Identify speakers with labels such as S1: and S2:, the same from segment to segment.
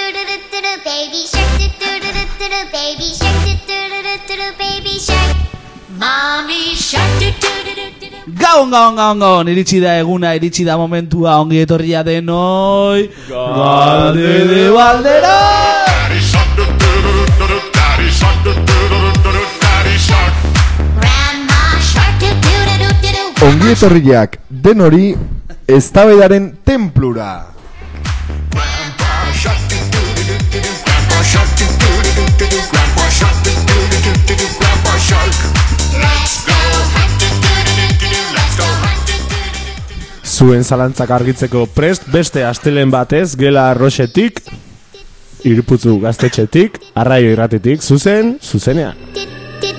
S1: doo baby shark doo doo doo doo doo doo baby shark doo doo doo doo doo doo baby shark mommy shark doo doo doo doo doo
S2: Gaon, gaon, gaon, gaon, iritsi da eguna, iritsi da momentua, ongi etorria denoi, galde de baldera!
S1: grandma shark doo doo doo doo doo doo
S3: Ongi etorriak den hori eztabaidaren templura.
S1: let's go hunt doo doo doo doo doo let's go hunt doo doo doo doo
S4: Zuen zalantzak argitzeko prest beste astelen batez gela arroxetik, irputzu gaztetxetik, arraio irratetik, zuzen, zuzenean.
S1: Baby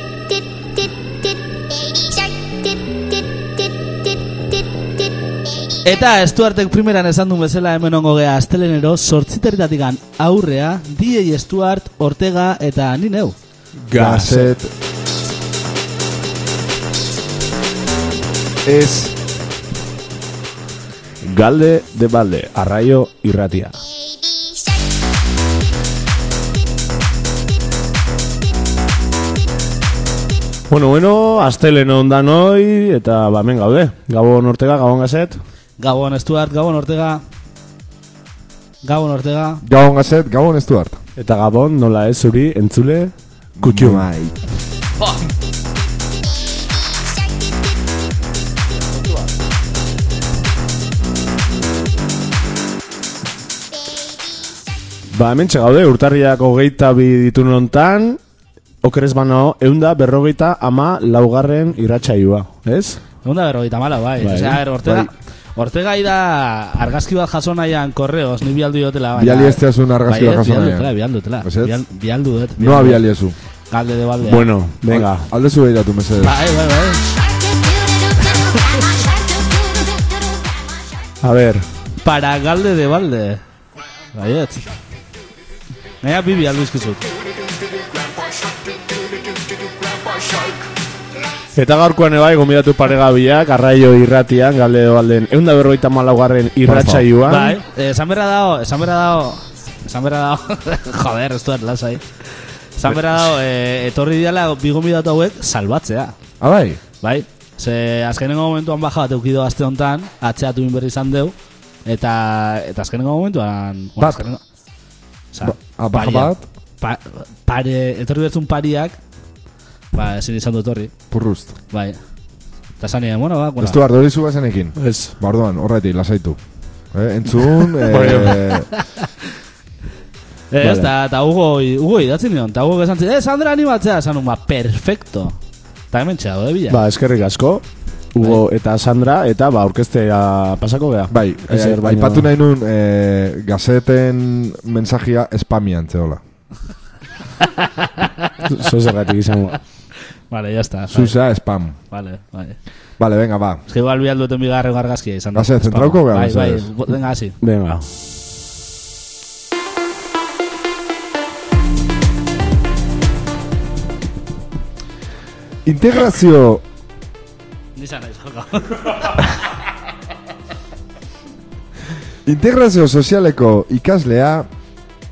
S1: shark, dip, dip, dip, dip, dip, dip, baby
S2: Eta estuartek primeran esan du bezala hemen ongo gea astelenero sortziteritatikan aurrea, DJ Stuart, Ortega eta ni neu.
S3: Gazet. Ez,
S4: Galde de balde, arraio irratia.
S1: Baby shark.
S4: Bueno, bueno, astelen ondan hoi, eta bamen gaude. Gabon ortega, gabon gazet.
S2: Gabon Stuart, Gabon Ortega, Gabon Ortega,
S3: gabon gazet, gabon ez du hart.
S4: Eta gabon nola ez zuri, entzule, kutxu.
S3: Bai.
S4: Ba, hemen gaude urtarriak hogeita bi ditun hontan, okeres banao, eunda berrogeita ama laugarren irratxaiua, ez?
S2: egun da berrogeita mala, bai.
S4: Bai,
S2: Osea, a ver, Ortega,
S4: bai.
S2: Ortega ida argazki bat jaso nahian korreos, ni bialdu diotela. baina-
S3: Biali ez teazun argazki
S2: Bai,
S3: bat
S2: ez,
S3: jaso
S2: bialdu
S3: nahian.
S2: dutela, bialdu dutela.
S3: Mesedez?
S2: Bial- Bialdu dut.
S3: Noa biali ezu.
S2: Galde de balde.
S4: Bueno, venga. Ba.
S3: Aldezu behiratu, mesedez.
S2: Bai, bai, bai.
S4: A ver,
S2: Para galde de balde. Baiet. Nea bibi aldu izkizut.
S4: Eta gaurkoan ebai, gomidatu paregabiak, arraio irratian, galde balden, eunda berroita malaugarren irratxaiuan.
S2: Bai, eh, esan berra dao, esan berra dao, esan berra dao, joder, ez duet lasai. Esan berra dao, eh, etorri diala bigomidatu hauek salbatzea,
S3: Abai,
S2: bai? Ze azkenengo momentuan baja bat eukido aste honetan, atzeatu egin berri izan deu, eta, eta azkenengo momentuan... bueno,
S3: Bat.
S2: azkenengo- Osa,
S3: Ba- ah, baja
S2: paria.
S3: bat.
S2: Pa, pare, etorri bertzun pariak, ba, ezin izan du etorri.
S3: purrust.
S2: Bai. Eta zanean, bueno, ba,
S3: Ez
S2: bueno.
S3: du hart, hori zu bazenekin.
S4: Ez. Bai,
S3: Ba, orduan, horretik, lasaitu. Eh, entzun, eh,
S2: Ez,
S4: Vale.
S2: Eh, eta eta Hugo, Hugo idatzi nion, eta Hugo esan zuen, eh, Sandra animatzea, esan nun, ba, perfecto. Eta hemen txago, eh, bila.
S4: Ba, eskerrik asko, Hugo eta Sandra, eta ba, orkestea pasako gea.
S3: bai, eh,
S4: Ezer baino-
S3: aipatu nahi nun, eh, gazeten mensajia spamian, zehola.
S4: Bai. Zo zergatik izango.
S2: Vale, ya está. Vale,
S3: Zuza spam.
S2: vale, vale.
S3: Vale, venga, ba.
S2: Ez que igual bialdu eten bigarren argazkia izan. da.
S3: Hase, Ba, zentrauko gara,
S2: Bai, bai,
S3: mesedez.
S2: bo- venga, hasi.
S4: Venga.
S3: Integrazio
S2: Nizan naiz, joko.
S3: Integrazio sozialeko ikaslea,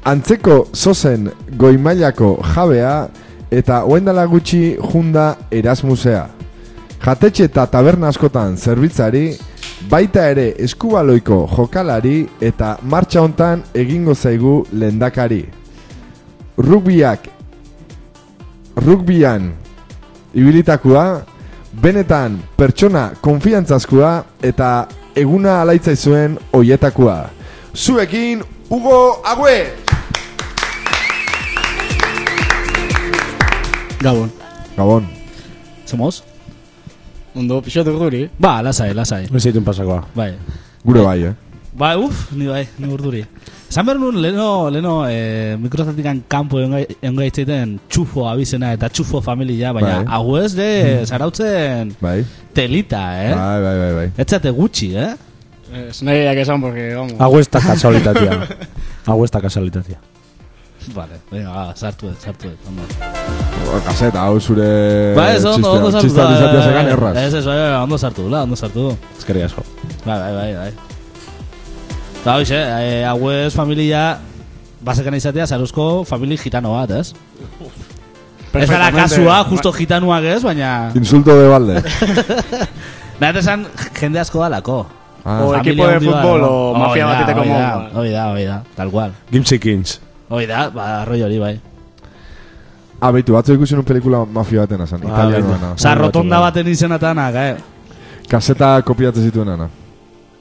S3: antzeko zozen goimailako jabea eta oendala gutxi junda Erasmusea. Jatetxe eta taberna askotan zerbitzari, baita ere eskubaloiko jokalari eta martxa hontan egingo zaigu lendakari. Rugbiak, rugbian ibilitakua, benetan pertsona konfiantzazkoa eta eguna alaitzai zuen hoietakoa. Zuekin, Hugo Agüe!
S2: Gabon.
S3: Gabon.
S2: Somos?
S5: Ondo, pixat urduri.
S2: Ba, lasai, lasai.
S4: Ez ditun pasakoa.
S2: Bai.
S3: Gure bai, eh?
S2: Ba, uf, ni bai, ni urduri. Esan behar nun, leno, leno, eh, mikrostatikan kanpo engaitzeiten txufo abizena eta txufo familia, baina
S3: Bai.
S2: hau ez de, zarautzen
S3: Bai.
S2: telita, eh?
S3: Bai, bai, bai, bai.
S2: Etzate gutxi, eh?
S5: Ez nahiak esan, porque, vamos.
S4: Hau ez da kasualitatea. Hau ez da kasualitatea.
S2: Vale, venga, va, sartu ez, sartu ez, ondo.
S3: Gazeta, hau zure...
S2: ba, ez, ondo, ondo sartu.
S3: Txista
S2: bai, bai,
S3: dizatea
S2: bai,
S3: zekan
S2: bai.
S3: erraz.
S2: Ez, ez, bai, bai, ondo sartu, la, ondo sartu.
S4: Ezkerrik asko.
S2: Bai, bai, bai, bai. Eta hoxe, eh, hau ez familia Bazekan izatea, zaruzko famili gitano bat, ez? Ez dara
S5: Perfectamente.
S2: kasua, justo gitanoak ez, baina...
S3: Insulto de balde.
S2: Nahet esan, jende asko dalako.
S3: Ah.
S2: Familia
S5: O
S2: Oh,
S5: equipo de
S2: handi bat
S5: futbol,
S2: dalako.
S5: o mafia
S2: Hoi da,
S5: batetako
S2: hoi da,
S5: modu.
S2: Hoi da, hoi da, tal cual.
S4: Gimsi Kings.
S2: Hoi da, ba, rollo hori bai.
S3: Ah, beitu, batzu ikusi nun pelikula mafia baten azan,
S4: Ah,
S3: italianoena.
S2: Osa,
S4: Hori
S2: rotonda
S4: bat,
S2: baten izenatan, aga, eh?
S3: Kaseta kopiatzen zituenana.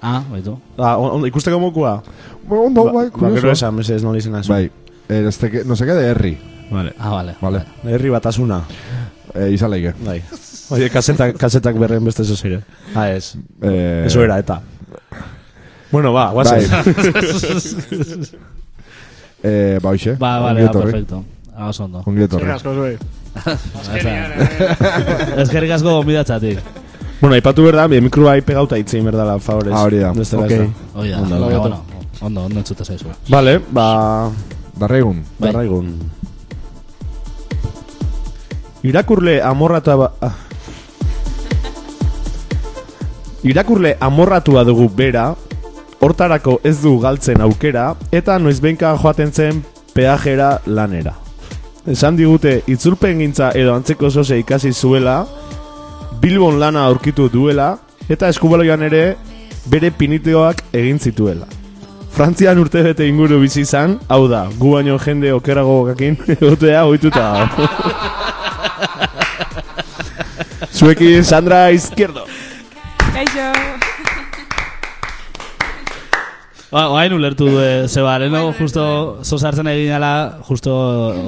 S2: Ah, baitu.
S4: Ah, on, on, ikusteko mokua?
S3: Ba, Ondo, bai,
S4: ba, gero
S3: kurioso.
S4: esan, mesedez, nola izena zu.
S3: Bai, eh, ez teke- no seke de herri,
S4: Vale.
S2: Ah, vale.
S3: vale?
S4: Herri batasuna.
S3: Eh, izan leike.
S4: Bai. Oie, kasetak, kasetak berren beste zo zire. Ah, ez.
S3: Eh,
S4: Eso era, eta. Bueno, ba, guazen.
S3: Bai. eh, ba, hoxe.
S2: Ba,
S3: Ongi
S2: vale, ah,
S3: etorri.
S2: perfecto. Ah, oso ondo.
S3: Ongi etorri.
S5: Eskerrik asko zuei. Azkenean,
S2: Ezkerrik asko gombidatzatik.
S4: Bueno, aipatu behar da, bi mikro bai pegauta itzein behar dela, favorez.
S3: Ah, hori da.
S4: Bestela
S3: Ok.
S4: ez da.
S2: Hoi da,
S4: Ondo,
S2: baina,
S4: ondo.
S2: bueno, ondo, ondo entzuta zaizu.
S4: Vale, ba,
S3: Darregun.
S2: Bai.
S4: darraigun. Irakurle amorrata ba... ah. Irakurle amorratua dugu bera, hortarako ez du galtzen aukera, eta noizbenka joaten zen peajera lanera. Esan digute, itzulpen gintza edo antzeko zoze ikasi zuela, Bilbon lana aurkitu duela, eta eskubaloian ere bere piniteoak egin zituela. Frantzian urtebete inguru bizi izan, hau da, gu baino jende okerago gakin egotea ohituta dago. Zuekin Sandra Izquierdo.
S6: Kaixo.
S2: Ba, oain ulertu du, eh, zeba, lehenago
S6: bai.
S2: justo zozartzen egin ala, justo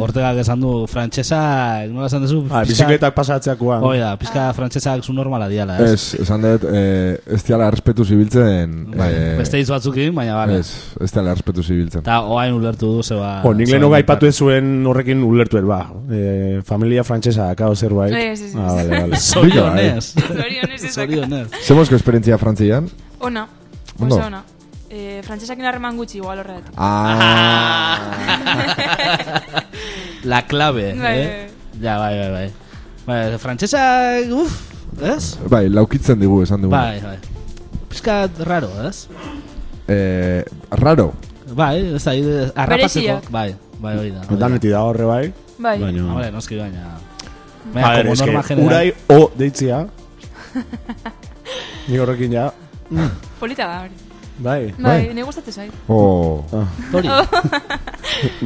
S2: Ortegak esan du, frantxesa, nola esan duzu?
S4: Ah, bizikletak pasatzeakoan.
S2: Hoi da,
S6: Ah.
S2: pizka frantxesak zu normala diala, ez?
S3: Ez, esan dut, eh, ez diala errespetu zibiltzen... eh,
S2: Beste hitz batzukin, baina bale.
S3: Ez, ez diala errespetu zibiltzen.
S2: Eta oain ulertu du, zeba...
S4: Bo, nik
S2: zeba
S4: lehenu
S2: gertatu.
S4: gaipatu ez zuen horrekin ulertu erba. Eh, familia frantsesa kao zerbait.
S6: Ez, ez, ez.
S4: Ah, vale, vale.
S2: Zorionez.
S6: Zorionez ez dakit.
S2: Zorionez.
S3: Zemozko esperientzia frantzian?
S6: Ona.
S3: Ondo.
S6: Oso ona. Eh, frantsesakin harreman gutxi igual horregatik.
S3: Ah,
S2: La clave,
S6: Bai,
S2: eh? Ja, bai, bai, bai. Bai, frantxesak, uff, ez?
S3: bai, laukitzen digu esan dugu.
S2: Bai, bai. Pizka raro, ez?
S3: Eh, raro.
S2: Bai, ez da, ide- arrapatzeko.
S6: Bereziak.
S2: Bai, bai, hori da. hori da.
S4: Daneti da horre bai.
S6: Bai.
S2: Ah,
S4: Baina...
S2: vale, noski baina...
S4: A
S2: Baina,
S4: ver,
S2: como
S4: es
S2: norma
S4: que
S2: general...
S4: urai o deitzia. Ni horrekin ja.
S6: Polita da hori.
S4: Bai.
S6: Bai,
S3: Bai.
S6: bai. gustatzen zait.
S3: Oh,
S2: Hori,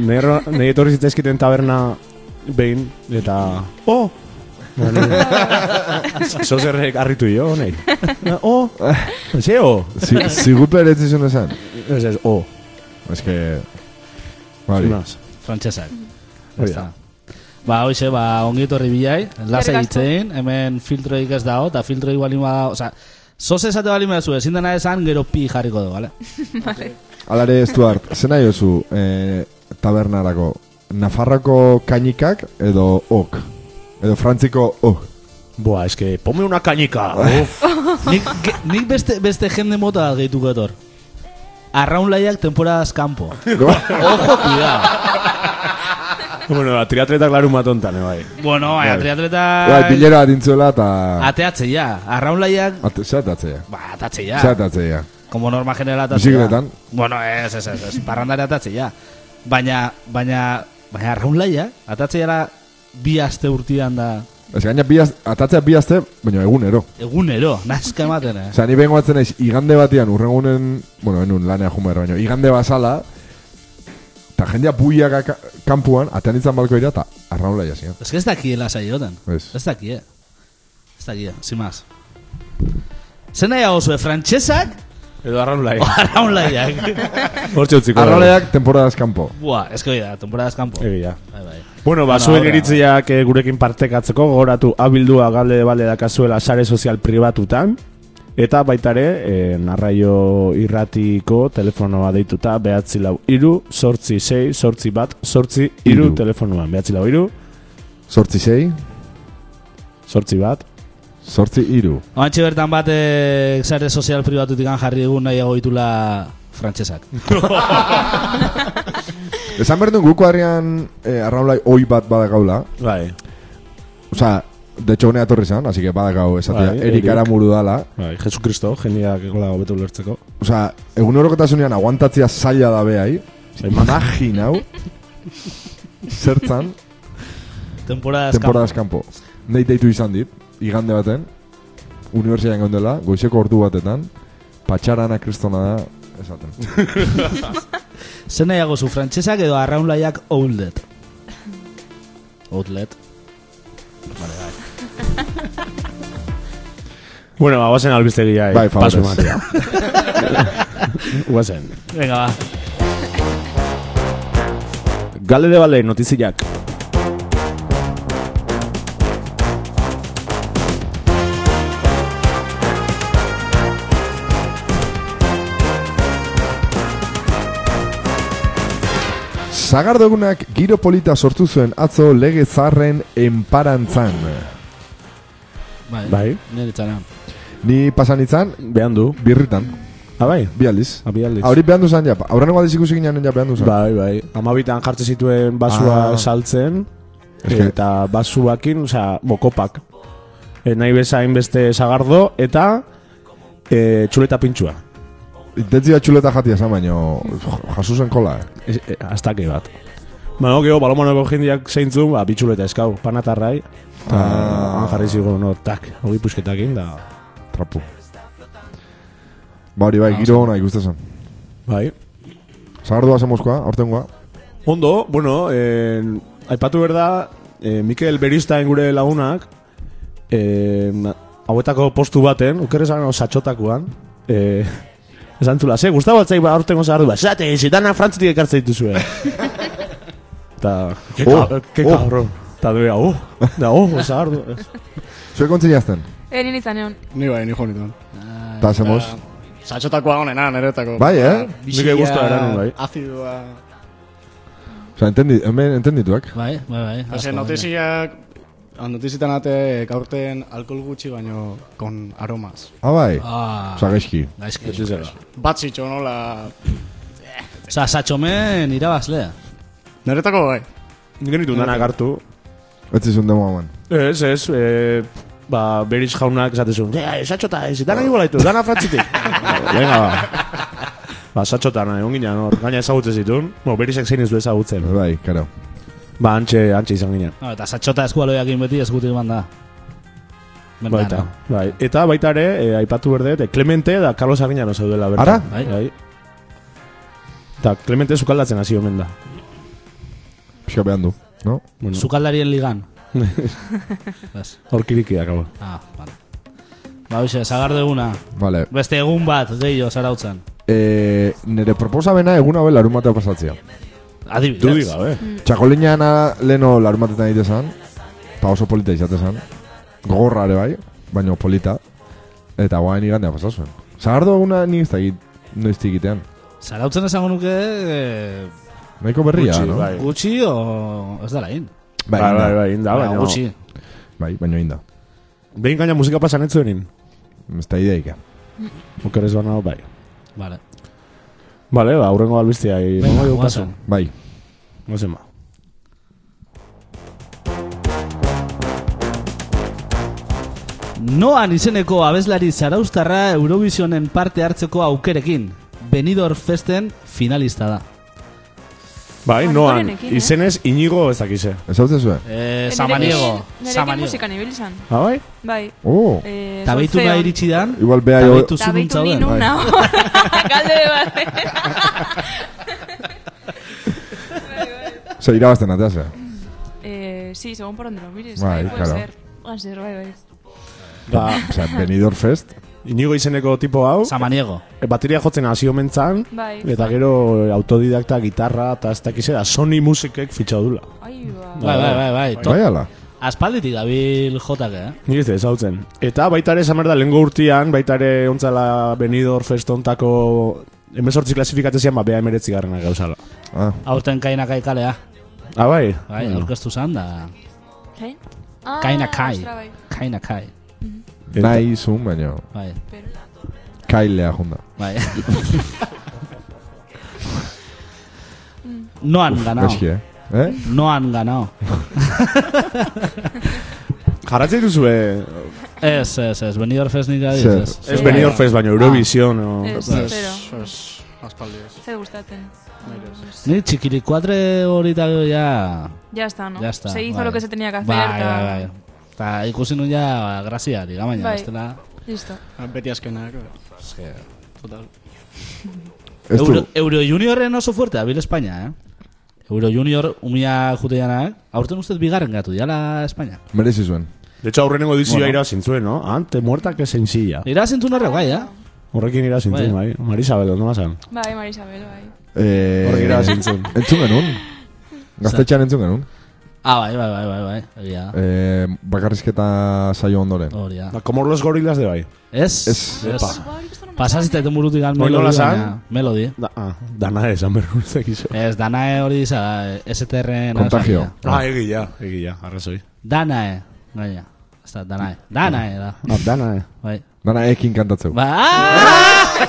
S4: Nero, nahi etorri zitzaizkiten taberna behin, eta... Oh! Bueno, Zozerrek harritu jo, nahi. Oh! Ze, oh!
S3: si, zigutu ere ez dizun esan.
S4: Ez ez, oh.
S3: Ez que... bai. Bari.
S4: Zinaz.
S2: frantxesak.
S4: Hori
S2: Ez
S4: da.
S2: da. Ba, hoxe, ba, ongi etorri bilai, lasa
S6: asko.
S2: egitzein, hemen filtroik ez dago, eta filtroik balin bada, oza, zoze esate balin bada zu, ezin dena esan, gero pi jarriko du, bale?
S3: Alare, Stuart, zen nahi oso eh, tabernarako? Nafarrako kainikak edo ok? Edo frantziko Oh? ok?
S4: Boa, eske, pome una kanika. Uf.
S2: Nik, ge- nik beste, beste jende mota bat gehituko etor. Arraunlaiak temporadas kanpo. Ojo, cuidado.
S4: bueno, la triatletak larun bat ontan, eh, bai.
S2: Bueno, baina,
S3: Bai,
S2: triatleta...
S3: bilera bat intzuela eta...
S2: Ateatze ja, arraunlaiak...
S3: At zeatatzeia.
S2: Ba, atatze ja.
S3: Zeatatzeia.
S2: Como norma general atatzea.
S3: Bizikletan?
S2: Bueno, ez, ez, ez, ez parrandara atatzea. Baina, baina, baina arraunlaia, atatzeara bi aste urtian da
S3: Ez gaina bi az- atatzea bi azte, baina egunero.
S2: egunero, nazka ematen, eh?
S3: Osea, ni bengo atzen naiz, igande batean urrengunen, bueno, enun lanea jumer, baina igande bazala, eta jendea buiak aka- kanpuan, atean itzan balko ira, eta arraula jazian.
S2: Ez que ez dakiela saiotan.
S3: Ez.
S2: Ez dakie. Ez dakie, sin más. Zer nahiago zue, frantxesak
S4: Edo arraun lai.
S2: o arraunlaiak?
S4: Hortxe utziko. dugu.
S3: Arrauleak temporadas kanpo.
S2: Buah, ez que hori da, temporadas kanpo.
S4: Egia.
S2: Bai, bai.
S4: Bueno, ba,
S2: Bueno,
S4: zuen
S2: ahora.
S4: iritziak eh, gurekin partekatzeko gogoratu abildua galde balde dakazuela sare sozial pribatutan eta baita ere eh, narraio irratiko telefonoa deituta behatzi lau iru, sortzi sei, sortzi bat, sortzi iru,
S3: Hiru.
S4: telefonoan behatzi lau iru,
S3: Sortzi sei,
S4: sortzi bat
S3: sortzi iru.
S2: Oantxe bertan bat eh, sare sozial pribatutik jarri egun nahiago ditula frantxesak.
S3: Esan behar duen guko harrian eh, arraulai oi bat badakaula.
S4: Bai,
S3: Osea, de hecho, honea torri zan, así que badakau esatea.
S4: Bai,
S3: Erik
S4: Erik.
S3: aramuru dala.
S4: bai, Jesu Kristo, jendeak gola hobetu ulertzeko
S3: Osea, egunerokotasunean aguantatzea zaila da behai. Imaginau Zertzan
S2: Temporadas
S3: temporadas kanpo. Nei deitu izan dit, igande baten, unibertsian gondela, goizeko ordu batetan, patxarana kristona da, esaten.
S2: Zer nahiago zu, frantsesak edo arraunlaiak outlet? Outlet.
S4: Bueno, ba, guazen albistegia.
S3: Bai,
S4: paso
S3: favorez.
S4: ematea. Guazen.
S2: Venga, ba.
S4: Gale de bale, notiziak.
S3: Sagardogunak giro polita sortu zuen atzo lege zarren enparantzan.
S2: Bai.
S4: Bai.
S2: Nire txana.
S3: Ni pasan itzan,
S4: Behan du.
S3: birritan,
S4: Ah, bai?
S3: bi aldiz.
S4: Abialdiz.
S3: Hori behan duzan ja, aurrengo aldiz ikusi ginen ja behan duzan.
S4: Bai, bai. Amabitan jartzen zituen basua
S3: Ah.
S4: saltzen.
S3: Eske-
S4: Eta basuakin, osea, bokopak. E, nahi bezain beste sagardo eta e, txuleta pintxua.
S3: Intentzia Bai. txuleta jatia esan baino, jasusen kola. eh.
S4: E, e, astake bat. Bueno, gero, balomanoko jendeak zeintzun, ba, bitxuleta eskau, panatarrai. Eta ah. jarri zigo, no, tak, hori pusketakin, da,
S3: Trapu. Ba hori bai, giro ona ikustezen.
S4: bai.
S3: Sagardoa zen mozkoa, aurtengoa.
S4: Ondo, bueno, eh, aipatu berda, eh, Mikel Beristain gure lagunak, eh, na- hauetako postu baten, uker esan satxotakoan, eh, esan zula, ze, Gustavo Altzai ba, aurtengo zahardu, ba, zate, zitana frantzitik ekartzen dituzue. Ta, ke
S3: Oh,
S4: ka- eh, ke
S3: oh.
S4: cabron. Ta duea, oh, da, oh, zahardu.
S3: Zuek ontzinazten,
S6: Eh, nien izan egon.
S5: Ni bai, ni jo nituen.
S3: eta zemoz.
S5: Satxotakoa honena, niretako.
S3: Bai, eh?
S4: Nike guztua eranun, bai.
S5: Azidua.
S3: Osa, entendi, hemen entendituak.
S2: Bai, bai, bai.
S5: Ose,
S2: Asko,
S5: notiziak... Notizitan ate, gaurten eh, alkohol gutxi baino kon aromas.
S3: Ah, bai.
S2: baina. Ah,
S3: Osa, gaizki.
S2: gaizki.
S4: Ez zela.
S5: Bat zitxo nola...
S2: Osa, satxomen irabazlea.
S5: Niretako bai.
S4: Nik nitu denak hartu.
S3: Ez zizun demoa man.
S4: Ez, ez, eh, ba, Beris jaunak esatezun, eh, satxota, ez, dana igual haitu, dana frantzitik. Venga, ba. Ba, satxota nahi, onginan hor, gaina ezagutzen zitun. Bo, Berisek zein ez du ezagutzen.
S3: Bai, karo.
S4: Ba, antxe, antxe izan ginen.
S2: No, Ah, eta satxota eskualoiak beti eskutik banda.
S4: Baita,
S2: Bernardo.
S4: bai. Eta baita ere, eh, aipatu berde, eta Clemente da Carlos Aguinano zaudela bertan.
S3: Ara?
S2: Bai.
S4: Bai. Eta Clemente zukaldatzen hasi omen da.
S3: Pixka behan du, no?
S4: Bueno,
S2: Zukaldarien ligan. Bas.
S4: horkirikiak, hau.
S2: ah, vale. Ba, bixe, sagardo eguna.
S3: Vale.
S2: Beste egun bat, gehiago, zarautzen.
S3: E, nere proposamena egun hau larumatea pasatzea.
S2: Adibidez.
S4: Du diga, be.
S3: Txakolinana leno larumatetan egite zan, eta oso polita izate zan. Gogorra ere bai, baino polita. Eta guain igandea pasazuen. Zagardo eguna ni ez dakit noiztik egitean.
S2: Zarautzen esango nuke eh,
S3: Nahiko berria,
S4: Gutxi,
S3: no?
S4: bai.
S2: gutxi o... Ez dara in.
S3: Bai,
S4: Bai, bai,
S3: inda.
S4: bai, inda,
S2: Ba,
S4: baina.
S2: gutxi.
S3: Bai, baino inda.
S4: Behin gaina musika pasan ez zuenin.
S3: Ez da ideika.
S4: Okeres banao, bai.
S2: Vale.
S4: Vale, ba, aurrengo albiztea.
S2: Venga,
S4: Venga,
S2: guazen.
S3: Bai.
S4: Guazen ba.
S2: Noan izeneko abeslari zaraustarra Eurovisionen parte hartzeko aukerekin. Benidorm Festen finalista da.
S4: Bai,
S6: Ba,
S4: noan,
S6: Antonenekin, eh?
S4: izenez inigo ez dakize.
S3: Ez hau zezue?
S2: Eh,
S6: Nerekin-
S2: Samaniego.
S6: Nerekin
S2: Samaniego.
S6: musikan ibili izan.
S4: Ah, bai?
S6: Bai.
S3: Oh,
S6: Eh,
S2: Eta behitu
S6: sortzean.
S2: nahi iritsi dan.
S3: igual bea
S2: Eta
S3: jo...
S2: behitu
S6: Eta
S2: zunun
S6: beitu
S2: zauden.
S6: ninu
S3: bai.
S6: nao.
S2: Bai.
S6: Galde bat.
S3: Zer, irabazten atea ze.
S6: Eh, sí, segun por ondro, miris.
S3: Bai,
S6: Bai, puede
S3: claro.
S6: ser. Puede ser, bai, bai.
S4: Ba,
S3: Osea, Benidorm Fest.
S4: inigo izeneko tipo hau,
S2: Samaniego.
S4: eh, bateria jotzen hasi omen zan,
S6: Bai.
S4: eta gero eh, autodidakta, gitarra, eta ez dakize da, Sony musikek fitxadula.
S6: Ai, ba.
S2: Bai, bai, bai, bai. To-
S3: Bai, ala.
S2: Aspalditik dabil jotak, eh?
S4: Nik ez dut ezagutzen. Eta baita ere, esan behar da, lehenko urtian, baita ere, ontzala Benidor festontako emezortzi klasifikatezian, ba, bea emeretzi garrena gauzala.
S3: Ah,
S2: Aurten kainak aikalea.
S4: Ah, bai?
S2: Bai,
S4: Bueno.
S2: aurkeztu zan da.
S6: Kain? Ah,
S2: Kainak kai.
S6: ostra, bai.
S2: Kainak kai.
S4: Eta-
S3: nahi zun, baino.
S2: Bai,
S6: Pero-
S3: Kailea junda.
S2: bai. Noan ganao.
S3: Gaizki, eh? Eh?
S2: Noan ganao.
S4: Jarratzen duzue,
S2: eh, Ez, ez, ez. Benidorm Fest nik adiz,
S3: Zer?
S2: ez. Ah.
S6: Eh,
S4: ez Benidor Fest, baino Eurovision, o... Bai.
S6: Ez,
S5: Ez,
S6: zero.
S5: ez. aspaldi ez.
S6: Zait gustatzen.
S5: Nire ez.
S2: Ni txikirikuatre hori eta gero ja...
S6: Ya está, ¿no?
S2: Ya está,
S6: Se hizo
S2: bai.
S6: lo que se tenía que hacer.
S2: Bai,
S6: ta-
S2: bai, bai. Eta ikusi nun ja, ba, grazia, diga baina,
S6: Bai.
S2: bestela...
S6: Listo.
S5: Beti azkenak, eh, total.
S3: Ez du,
S2: Euro, Euro Juniorren oso fuerte, abil Espainia, eh? Euro Junior, umia jute jana, aurten ustez bigarren gatu, jala Espainia.
S3: merezi zuen.
S4: De hecho, aurrenengo dizioa
S2: Bueno.
S4: bueno. irazintzuen, no? Ante muerta que sencilla.
S2: Ira zintu norra bai, eh?
S4: Horrekin irazintzuen, bai.
S2: Bai.
S4: Marisabel, ondo mazan.
S6: Bai, Marisabel, bai.
S3: Eh,
S4: Hor gira zintzun.
S3: Entzun genuen. Gaztetxean entzun genuen.
S2: Ah, bai, bai, bai, bai, bai, egia. da.
S3: Eh, bakarrizketa saio ondoren.
S2: Hori da.
S4: Da, como los gorilas de bai.
S2: Ez,
S3: Ez.
S2: ez.
S6: Ba, hori kosta normal,
S2: Pasazita
S6: eh?
S2: eten burutik al
S4: Hori
S2: melodi,
S4: nola zan?
S2: baina- melodi.
S4: Da, ah, dana esan berru ez dakizu.
S2: Ez, danae hori eh, iza, STR-en...
S3: Kontagio.
S2: azalea.
S4: Ah, egia, egia, arrazoi.
S2: Danae, gaina. Ez da, danae. Danae da,
S4: No, dana, eh.
S2: bai.
S3: Dana ekin kantatzeu.
S2: Ba, ah!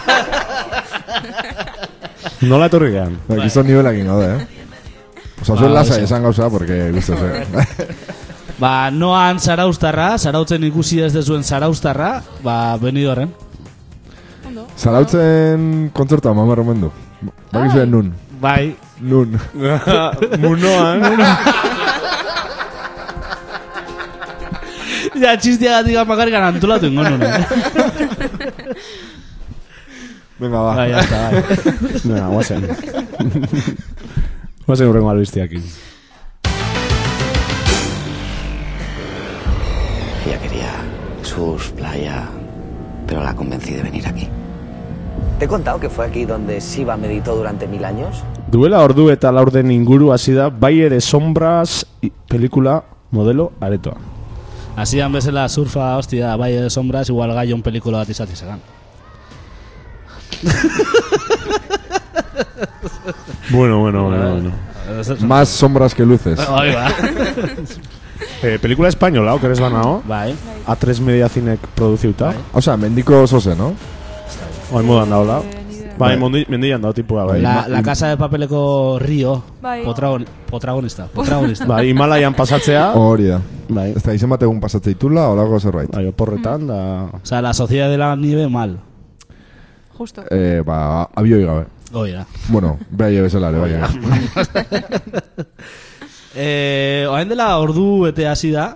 S4: Nola etorri gean?
S3: Ba,
S2: Bai.
S3: Gizon nivela egin gaude, eh? Osa, zuen
S2: Ba,
S3: lasa
S2: oso.
S3: esan gauza, porque guztu zen.
S2: ba noan zaraustarra, zarautzen ikusi ez dezuen zaraustarra, ba, benido horren.
S6: Ondo.
S3: Zarautzen kontzertua mama romendu. Baki zuen nun.
S2: Bai,
S3: Nun.
S4: Munoan.
S2: Ja, txistiagatik amakarrikan antolatu ingo nuen. eh?
S3: Venga,
S2: Bai,
S3: ba.
S2: hasta, bai.
S4: Nena, guazen. Guazen urrengo albistiakin.
S7: Ella quería sus playa, pero la convencí de venir aquí.
S8: ¿Te he contado que fue aquí donde Siva meditó durante mil años?
S4: Duela ordu eta laurden inguru hasi da bai ere sombras i- pelikula modelo aretoa.
S2: Asidan bezala surfa, hostia, bai de sombras, igual gaion pelikula bat izati zegan.
S4: Bueno, bueno, bueno. bueno.
S3: Más sombras que luces.
S2: Hoi, ba.
S4: Eh, pelikula espainola, okeres banao.
S2: Bai.
S4: A3 Media Zinek produziuta.
S3: Osa, mendiko oso zen, no?
S4: Oin modan daola.
S6: Eh, ni idea.
S4: Bai, mondi- mendian dao tipua, bai.
S2: La, la casa de papeleko Rio,
S6: Bai.
S2: potragon- potragonista, potragonista.
S4: Bai, Himalaian pasatzea.
S2: Ah.
S3: Hori da.
S4: Bai.
S3: Ez da, izen bat egun pasatze itula, holako zerbait.
S4: Bai, oporretan da...
S2: O sea, la sociedad de la nieve mal.
S6: Justo.
S3: Eh, ba, abioi gabe.
S2: Hoi, da.
S3: Bueno, behai bezala, ere, bai.
S2: Eh, oain dela ordu ete hasi da,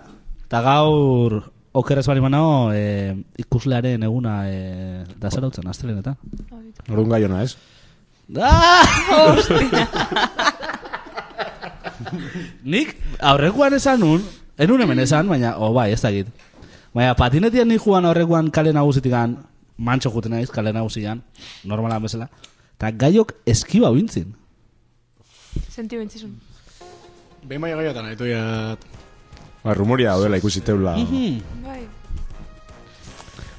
S2: eta gaur okerrez bari manao eh, ikuslearen eguna eh, da zarautzen, astelenetan.
S4: Orduan gaiona, ez?
S2: Ah! Nik aurrekoan esan nun, enun hemen esan, baina, o bai, ez dakit. Baina patinetian ni juan aurrekoan kale nagusitik mantxo juten naiz, kale nagusian, normalan bezala. Eta gaiok eskiba bintzin.
S6: Senti bentzizun.
S5: Behin bai eh, baina gaiatan haitu jat
S4: Ba, rumoria daudela ikusi teula.
S6: Bai.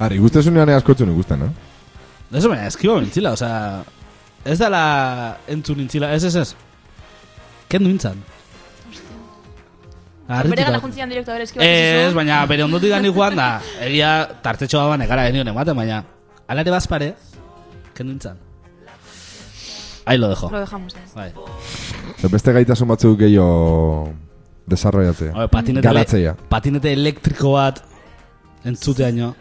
S3: Arri, guztezunean askotzun ikusten, eh?
S2: Ez baina, eskiba bintzila, osea... Ez dala entzun nintzila, ez ez ez. Kendu nintzen.
S6: Bere gana
S2: Harrituta.
S6: juntzien direktu abere eskibat.
S2: Ez, baina bere ondotik gani joan da, egia tartetxo bat baina gara genion ematen, baina alare bazpare, kendu nintzen. Ahí lo dejo.
S6: Lo dejamos, eh.
S2: Bai.
S3: Ze Beste gaitasun batzuk gehiago desarrollatzea.
S2: Habe, patinete,
S3: Garatzea.
S2: patinete elektriko bat entzuteaino.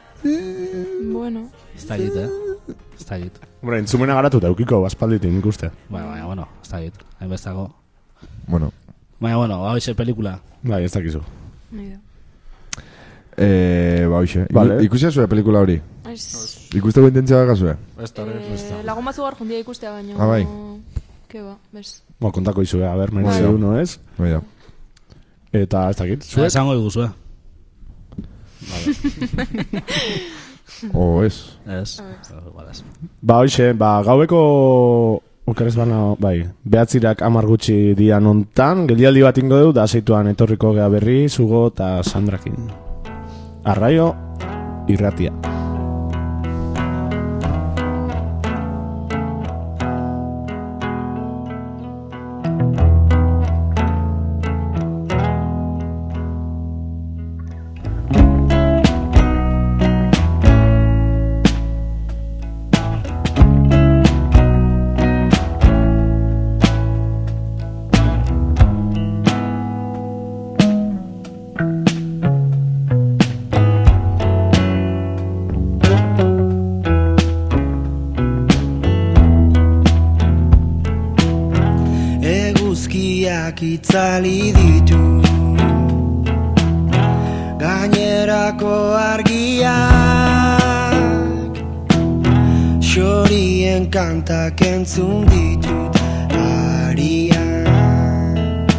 S6: Bueno.
S2: Ez da egit, eh? Ez da egit.
S4: Hombre, entzumena garatu daukiko, aspalditin ikuste.
S2: Baina, baina, bueno, ez da egit. Hainbestako. Bai.
S3: Bueno,
S2: Baina, bueno, hau ise pelikula.
S4: Bai, ez dakizu.
S6: Ni idea.
S3: eh, ba, hoxe.
S4: Vale.
S3: Vale. Ikusia zuen pelikula hori?
S6: Ez...
S3: Ikusteko intentzia gazue?
S5: Ez da, ez
S6: Eh, lagun batzu gaur jundia ikustea baina...
S3: Ah, bai.
S6: Ke ba, bez.
S4: Ba, kontako izue, a ber, merezi
S3: Bai.
S4: uno, ez?
S3: Bai da.
S4: Eta ez dakit,
S2: Zuek?
S4: zuek?
S2: Esango diguzue.
S3: O ez.
S2: Ez.
S6: Ah, Ez.
S2: Igual ez.
S4: Ba, hoxe, ba, gaueko... Okeres bana, bai, behatzirak amar gutxi dian ontan, geldialdi bat ingo du, da zeituan etorriko gea berri, zugo eta sandrakin. Arraio, irratia.
S9: itzali ditu Gainerako argiak Xorien kantak entzun ditut Ariak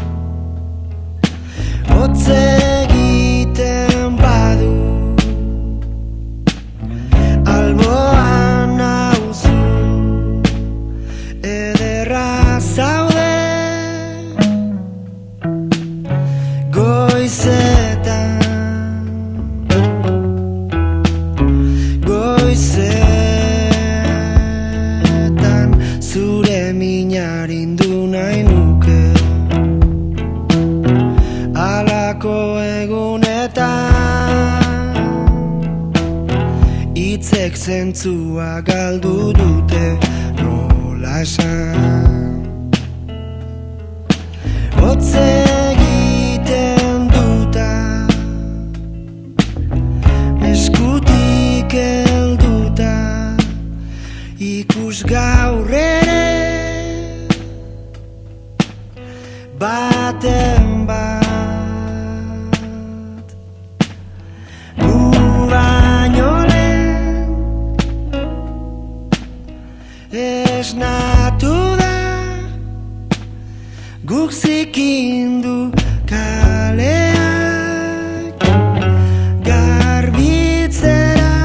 S9: Hotze egiten badu Alboan nauzu Ederra zaude Goizetan Goizetan Zure minarin du nahi nuke Alako egunetan Itzek zentzua galdu dute nola esan Hotze egiten duta Eskutik helduta Ikus gaur ere Baten bat Gu baino lehen esnatu da guk zikindu kaleak garbitzera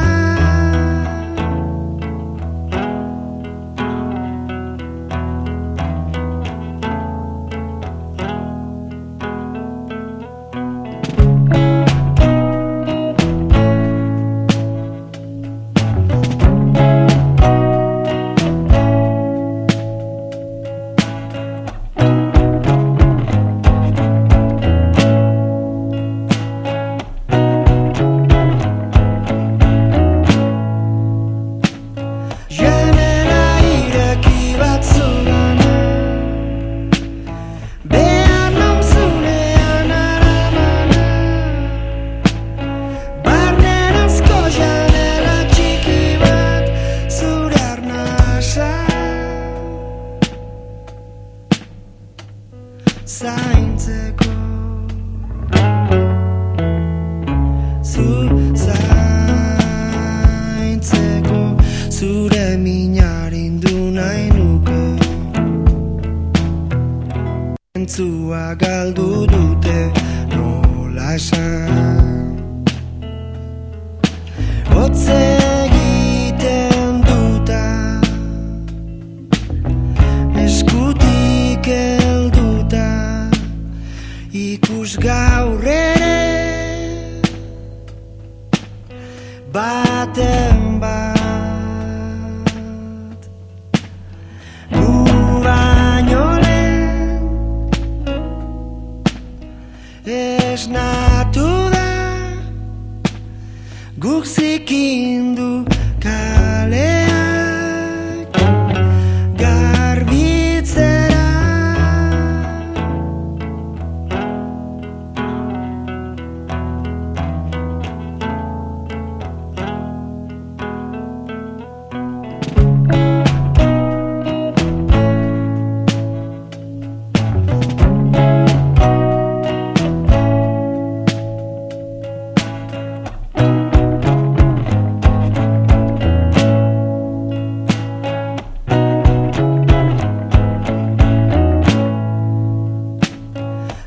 S9: Janela ireki batzugana Behar nauzunean aramana Barnerazko janela txiki bat Zure arnasa Zaintzeko Zu zaintzeko Zure minarin du nahi nuke Entzua galdu dute nola esan Hotze egiten duta Eskutik helduta Ikus gaur ere baten bat Gu baino lehen esnatu da guk zikindu kaleak garbitzera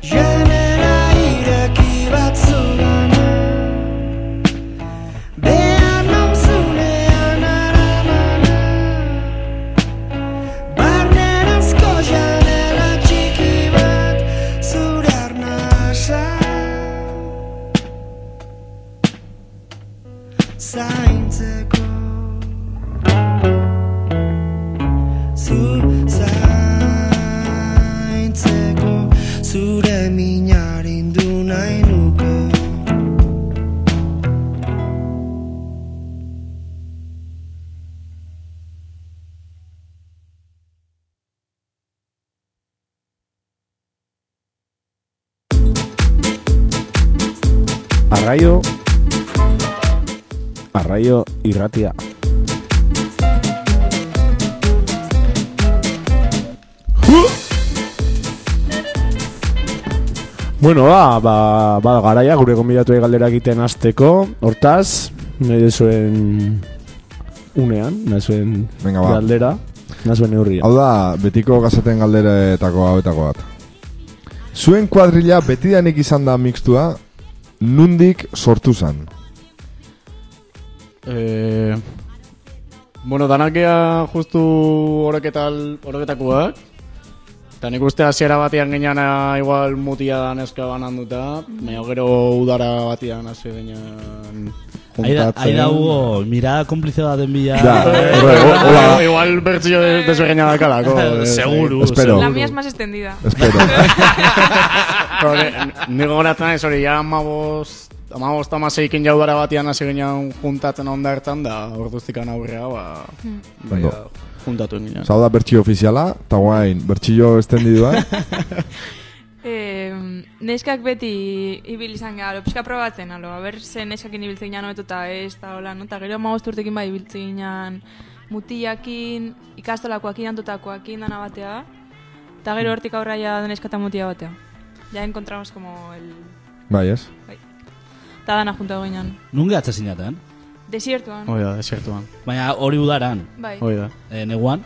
S9: Janela ireki batzugana Behar nauzunean aramana Barnerazko janela txiki bat Zure arnasa Zaintzeko Zu zaintzeko Zure minarin du nahi nuke
S4: Arraio Arraio irratia Bueno, ba, ba, ba garaia, gure gonbidatu galdera egiten hasteko hortaz, nahi duzuen unean, nahi zuen
S3: Venga, ba.
S4: galdera, nahi zuen neurria.
S3: Hau da, betiko gazaten galderetako hauetako bat. Zuen kuadrilla betidanik izan da mixtua, nundik sortu zan.
S5: Eh, bueno, danakia justu oroketal, oroketakoak. Eta nik uste hasiera batean geneana igual mutia da neska banan duta. Baina gero udara batean hasi genean...
S2: Ahí da, ahí da
S5: juntatzen.
S2: hubo mirada cómplice bat en Villa.
S3: Da, horre, ho- hola,
S5: Igual bertzio de- desbegina dakalako. eh,
S2: seguro.
S3: Espero.
S6: La mía es más extendida.
S3: espero.
S5: Pero ni- Ni gogoratzen ez hori, ja amabost, amabost amaseikin jaudara batean hasi ginean juntatzen onda hartan da, orduztikan aurrea, ba, bai,
S3: Ondo.
S5: ja, juntatu ginean.
S3: Zau da bertxio ofiziala, eta guain, bertxio estendidua.
S6: Eh, neskak beti ibil izan gara, alo, pixka probatzen, alo, aber ze neskakin ibiltzen ginen hobetuta ez, eta hola, no? Eta gero amagost urtekin bai ibiltzen ginen mutiakin, ikastolakoakin, antotakoakin, dana batea, eta gero hortik aurra ja neska eta mutia batea. Ja encontramos como el...
S3: bai, ez?
S6: Bai. Eta dana juntatu ginen.
S2: Nunge atza sinatan.
S6: Desiertuan.
S5: Hoi da, desertuan.
S2: ¿eh? Baina hori udaran,
S6: Bai.
S5: Hoi da.
S2: eh, neguan.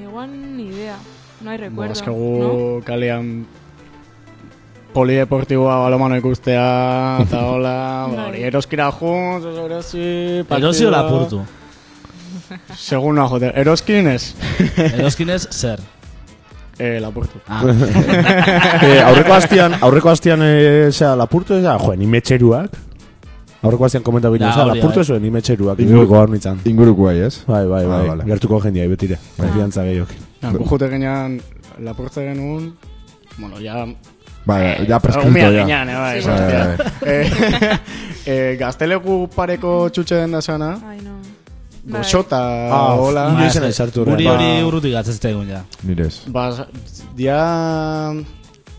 S6: Igual ni idea. No hay
S5: Bo,
S6: recuerdo. ¿no?
S5: azkagu Ba, kalean polideportiboa balomano ikustea, eta hola, ba, hori,
S6: Bai.
S5: eroskira juntz, erosi, partida...
S2: Erosio lapurtu.
S5: Segun noa jote, eroskin ez,
S2: Eroskinez zer.
S5: eh, lapurtu.
S2: Ah,
S4: Eh, aurreko hastian, aurreko hastian, eh, zera, lapurtu ez da, joen, imetxeruak. Aurreko hastian komentatu ginen,
S2: Da,
S4: zera,
S2: hori,
S4: lapurtu
S2: bai.
S4: ez zuen imetxeruak,
S3: Inguru-
S4: inguruko hau nintzen.
S3: Inguruko bai, ez?
S4: Bai, bai,
S3: Ah,
S4: bai,
S3: vale.
S4: gertuko jendia, betire,
S2: Ah.
S4: konfiantza gehioki.
S5: Ja, gu jute ginean, lapurtze genuen, bueno, ja
S3: Bai, ja preskrito,
S5: Egumean
S3: ja.
S5: ginean, eh, bai,
S6: Sí.
S5: hostia. Eh, eh, gazteleku pareko txutxe den da sana,
S6: Ay, no. Bai.
S5: goxota,
S4: Ah,
S5: hola.
S4: inoiz ez naiz sartu horretan.
S2: Guri hori urrutik atzazte egun ja.
S3: Nirez.
S5: Ba, dia...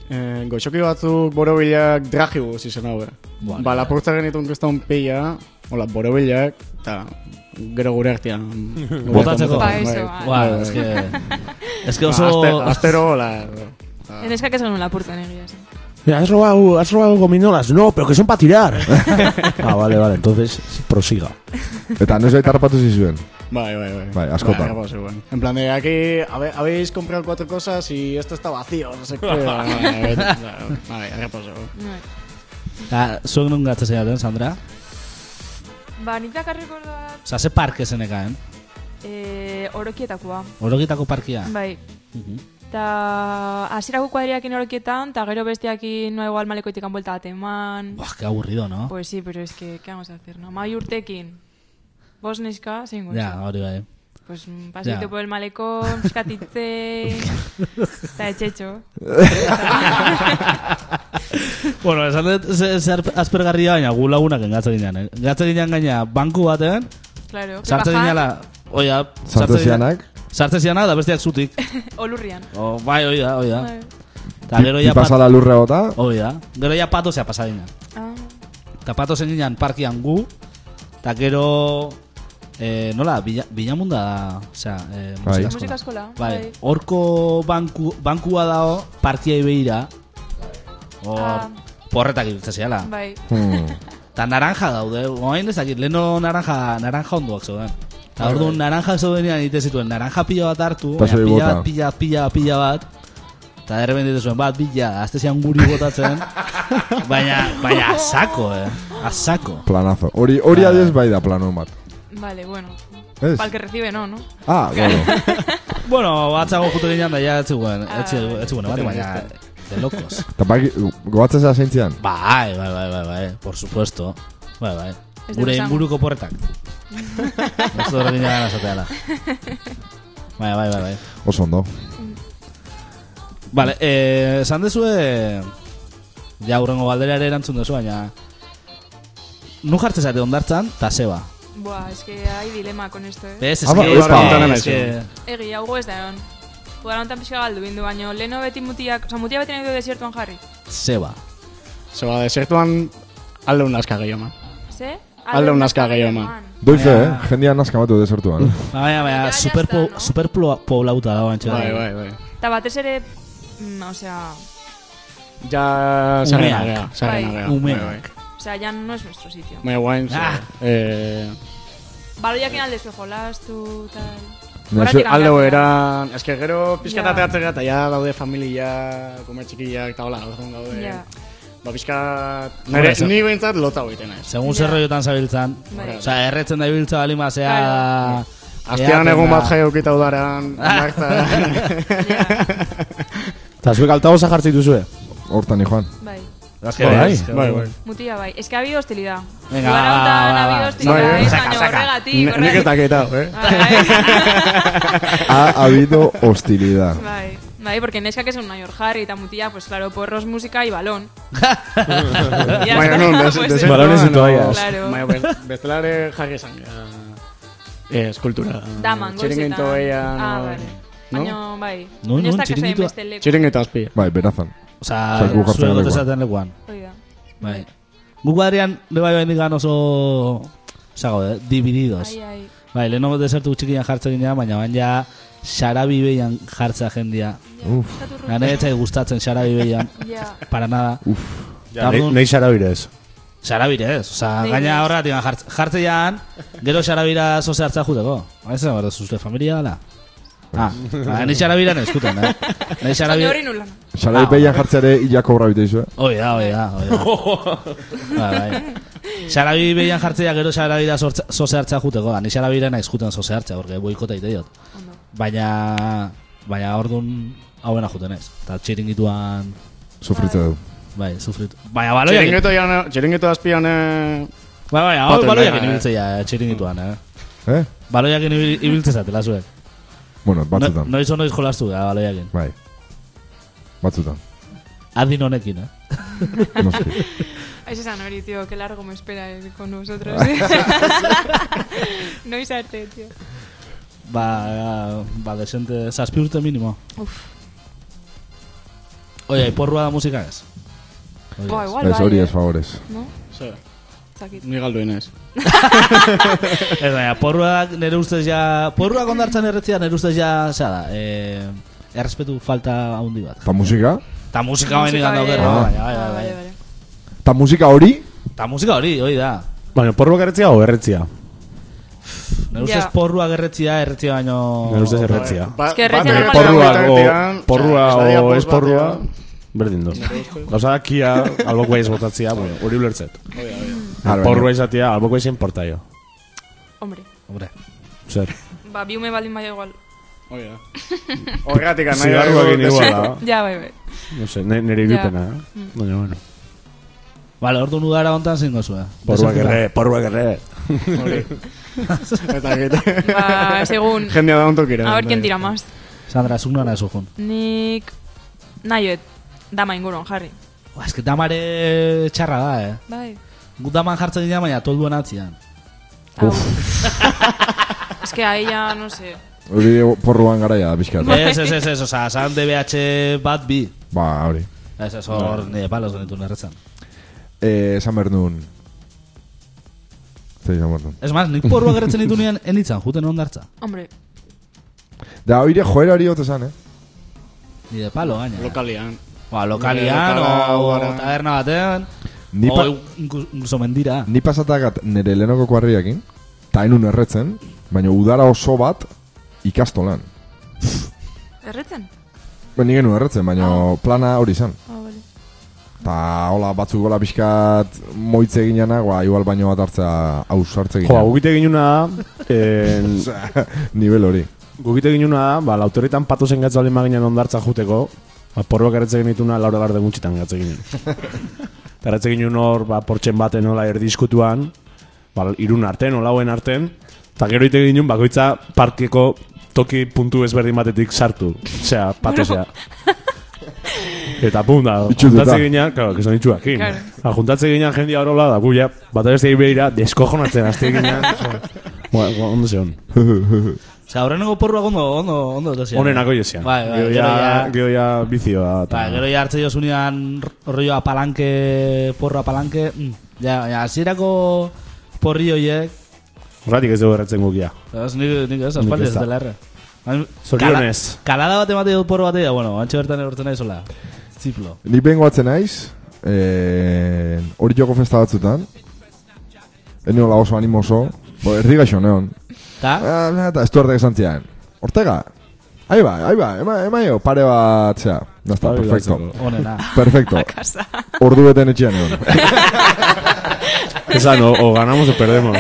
S5: Eh, goxoki batzuk borobilak dragibuz izan hau, eh.
S2: Vale.
S5: Ba, lapurtza genitun kriston pila, hola, borobilak, eta gero gure artean.
S2: Botatzeko.
S6: Pa eso,
S5: Bai.
S6: ah.
S2: Ba, eske... Eske
S5: Ba,
S2: oso...
S5: aste- Astero, hola.
S6: En eskak ez genuen lapurtzen egia esan.
S4: Has robado, has robado gominolas. No, pero que son para tirar. ah, vale, vale, entonces prosiga.
S3: Eta noiz baita harrapatu zizuen.
S5: Bai, bai, bai.
S3: Bai, askotan.
S5: Bai, arrapatu zegoen. en plan de, aquí habe- habéis comprado cuatro cosas y esto está vacío, no sé qué. Bai, bai, arrapatu zegoen.
S6: Bai.
S2: Ah, Zuek non gatza sinaten, Sandra?
S6: Ba, nik dakar rekordoa
S2: Osa, ze parke zenekaen?
S6: eh, orokietakoa.
S2: Orogietako parkia?
S6: Bai.
S2: Mhm.
S6: Eta hasierako kuadriakin orokietan, eta gero besteakin noa igual malekoitik buelta bat eman.
S2: Buah, que aburrido, no?
S6: Pues sí, pero es que, ¿qué vamos a hacer, no? Mai urtekin. Bos neska, zein gozo.
S2: Ja, hori bai.
S6: Pues mm, paseito
S2: Ya.
S6: por el malecón, piskatitze, eta etxetxo.
S2: Bueno, esan dut, ze- zer aspergarria baina gu lagunak engatza ginean. eh? Engatza ginean gaina banku batean,
S6: Claro.
S2: sartze
S6: bajan
S2: ginela... Oia,
S3: Sartu zianak,
S2: Sartze zianak da besteak zutik.
S6: Olurrian.
S2: O, bai, hoi da, hoi da.
S6: Bai.
S2: Ta gero ja pat...
S3: pipasala lurre bota,
S2: Hoi da. Gero ja pato zea pasadinan.
S6: Ah,
S2: Ta pato zen ginean parkian gu, ta gero... Eh, nola, bila, bilamunda da, osea, eh,
S3: Bai.
S2: musika
S6: musika
S2: eskola.
S6: eskola.
S2: Bai, horko banku, bankua dao partiai behira, hor,
S6: Ah.
S2: porretak ibiltza zeala.
S6: Bai.
S3: Hmm.
S2: Ta naranja daude, oain ezakit, leheno naranja, naranja onduak zeuden. Ta orduan naranja zeudenean ite zituen, naranja pila bat hartu,
S3: Ta
S2: baina
S3: zuei
S2: pila
S3: bota.
S2: bat, pila, pila, pila bat, eta derben ditu zuen, bat, bila, azte zian guri botatzen, baina, baina asako, eh, asako.
S3: planazo. Hori hori
S2: Bai.
S3: adez bai da plano bat.
S6: Vale, bueno.
S3: Ez?
S6: Pal que recibe, no, ¿no?
S3: Ah, bueno.
S2: Bueno, batzago jute ginean da, ja, etziguen,
S6: Ah.
S2: etziguen, bat, baina, de locos.
S3: Tapaki, goatzen zera zeintzian.
S2: Bai, bai, bai, bai, bai, por supuesto. Bai, bai.
S6: Ez dut
S2: Gure
S6: esango.
S2: inguruko porretak. Ez dut horrekin jagan azateala. Bai, bai, bai, bai.
S3: Oso ondo.
S2: Vale, eh, esan dezue... Ja, urrengo galdera ere erantzun duzu, baina... Nu jartze zate ondartzan, ta zeba.
S6: Buah, es que hay dilema con esto, eh.
S2: Bez,
S3: Ah, ba,
S2: eski...
S3: epa.
S2: eski...
S6: Egi, hau goez da egon. Udara honetan pixka galdu bindu, baina leheno beti mutiak, oza, mutia beti nahi du desiertuan jarri.
S2: Zeba.
S5: Zeba, desertuan alde unaska gehiago, man.
S6: Ze?
S5: Alde un aska gehiago eman.
S3: Doi fe, eh? Jendia naska batu desertuan. eh?
S2: Baina, baina,
S6: Ja, ja
S2: superpo,
S6: está, no?
S2: superpoblauta da, bantxe.
S5: Bai, bai, bai.
S6: Eta batez ere, mm, osea,
S5: Ja zaren
S2: Umeak.
S5: agea. Zaren agea. bai.
S2: Umeak.
S6: Osea, ya no es nuestro sitio.
S5: Baina guain, ze,
S2: Ah.
S5: eh,
S6: Baloiakin aldezu jolastu, tal...
S3: No,
S6: Horatik
S3: ze-
S6: kanbiatu
S5: alde
S6: da.
S5: eran, eske gero pizkat
S6: Ja.
S5: ateatzen gara, eta ja daude familia, komer txikiak, eta hola, orduan gaude.
S6: Ja,
S5: Ba, pizkat,
S2: Bueno,
S5: nire,
S2: eso-
S5: ni behintzat lota hoiten ez.
S2: Segun
S6: Ja.
S2: zer roiotan zabiltzan.
S6: Bai.
S2: Osea, erretzen da ibiltza bali mazea...
S6: Claro.
S5: Aztean egun bat jai aukita udaran, marta.
S6: ja,
S4: Eta zuek altagoza jartzen duzue.
S3: Hortan, Juan.
S6: bai.
S4: Bai,
S5: bai, bai.
S6: Mutia bai. Es que ha habido hostilidad.
S2: Venga,
S6: Jugar
S2: va, va,
S6: autan,
S2: va,
S6: ha
S2: va.
S6: habido hostilidad,
S5: Bai, bai.
S6: ez,
S5: Saca,
S6: baina
S5: saca.
S6: horregatik,
S5: Ni- Nik
S6: horregatik.
S5: eta ketau, eh?
S6: Bai.
S3: Ha habido hostilidad.
S6: Bai, bai, porque neskak esan nahi hor jarri eta mutila, pues claro, porros, música y balón. Ya
S5: Baina
S6: está,
S5: nun, des,
S6: pues,
S5: des,
S4: Balones y toallas.
S6: Claro.
S5: Baina bez- bestela ere jarri esan. gara. Eh, eskultura.
S6: Daman, goizetan.
S5: Txiringuito eia,
S6: Ah,
S5: no,
S6: vale.
S5: no?
S6: Baina, bai.
S2: Non,
S6: Baina ez
S2: non,
S6: dakaz egin
S2: txiringuitoa.
S6: beste leku.
S5: Txiringuito azpia.
S3: Bai, berazan.
S2: Osea,
S3: Osea, guk jartzen
S2: zuek
S3: lekuan.
S2: gotezaten lekuan.
S6: Hoi da.
S2: Bai. Guk guadrian, lebai bain digan oso... Osea, gaude, divididos.
S6: Ai, ai.
S2: Bai, lehenengo desertu txikian jartzen ginen, baina baina ja xarabi behian jartza jendia.
S3: Uf.
S6: Ah.
S2: Na nire etzai gustatzen xarabi behian.
S6: Ja.
S2: Para nada. Uf.
S4: Ja, nei- Nei xarabirez.
S2: Xarabire ez, oza,
S6: Nei
S2: gaina
S6: ez.
S2: horretik jartze, jartzean, gero xarabira zoze hartza juteko. Baina zen, bera, zuzle familia gala. Ah, ba, nahi xarabira nezkuten, eh? Nahi
S6: Baina
S2: xarabira...
S6: hori nula.
S3: Xalai
S2: Ah,
S3: peian jartzeare illa kobra eh? bite izue.
S2: Hoi da, hoi da, hoi da. Ba, bai. Xarabi behian jartzea gero xarabira sortza- zoze hartza juteko. Ni xarabira nahi zuten zoze hartza, porque boikota ite diot. Baina, baina ordun hauena juten ez. Eta txiringituan,
S3: Sufritze du.
S2: bai, sufritu. Baina baloiak,
S5: Txiringuito ja- Txiringuito azpian... eh,
S2: bai, bai, hau
S5: Paten
S2: baloiak
S5: dena, eh.
S2: ibiltzea txiringituan, eh?
S3: Eh?
S2: Baloiak ibiltzezatela zuek.
S3: Bueno,
S2: No,
S3: batzutan.
S2: noiz o noiz jolastu gara, baloiakin.
S3: Bai. Batzutan.
S2: Adin honekin, eh?
S3: Noski.
S6: Es esa Nori, tío, qué largo me espera el- con nosotros. no hice arte, tío.
S2: Ba, ba, desente, zazpi urte minimo.
S6: Uf.
S2: Oia, iporrua da musika ez? Oia,
S6: Buah, igual
S3: Ez
S6: bai,
S3: hori
S6: eh.
S3: ez favores.
S6: No?
S5: ze,
S6: Zakit.
S5: Ni galdu inez.
S2: Ez baina, porruak nere ustez ja... Porruak ondartzan erretzea nere ustez ja, zea da, eh, errespetu falta handi bat.
S3: Ta musika?
S2: Ta musika bain ikan daude,
S6: ere.
S2: no?
S6: Ah, bai.
S2: Baina, bai, bai,
S6: vale,
S2: bai.
S6: vale.
S3: Ta musika hori?
S2: Ta musika hori, hori da.
S4: Baina, porro garretzia o erretzia?
S2: Nere
S6: Ja.
S2: ustez porruak erretzia, erretzia baino...
S4: Nire ustez erretzia.
S5: Ba-
S6: Eske
S5: bat-
S6: erretzen
S5: bat-
S6: normala-
S4: Porrua
S5: bat-
S4: o,
S5: batean,
S4: porrua
S5: osea,
S4: o
S5: estadiakoz
S4: ez porrua...
S5: batean.
S4: Berdin du. Gauza kia, albokoa ez botatzia, bueno, hori ulertzet.
S3: Claro,
S4: Porrua izatea, albokoa izan portaio.
S6: Hombre,
S2: Hombre,
S4: Zer.
S6: ba, biume baldin bai igual.
S5: Hoi da. Horregatik, nahi
S4: Zigarroa
S5: dugu
S4: egin
S5: desio-
S4: iguala.
S6: Ja, bai, bai.
S4: No sé, ne- nire
S6: Ja.
S4: irupena, eh? Baina, bueno.
S2: Vale, ordu nugara ontan zingo zuen.
S4: Porruak erre, porruak erre.
S5: Eta egite.
S6: Ba, segun.
S5: Jendea da ontokira.
S6: A ver quién tira más.
S2: Sandra, zuk nola zu jun.
S6: Nik nahiet dama inguruan jarri.
S2: Ba, eske damare txarra da, eh?
S6: Bai.
S2: Gu daman jartzen dira, baina tolduen atzian.
S6: es que ahí ya no sé.
S3: Hori porruan garaia da pixkat.
S6: Bai.
S2: Ez, ez, ez, ez, oza, san DBH bat bi.
S3: Ba, hori.
S2: Ez, ez, hor,
S4: Bai.
S2: nire palos genitu nerretzen.
S3: Eh, esan behar nuen. Zer izan behar nuen.
S2: Ez maz, nik porrua gertzen ditu nien enitzan, juten ondartza.
S6: Hombre,
S3: Da, oire joera hori ote zan, eh?
S2: Nire palo, gaina.
S5: Lokalian.
S2: Ba, lokalian,
S5: Lokala,
S2: o
S5: gara.
S2: taberna batean,
S3: Ni
S2: o
S3: pa-
S2: inkus- inkuso mendira.
S3: Ni pasatakat nire lehenoko kuarriakin, ta enun erretzen, baina udara oso bat ikastolan.
S6: erretzen?
S3: Ben, nik genuen erretzen, baina plana hori izan.
S6: Ah, vale.
S3: Ta, hola, batzuk gola pixkat moitze eginana, ba, igual baino bat hartzea ausartze
S4: Jo,
S3: eginana.
S4: gugite ginuna da, eh, en,
S3: Nivel hori.
S4: gugite ginuna da, ba, lauterritan patu zen gatzu alima ginen ondartza juteko, ba, porroak erretze genituna laura garde gutxitan gatze ginen. Eta erretze ginen hor, ba, portxen baten nola erdiskutuan, ba, irun arten, olauen arten, eta gero ite ginen bakoitza parkeko toki puntu ezberdin batetik sartu. Osea, patu zea. Eta pum, da,
S3: Itxututa.
S4: juntatze ginen, claro, que son itxuakin.
S6: Claro.
S4: Da, juntatze ginen jendia horola, da, guia, bat abestei behira, deskojonatzen, azte ginen. Ba, ba, ondo zeon.
S2: Osea, horrenengo porrua ondo, ondo, ondo dozia.
S4: Honenako jesean.
S2: Bai, bai,
S4: Gero
S2: gero
S4: ja,
S2: ja-
S4: gero ja bizioa. eta-
S2: Ba, gero ja hartze jozunean rolloa palanke, porroa palanke, mm, ja, baina hasierako porri horiek,
S4: Horregatik ez dugu erretzen gukia.
S2: Ez nik, nik ez, aspaldi
S4: Nik
S2: ez
S4: ez da.
S2: dela erre. Ba, Hain-
S4: Zorionez.
S2: Kala, kalada bat emate dut porro batea, bueno, antxe bertan erortzen nahi zola. Ziplo.
S3: Nik behin goatzen naiz, eh, hori joko festa batzutan, ez niola oso animoso, bo, erdi gaixo neon.
S2: Ta,
S3: Ah, bla, Eta ez du erdek esan zian. Ortega, ahí va, ahí va, ema, ema jo, pare bat, zera. Nazta,
S4: Bai,
S3: Ba, perfecto.
S4: bai,
S2: onena.
S3: Perfecto.
S6: Casa.
S3: Ordu beten etxean egon.
S4: Esan, o, o ganamos o perdemos.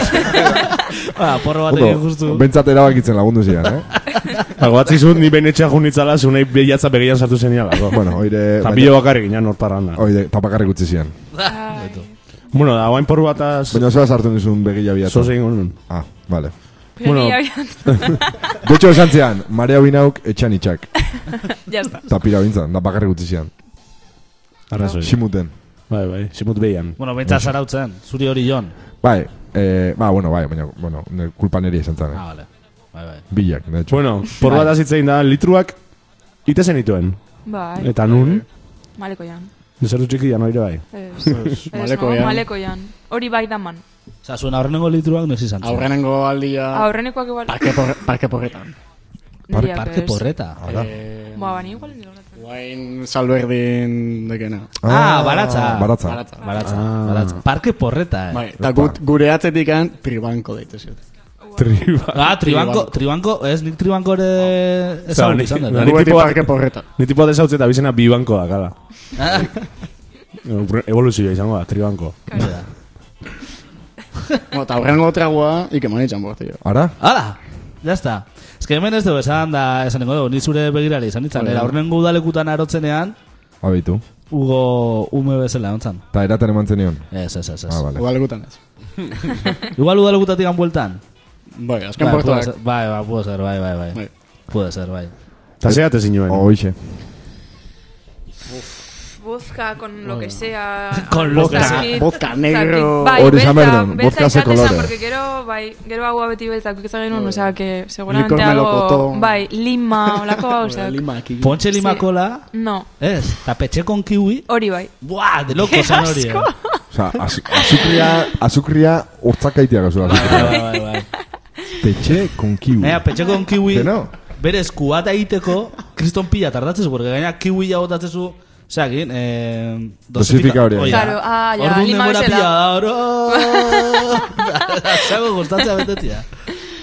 S2: Ba, porro batekin
S3: Ondo,
S2: justu.
S3: bentsat erabakitzen lagundu zian, eh?
S4: Hago batzizut, ni behin etxea junitzala, zunei behiatza begian sartu zenialako.
S3: Ba, Bueno, oire...
S4: Eta pilo bakarrik ginen hortaran da.
S3: Oide, tapakarrik utzi zian.
S4: Bueno, da, guain porru bataz...
S3: Baina zera sartu nizun begila biatu.
S4: Zozein gonun.
S3: Ah, vale.
S4: Bueno.
S6: Bueno.
S3: De hecho, esan zian, marea binauk etxan itxak.
S6: ya está.
S3: Eta pira bintzan, da bakarrik utzi zian.
S4: Arrazoi.
S3: Simuten.
S4: Bai, bai, simut behian.
S2: Bueno, bentsa zarautzen, zuri hori jon.
S3: Bai, eh, ba, bueno, bai, baina, bueno, ne- kulpa neri esan zan, eh?
S2: Ah, vale. Bai, bai.
S3: Bilak, de hecho.
S4: Bueno, porru bataz hitzein da, litruak itezen dituen.
S6: Bai,
S4: Eta nun,
S6: maleko jan.
S4: desertu txiki jan oire bai.
S6: Ez, ez,
S5: maleko
S6: no,
S5: jan.
S6: maleko jan. Hori bai daman.
S2: Osa, zuen aurrenengo litruak noiz izan. zen?
S5: Aurrenengo aldia
S6: Aurrenekoak igual...
S5: Ah. parke, por, parke porretan.
S2: Par-
S6: Diak
S2: Parke
S6: ez.
S2: porreta.
S5: Eh,
S6: Ba, bani igual nire horretan.
S5: Guain salberdin dekena.
S2: Ah, baratza.
S3: Baratza.
S5: Ba, Baratza.
S2: Baratza,
S3: Ah.
S2: baratza. Parke porreta, eh.
S5: Bai, eta gut- gure atzetik tribanko deitu zioten.
S4: Triba.
S2: Ah, tribanko, tribanko, ez nik tribanko ere
S4: Zan,
S2: ezagun izan dut.
S4: nani-
S2: eh?
S5: Guretik
S4: tipo-
S5: parke porretan.
S4: Ni tipo desautze eta bizena bibanko da, gala.
S2: Ah,
S4: Evoluzioa izango da, tribanko.
S5: Bueno, Eta aurrengo tragua, ikeman itxan bortio.
S3: Ara?
S2: Hala, ya está. Ez que hemen ez dugu esan da, esan dugu, ni zure begirale izan
S3: Bai,
S2: ditzan. Era, aurrenengo udalekutan arotzenean,
S3: Abitu.
S2: Hugo ume bezala ontzan.
S3: Eta eraten eman zenion.
S2: Ez, ez, ez, ez.
S3: Ah, vale.
S5: Udalekutan ez.
S2: Igual udalekutatik han bueltan.
S5: Bai, azken
S2: Bai, puede
S5: portuak.
S2: ser- bai, bai, puede ser, bai, bai, bai.
S5: Bai.
S2: Puede ser, bai.
S4: Eta zeate zinuen.
S3: Oixe.
S6: Vodka con lo que sea.
S2: Con lo que sea.
S6: Zakit,
S5: Vodka
S6: zakit.
S5: negro.
S6: Bai,
S3: Hori
S6: beltza-
S3: esan behar duen,
S6: beltza
S3: vodka ze
S6: izan dezan,
S3: kolore.
S6: Porque gero, bai, gero agua beti beltzak ikizan genuen, osea, que seguramente
S5: Licor
S6: algo...
S5: melocotón.
S6: Bai, lima, olako hau,
S5: Ora,
S6: osea.
S5: Lima aquí.
S2: Pontxe
S6: Sí.
S2: limakola,
S6: No,
S2: ez, eta petxe con kiwi,
S6: hori bai.
S2: buah, de loko
S6: Qué
S2: zan hori. eh.
S6: asco.
S3: Osa, az, azukria, azukria hortzakaitia gazu.
S2: Bai,
S3: Azukria.
S2: bai, bai, bai.
S3: Tetxe konkiu.
S2: Ea, petxe con kiwi,
S3: Que no?
S2: bere eskuata egiteko, kriston pila tardatzezu, porque gaina kiwi ja botatzezu, Zeakin, eh,
S3: Dosifika hori.
S6: Claro, ah, ya,
S2: Orduan
S6: lima
S2: denbora
S6: bezala.
S2: pila da, oro. Zago gustatzea betetia.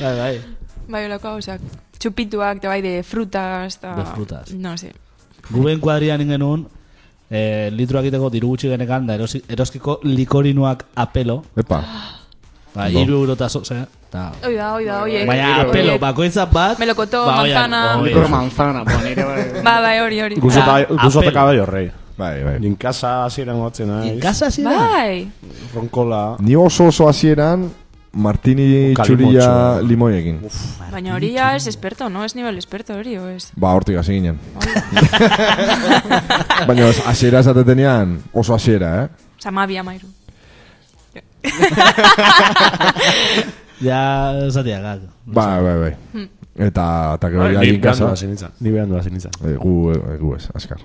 S2: Bai, bai.
S6: Bai, olako hau, osea. Chupituak, te bai, de frutas, ta...
S2: De frutas.
S6: No, sé.
S2: Guben kuadrian ingenun, eh, litro egiteko diru gutxi genekan, da erosi, eroskiko likorinuak apelo,
S3: Epa.
S2: ba,
S3: Ondo.
S2: iru eurota zoze, eta...
S6: Oi da,
S5: Bai,
S6: oi da, oie.
S2: Baina apelo, bakoitza bat... Ba,
S6: Melocotón, eh, manzana.
S2: oian,
S5: Licor
S2: oian.
S5: manzana, ponere. bai.
S6: Ba, bai, hori, hori.
S4: Guzo
S2: Ah,
S4: eta
S2: apel.
S4: kaballo rei.
S3: Bai, bai.
S4: Nin kasa hasieran gotzen
S2: En
S4: naiz.
S2: casa sí da.
S6: Bai,
S4: Ronkola.
S3: Ni oso oso hasieran Martini
S4: Oka
S3: txurilla
S4: limotxoa.
S3: limoiekin.
S6: baina hori ya es experto, no? Es nivel experto hori, o es...
S3: Ba, hortik hasi ginen. Baina ez, hasiera esatetenean oso hasiera, eh?
S6: Samabi amairu.
S2: Ja, zatiagak. Hm.
S3: Ba, bai,
S6: Hm.
S3: bai. Eta, eta
S2: Bai,
S3: gero ja
S4: Ni
S3: egin
S4: behandu
S3: kasa.
S4: hasi nintzen. Bai, Ni behandu hasi nintzen.
S3: Eh, Gu, eh, gu ez, askar.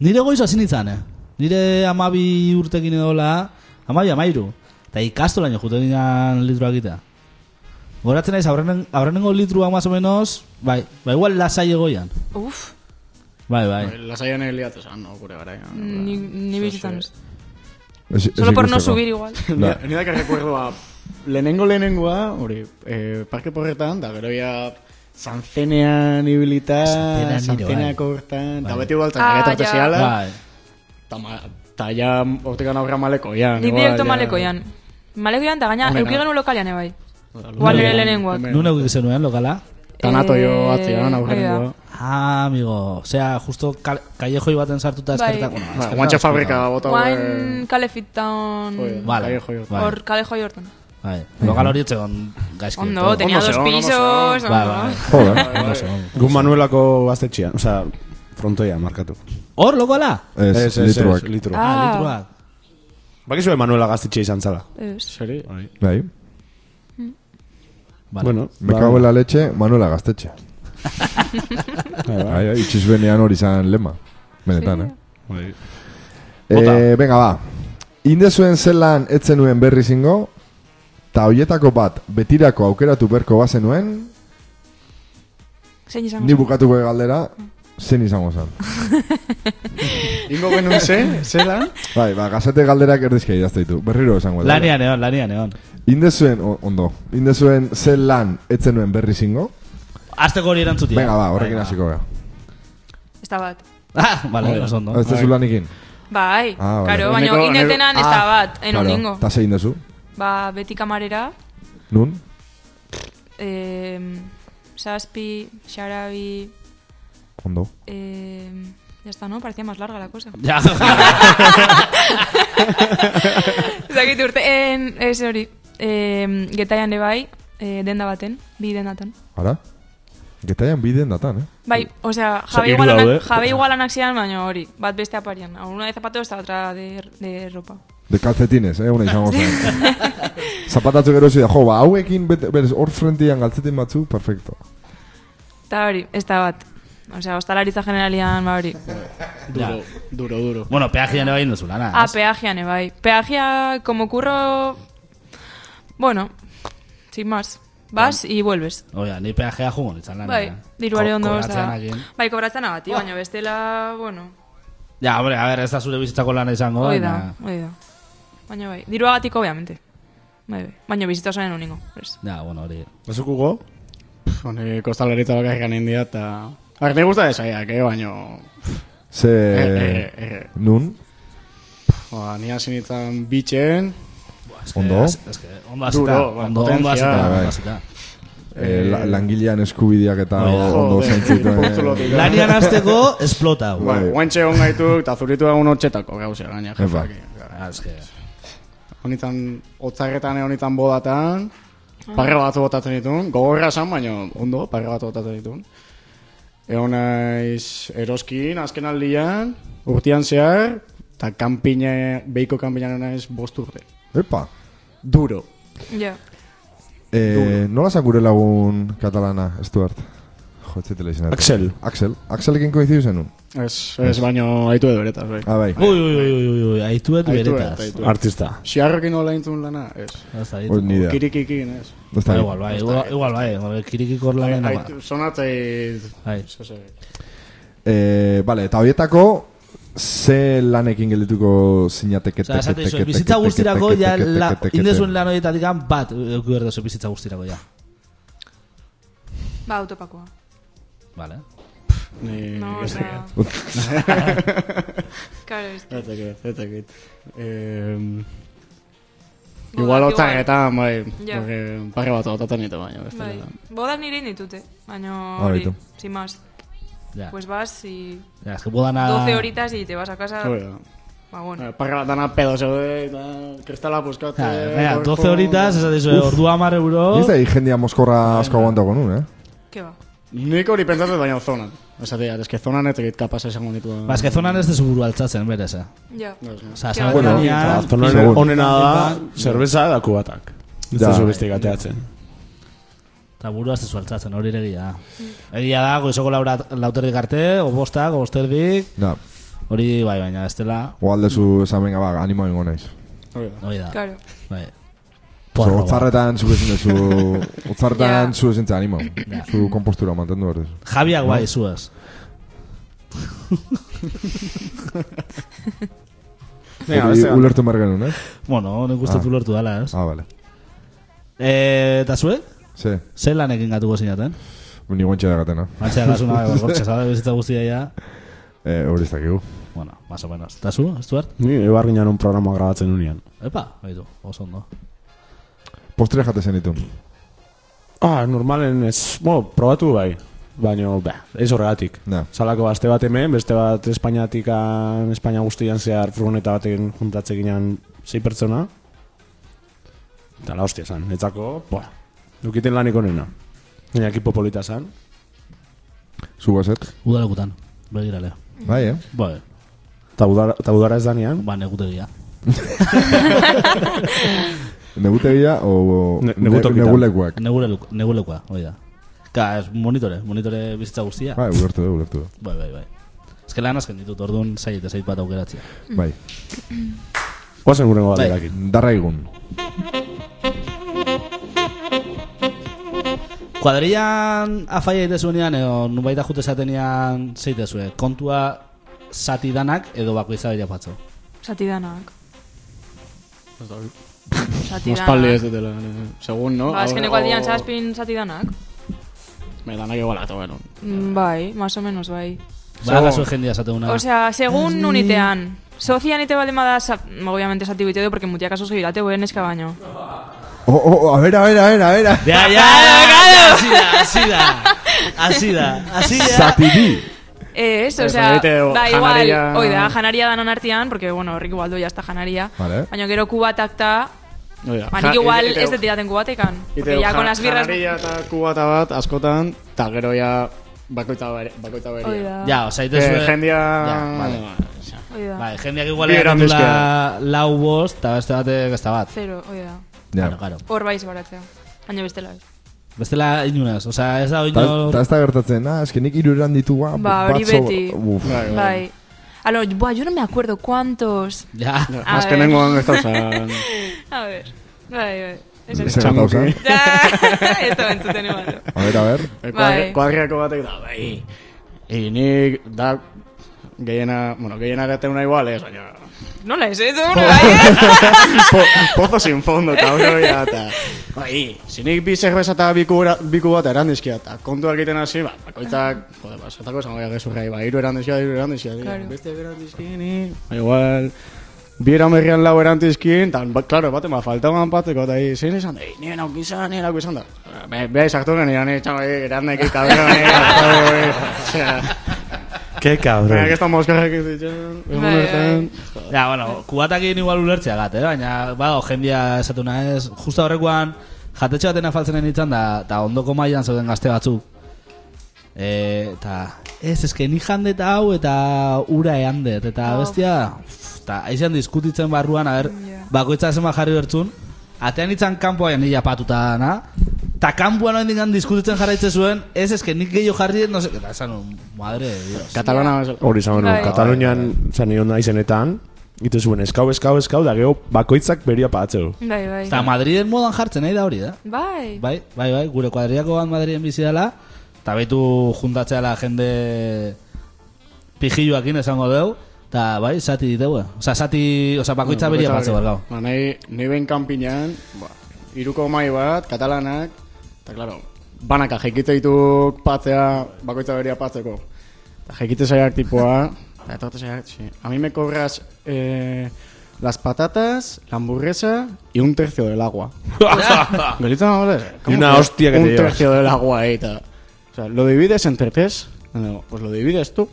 S2: Nire goiz hasi nintzen, eh? Nire amabi urtekin edola, amabi amairu. Eta ikastolaino juten dinan litroak egitea. Goratzen naiz, aurrenen, aurrenengo litrua más o menos, bai, bai, igual lasai egoian.
S6: Uf,
S2: Bai, bai.
S5: Lasaian eliatu zan, no, gure gara.
S6: Mm, ni, ni bizitzan ez.
S3: Ez- ez
S6: Solo por no
S3: ikusteko.
S6: subir igual.
S2: Ba.
S3: Da.
S5: Ni da que recuerdoa, lehenengo lehenengoa, hori, eh, parke porretan, da gero ya zantzenean ibilita,
S2: Zantzenean nire,
S5: zantzeneak
S2: bai.
S5: hortan, da
S2: Bai.
S5: beti baltzen,
S6: Ah,
S5: ah,
S6: ja.
S5: zehala,
S2: Bai.
S5: eta ma- eta ja hortikan aurra maleko, ja.
S6: Ni direkto maleko jan. Maleko jan, da gaina,
S5: Hombre,
S6: euki
S5: no.
S6: genuen eh, bai. lokalian, ebai. Igual nire lehenengoak.
S2: Nun egin zenuen lokala?
S5: Tanato jo
S6: Eh,
S5: atzian,
S6: hori
S5: aurrenengoa.
S2: Ah, amigo. Osea, justo kal kallejoi baten sartuta
S6: Bai.
S2: eskertak. Bueno, eskertak
S5: Ba, Guantxe
S2: eskertak.
S5: fabrika bota eh,
S6: Guain kale fit
S5: Joder.
S6: town...
S2: Vale.
S5: Kallejoi hortan.
S2: Bai.
S6: Hor, kale joi hortan.
S2: Bai. Lokal hori etzegon gaizki.
S6: Ondo, tenía
S5: Ondo
S6: dos
S5: zegoen, ondo
S6: pisos,
S2: Bai, bai.
S6: ondo.
S3: Joder.
S2: Ondo zegoen.
S4: Gu Manuelako gaztetxean, osea, frontoia markatu.
S2: Hor, lokala?
S3: Ez, litruak.
S4: litru.
S2: Ah,
S6: Ah,
S2: litruak.
S4: Bakizue Manuela gaztetxea izan zala.
S6: ez.
S5: Seri?
S3: Bai.
S2: Vale.
S4: Bueno,
S3: Me
S4: ba-
S3: cago en la leche, Manuela Gaztetxe.
S4: Bai, bai.
S3: Ai, ai, itxizbenean hori zan lema. Benetan, eh?
S4: Bai. Bota.
S3: Eh, venga, ba. Indezuen zelan etzenuen berri zingo, eta hoietako bat betirako aukeratu berko bazenuen,
S6: Zein izango
S3: ni
S6: zen?
S3: bukatuko galdera, zen izango zan.
S5: Ingo genuen zen, zelan?
S3: Bai, ba, gazete galderak erdizka idazte ditu. Berriro esango da.
S2: Lanean egon, lanean egon.
S3: Indezuen, o- ondo, indezuen ze lan etzenuen berri zingo?
S2: Azteko hori erantzutia.
S3: Venga, ba, horrekin
S2: Venga.
S3: hasiko gara.
S6: Ez da bat.
S2: Ah, bale, oso ondo.
S3: Ez dezu lanikin?
S6: Bai,
S3: Ah, vale. Ah,
S6: karo, baina
S5: Eneko-
S6: inetenan ez da bat, eno
S3: Claro,
S6: ningo.
S3: Ta zein dezu?
S6: Ba, beti kamarera,
S4: ba-
S3: Nun?
S6: em, saspi, xarabi,
S3: Ondo.
S6: em, ya está, no? Parecía más larga la cosa.
S2: Ja,
S6: Zakit urteen, ez hori, em, getaian ere bai, eh, denda baten, bi dendatan.
S3: Ara? Getaian bideen datan, eh?
S6: Bai, osea,
S4: Osea,
S6: jabe
S4: hiru daude.
S6: igualanak, jabe igualanak zian, baina hori, bat beste aparian. A Una de zapatos eta otra de, de ropa.
S3: De kalcetines, eh? Una izango zen. Zapatatzu gero zidea, jo, ba, hauekin bete- berez hor frentian galtzetin batzu, perfecto.
S6: Eta hori, ez da bat. Osea, ostalaritza generalian, ba hori.
S2: ja.
S5: Duro, duro, duro.
S2: Bueno, peajean ere egin duzu lana.
S6: Ah,
S2: ez?
S6: peajean, eh, bai. Peajea, como curro... Bueno, sin más. Vas y vuelves.
S2: Oia, ni peajea jugo nintzen lana.
S6: Bai, diruari ondo ez da.
S2: Koratzean
S6: Bai, kobratzen abati, baina bestela, bueno,
S2: Ja, hombre, a ver, ez da zure bizitzako lana izango.
S6: hoi da,
S2: baina-
S6: hoi da. Baina bai, diruagatik, obviamente. Bai, bai. Baina bizitza osoan uningo, pres.
S2: Ja, bueno, hori.
S4: Bazukugo?
S5: Hone, kostalaritza bakarrik ganen dira, eta... Ar, ne gusta desaiak, eh, baino...
S3: Ze...
S5: Eh, eh, eh.
S3: Nun?
S5: Ba, ni hasi nintzen bitxen,
S3: Ondo?
S2: Ez, ez que, ondo hasita.
S5: Duro, ba,
S2: Ondo, ondo
S5: potentzia.
S2: hasita,
S3: Bai, bai.
S2: ondo hasita.
S3: Eh, la- langilean eskubideak eta
S2: Bai,
S3: o-
S5: jo,
S3: ondo
S5: bai,
S3: zaintzituen.
S5: puntzulotik.
S2: Lanian hasteko, esplota. hau.
S3: Bai.
S5: Bueno, Ba, guantxe hon gaitu, eta zuritu egun hortxetako gauzea, gaina
S3: Epa.
S5: jefak.
S2: Ah, Ez que...
S5: Honitan, otzarretan honitan bodatan, parre batzu botatzen ditun, gogorra esan, baina ondo, parre batzu botatzen ditun. Egon naiz eroskin, azken aldian, urtean zehar, eta kanpine, beiko kanpinan egon naiz bost urte.
S3: Epa.
S5: Duro.
S6: Ja.
S3: Eh, nola zan gure lagun katalana, Stuart? Jo, ez zitela izan.
S4: Axel.
S3: Axel. Axelekin koizidu zenun?
S5: Ez, ez, baino haitu edo beretaz, bai.
S3: Ah, bai.
S2: Ui, ui, ui, ui, ui, aituet
S5: Haitu
S2: beretaz.
S5: eta haitu.
S4: Artista.
S5: Siarrokin hola intzun lana, ez.
S2: Ez da,
S3: Hor
S2: haitu.
S3: ni idea.
S5: Kirikikin, ez.
S3: Ez
S2: Ba,
S3: da.
S2: Igual, bai, igual, igual, bai, kirikiko lanen ama.
S5: Haitu, sonatzei...
S2: Bai.
S3: Eh, vale, eta horietako ze lanekin geldituko zinateke
S2: Osa, esate dizue, bizitza guztirako, ja, la, indezuen lan horietatik han bat, euki behar duzu bizitza guztirako, ja.
S6: Ba, autopakoa.
S2: Vale.
S5: Ni,
S6: No,
S5: ez
S6: osea...
S5: dakit.
S6: Karo, ez.
S5: Ez dakit, ez dakit. Em,
S6: Bodak
S5: Igual otzarretan, bai,
S6: Ja.
S5: porque parre bat otaten ditu baina. beste
S6: Bai.
S5: nada.
S6: Bodak nire inditute, baina
S3: Ah,
S6: hori,
S3: baitu.
S6: sin más.
S2: Ja,
S6: Pues vas y
S2: ja, es que
S5: Ah.
S2: bodana...
S6: 12 horitas y te vas a casa.
S5: Hori da.
S6: Ba, bueno.
S5: Eh, Parre bat dana pedo zeude, eta kristala puskatzen.
S2: Ja, venga, 12 horitas, ez dizue, ordu amar euro...
S3: Ez da, jendia
S2: Bai,
S3: moskorra asko aguantako nun, eh?
S6: Ke ba.
S5: Nik hori pentsatzen baina zonan. Esatea, eske zonan ez dakit kapaz esango ditu.
S2: Ba, ez que zonan ez dezu buru altzatzen, berez, eh?
S6: Ja. ba,
S2: Osa,
S6: Ja,
S2: bueno,
S6: bueno,
S3: Ah,
S4: Zonan
S3: segun.
S4: onena da, zerbeza da kubatak. Ez
S3: Ja.
S4: da beste gateatzen.
S2: Eta buru ez dezu altzatzen, hori ere egia.
S6: Mm.
S2: Egia da, goizoko laura, lauterdik arte, o bostak, o bosterdik,
S3: Da,
S2: hori bai, baina, estela,
S3: o aldezu esan benga, ba, animo ingo naiz.
S2: hori da.
S6: Claro.
S2: Bai.
S3: Oso,
S2: Porro, ba.
S3: otzarretan zu ezin dezu, otzarretan
S6: Ja.
S3: zu ezin animo. Zu kompostura mantendu behar dezu.
S2: Javiak bai, zuaz.
S4: Venga,
S3: Hori
S4: beste bat.
S3: Ulertu behar genuen, eh?
S2: Bueno, nik uste
S3: Ah.
S2: tu lortu dala, ez?
S3: Ah, vale.
S2: Eh, Eta zuek?
S3: Ze,
S2: Zer lanekin gatuko zinaten?
S3: ni guantxe da gatena.
S2: Matxe agasuna, gortxe, sabe, bizitza guztia ja.
S3: Eh, hori ez dakigu.
S2: Bueno, más o menos. Eta zu, Stuart?
S4: Ni ebar ginen un programa grabatzen unian.
S2: Epa, haitu, oso ondo.
S3: Postrea jate zenitun.
S4: Ah, normalen ez, bueno, probatu bai. Baina, ba, ez horregatik.
S3: Ja.
S4: Salako aste bat hemen, beste bat Espainiatikan, Espainia guztian zehar furgoneta baten juntatzekinan sei pertsona. Eta la hostia zan, etzako, boa, dukiten lanik onena. Baina ekipo polita zan.
S3: Zu bazet.
S2: Udalekutan, begirale.
S3: Bai, eh?
S2: Bai,
S4: Eta udara, eta udara ez danean,
S2: ba, negutegia.
S3: Negutegia o...
S4: Ne- negutokitan.
S3: Negulekuak.
S2: Negure luk- Negulekua, hori da. Ka, ez monitore, monitore bizitza guztia.
S3: Bai, ulertu da, ulertu da.
S2: Bai, bai, bai. Ez que lan azken ditut, orduan zait, zait bat aukeratzea.
S3: Bai.
S4: guazen gurengo
S2: Bai.
S4: galderakin.
S3: Darra igun.
S2: Kuadrian afaia itezuenean, edo nubaita jute zatenean, zeitezue, kontua zati danak edo bakoitza bere patzo.
S6: Satidanak.
S5: Ospaldi ez
S6: Satidanak.
S5: dutela, eh, segun, no?
S6: Ba, azkeneko
S5: Hor-
S6: aldian
S5: hor-
S6: zazpin satidanak.
S5: Me danak igualatu, bueno.
S6: Mm, Bai, más o menos, bai.
S2: Ba, kasu jendia esateuna.
S6: Osea, segun unitean. Sozian ite baldin bada, sa- obviamente sati bite du, porque mutiak aso segirate, buen eska baino.
S3: Oh, oh, oh, a ver, a ver, a ver, a ver.
S2: Ja, ja, ja, así da, así da. Así da, así da.
S3: Zatidi.
S6: Ez,
S5: Ez,
S6: osea,
S5: badite, o,
S6: ba, igual,
S5: janaria-
S6: oi da, janaria danon artean, porque, bueno, horrik igual doia hasta janaria.
S3: Vale.
S6: Baina gero kubatak ta,
S5: Oida,
S6: ba, nik igual ez dut didaten kubatekan. Porque ya con las birras...
S5: Janarilla eta kubata bat, askotan, eta gero ja bakoitza bere- bakoitza
S6: Oi
S5: beria.
S6: da,
S2: Ja, osea,
S5: Que
S2: itezue...
S5: jendia...
S2: Ja, vale.
S6: oi da.
S2: Bai, jendeak igual
S5: Bi eran
S2: la lau bost, eta beste batek ez da bat.
S6: Zero, oi da.
S3: Ja.
S2: Claro, claro.
S6: Hor baiz baratzea. Baina bestela ez.
S2: Bestela inunaz, osea, ez da
S3: Ta-
S2: oinor...
S3: Ta ez da gertatzen, ah, es que nik hiru eran ditu, ah,
S6: Ba, hori
S3: batzo-
S6: beti.
S3: Uf.
S5: Bai, bai.
S6: Bai. Alo, buah, yo no me acuerdo cuántos...
S2: Ja,
S6: A
S5: Azkenengoan ez dauzan.
S6: A ver, bai, bai. Ez, ez.
S3: Zer gauza?
S5: Eh,
S6: Ja, ez da entzuten igual.
S3: A ver, a ver.
S6: Bai.
S5: Kuadriako batek da, bai. I nik, da, gehiena, bueno, gehiena gateuna igual, ez, baina...
S6: Nola ez, ez da, bai.
S5: Po, pozo sin fondo, eta hori ja, eta... Bai, zinik bi zerbeza eta biku, biku bat erandizkia, eta kontu egiten hasi, ba, bakoitzak, jode, ba, zotako esango ja gezurra, ba, iru erandizkia, iru erandizkia,
S6: Claro.
S5: claro. beste erandizkin, eh? ba, igual, bira merrian lau erantizkin, eta, ba, claro, baten, ba, faltaban bateko, eta, eh, zein esan da, eh, nien hau gizan, nien hau gizan da. Be, beha izartu genean, eh, txama, eh, erandak, eh, kaberan, eh, hartau, eh, osea,
S4: Ke
S5: baina,
S4: cabrón.
S5: que estan moskarrak ez ditxan, egun
S6: Bai, bai.
S5: horretan.
S2: Ja, bueno, kubatakin igual ulertzea gat, eh? baina, ba, jendia esatu ez, justa horrekuan, jatetxe baten afaltzenen nintzen, da, eta ondoko mailan zeuden gazte batzu. E, eta, ez, eske ni jandet hau, eta ura eandet, eta
S6: Oh.
S2: bestia, uf, eta aizan diskutitzen barruan, aber,
S6: Ja.
S2: bakoitza zenbat jarri bertzun, atean itzan kanpoan nila patuta na, eta kanpoan oen dingan diskutitzen jarraitzen zuen, ez, eske nik gehiago jarri, no se, eta esan, nun, madre, de dios.
S5: Katalana bezala.
S4: Hori izan genuen,
S6: Bai.
S4: Katalunian zan nion da izenetan, ite zuen eskau, eskau, eskau, da geho bakoitzak beria patzeu.
S6: Bai, bai.
S2: Eta Madriden modan jartzen nahi da hori da.
S6: Bai.
S2: Bai, bai, bai, gure kuadriako bat Madrien bizi dela, eta baitu juntatzeala jende pijilloakin esango dugu, eta bai, zati diteue. Osa, zati, osa, bakoitza beria patze bargau.
S5: Ba, nahi, nahi ben kanpinan, ba, iruko mai bat, katalanak, eta klaro, banaka jekite dituk patzea, bakoitza beria patzeko. Eta jekite zaiak tipoa, eta etorte zaiak, sí. A mí me cobras eh, las patatas, la hamburguesa y un tercio del agua. Golita, ¿vale?
S4: Y una hostia que
S5: un
S4: te llevas.
S5: tercio del agua ahí, ta. O sea, lo divides entre tres, Bueno, pues lo divides tú.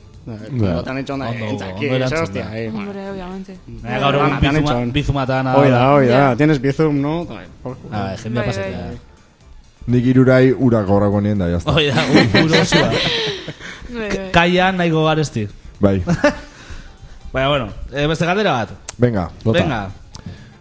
S5: No te han hecho nada,
S2: Ondo-
S5: entra aquí,
S2: ondo
S5: esa
S2: erantzun
S5: hostia.
S2: da.
S5: ahí, ma.
S6: Hombre, obviamente.
S2: Eh, gaur egun
S5: Banak han
S2: bizuma,
S5: hecho.
S2: bizumatan.
S5: Hoi da, hoi da,
S6: Ya.
S5: tienes bizum, no? Ay, por culo.
S2: Ah, bai, jendea
S6: Bai,
S2: pasatzea.
S6: bai.
S3: Nik hirurai ura gaurako nien da, jazta.
S2: Hoi da, u- uro zua.
S6: Bai, bai.
S2: Kaian nahi gogarezti.
S3: Bai,
S2: Baina, bueno, eh, beste galdera bat.
S3: venga, dota.
S2: Venga.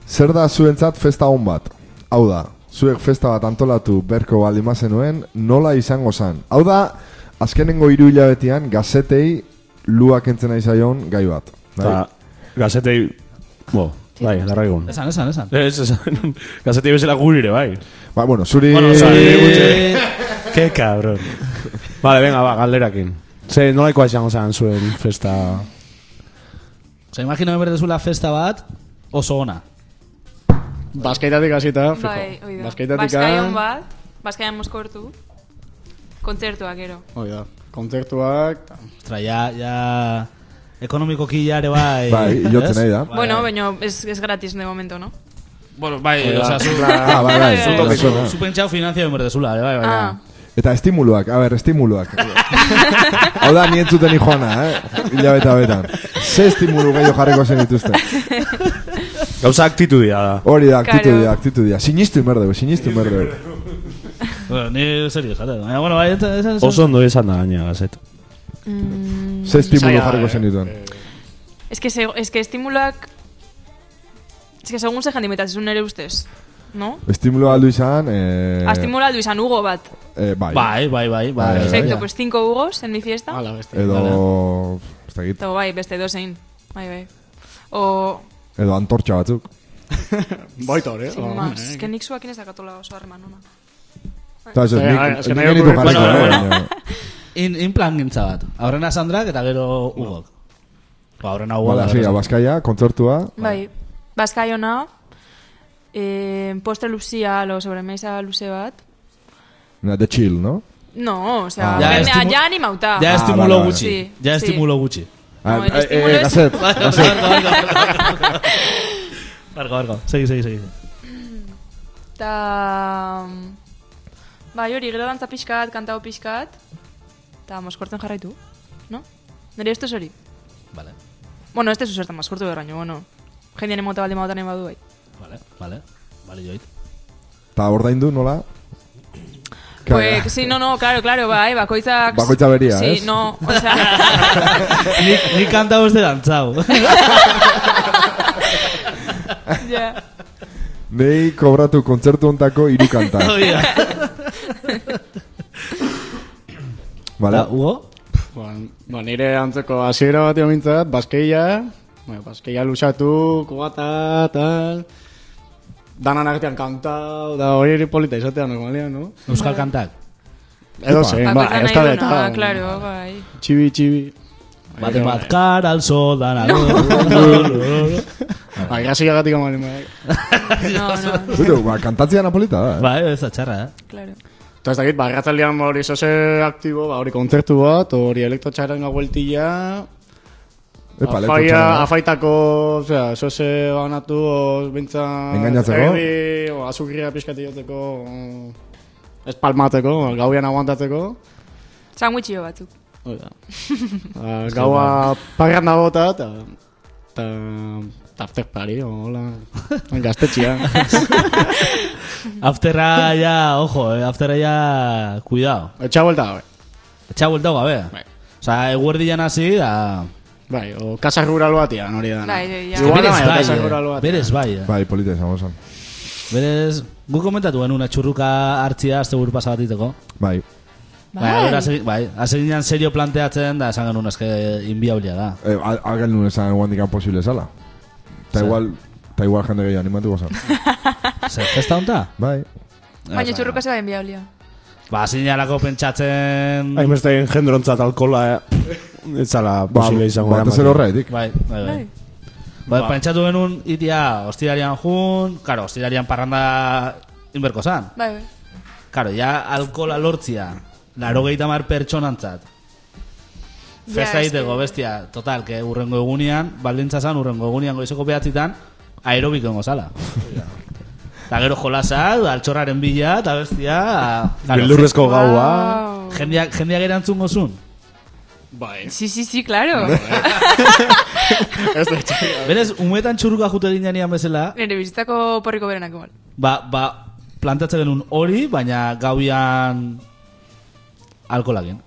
S3: Zer da zuentzat festa hon bat? Hau da, zuek festa bat antolatu berko baldin bazenuen, nola izango zan? Hau da, azkenengo hiru hilabetean gazetei luak entzen ari zaion gai bat. Bai?
S4: Eta gazetei, bo, bai, larra egun.
S2: Esan, esan, esan.
S4: Ez, esan, gazetei bezala gurire, bai.
S3: Ba, bueno, zuri...
S4: Bueno, zuri-
S2: Eh,
S4: Ke cabrón. Vale, venga, ba, galderakin. Ze, nolaikoa izango zan zuen festa...
S2: Osa, imagino berdezula festa bat oso ona.
S5: Baskaitatik hasita, fijo.
S6: Bai, oi da.
S5: Baskaitatik
S6: Baskaian bat, Baskaian mozkortu. Kontzertua, gero.
S5: Hoi da. Kontzertuak, ta.
S2: Ostra, ja, ja... Ekonomiko kilare bai...
S3: Bai, jotzen
S2: ez?
S3: nahi da.
S6: Bueno, baina es, es gratis de momento, ¿no?
S2: Bueno, bai, oza, zu...
S3: Ah, bai, bai,
S6: Zu
S3: zuen
S2: zu-
S3: zuen.
S2: Zu pentsau finanzia behar dezula, bai, bai,
S6: Ah,
S2: bai.
S3: Eta estimuluak, a ber, estimuluak. Hau da, nien zuten joana, eh? Hilabeta betan. Ze estimulu gehiago jarriko zen dituzte.
S4: Gauza aktitud da.
S3: Hori da,
S6: Claro.
S3: aktitudia, aktitudia. Sinistu inberdeu, sinistu inberdeu.
S2: Bueno, ni serio jaten. Baina, bueno, bai, eta... eta- eta-
S4: Oso ondo esan da gaina gazet.
S3: Ze estimulu
S5: Zaila,
S3: jarriko
S5: eh,
S3: zen dituen.
S6: es que, se, es que estimulak... Es que segun ze jandimetaz, esun ere ustez. No?
S3: Estimulu aldu izan... Eh,
S6: Astimula aldu izan Hugo bat.
S3: Eh, bai.
S2: Bai, bai, bai, bai.
S6: Perfecto,
S2: bai.
S6: pues cinco Hugos en mi fiesta.
S5: ala beste.
S3: Edo... Ez dakit.
S6: Eta bai, beste dozein. Bai, bai. O...
S3: Edo antortxa batzuk.
S5: Boitor, eh?
S6: Sin
S5: Oh,
S6: más,
S5: eh.
S6: es que nik zuakin ez dakatola oso harreman ona.
S3: Eta ez, ez,
S5: Eh,
S3: nik,
S5: a ver, es que
S3: nik
S5: nahi
S3: genitu
S5: okurritu
S3: jarriko.
S2: zaigu.
S3: eh, baina-
S2: In, in plan gintza bat. Aurrena Sandrak eta gero Ugok. Ba, horren hau
S3: Bala, sí, Baskaia, kontzertua.
S6: Bai, Baskaiona, eh, postre luzia, lo, sobremesa luze bat.
S3: Na, The Chill, no?
S6: No, osea,
S3: Ah. Ja,
S6: ja, jendea
S2: estimu-
S6: ja animauta.
S2: Ja
S3: Ah,
S2: estimulo
S3: vale, vale.
S2: gutxi.
S6: Sí,
S2: Ja
S6: sí.
S2: estimulo gutxi.
S3: Ah,
S6: No, el
S3: eh,
S6: estímulo
S3: eh,
S6: es-
S3: Gazet,
S2: Barko, barko, barko. Barko, Segi, segi, segi.
S6: Eta... mm, Bai, hori, gero dantza pixkat, kantau pixkat. Eta moskortzen jarraitu, no? Nire ez hori.
S2: Vale,
S6: Bueno, ez tezu zertan moskortu berraino, bueno. Jendean emota baldin bautan egin badu bai.
S2: vale, vale. Vale, joit.
S3: eta ordaindu nola?
S6: Pues, sí, no, no, claro, claro, bai, bakoitzak...
S3: Bakoitza beria,
S6: sí,
S3: ez?
S6: no, o sea,
S2: Nik, nik kanta uste dantzau.
S6: ja.
S3: Nei kobratu kontzertu ontako hiru kanta.
S2: Oia.
S3: Bala,
S2: Eta, Hugo?
S5: Ba, ba, nire antzeko hasiera bat mintzat, baskeia, bueno, baskeia luxatu, kubata, tal... Danan artean kantau, da hori ere polita izatea normalia, no?
S2: Euskal kantak.
S5: Edo zein, ba, ez
S6: Bakoitza nahi
S5: da
S6: duena,
S5: eta...
S6: claro, bai.
S5: Txibi, txibi.
S2: Bate bat kar, alzo, dana.
S5: Ba, grazia gatik amaren, bai.
S6: No, no,
S3: Zuru, ba, kantatzea napolita da.
S2: Bai, ez da txarra, eh?
S6: claro.
S5: Eta ez dakit, ba, arratzaldean ba, hori zoze aktibo, ba, hori kontzertu bat, hori elektrotxaren gueltilla, Ba,
S3: Epa, leku
S5: afaia,
S3: txarra.
S5: afaitako, osea, zoze banatu, o, bintza...
S3: Engainatzeko?
S5: Erdi, o, azukria pixkati joteko, o, ez palmateko, gauian aguantatzeko.
S6: Sandwichio batzuk.
S5: Hori da. Ba, gaua parran da bota, eta... Ta, ta after party, o, hola, gaztetxia.
S2: Afterra ya, ojo, eh? afterra ya, cuidado.
S5: Etxa buelta, bai.
S2: Etxa bueltau gabe.
S5: Bai.
S2: Osa, eguerdian hasi, da...
S5: Bai, o casa rural batean hori da.
S6: Bai, bai, ja.
S5: Igual
S2: Berez
S5: bai, casa rural
S2: bai, eh?
S5: batean.
S2: berez bai, eh?
S3: Bai, polita izango zen.
S2: Berez, gu komentatu genuen txurruka hartzia azte buru pasabatiteko.
S3: Bai.
S2: Bai, bai, hasi, bai, hasi ginen serio planteatzen, da esan genuen eske inbiabilia da.
S3: Eh, al- Algan nuen esan eguan dikan posible zala. Ta
S2: Zer?
S3: igual, ta igual jende gehiago animatuko zen.
S2: Zer, festa honta?
S3: Bai.
S2: Ah,
S6: Baina txurruka zeba enbiaulia.
S2: Ba, hasi ginelako
S3: Mm.
S2: pentsatzen...
S4: Haimeste jendrontzat alkola eh, ez zala
S3: Ba,
S4: posible izango.
S3: batez ere
S4: eramaten.
S3: horretik.
S2: Bai, bai, bai.
S6: Bai.
S2: Bai,
S5: Ba.
S2: pentsatu genuen, itia, ostirarian jun, karo, ostirarian parranda inberko zan.
S6: Bai, bai.
S2: Karo, ja alkola lortzia, laro gehieta mar pertsonantzat.
S6: Ja,
S2: Festa
S6: eske-
S2: egiteko, bestia, total, que urrengo egunean, baldintza zan, urrengo egunean goizeko behatzitan, aerobiko engo zala. Eta gero jolasa, altxorraren bila, eta bestia... Claro,
S4: Beldurrezko gaua.
S6: Wow.
S2: Jendeak, jendeak erantzun gozun.
S5: Bai.
S6: Sí, sí, sí, claro.
S5: Ez da etxea.
S2: Berez, umetan txurruka jute ginean bezala,
S6: Nire bizitzako porriko berenak igual.
S2: Ba, ba, plantatzen genuen hori, baina gauian alkolagen.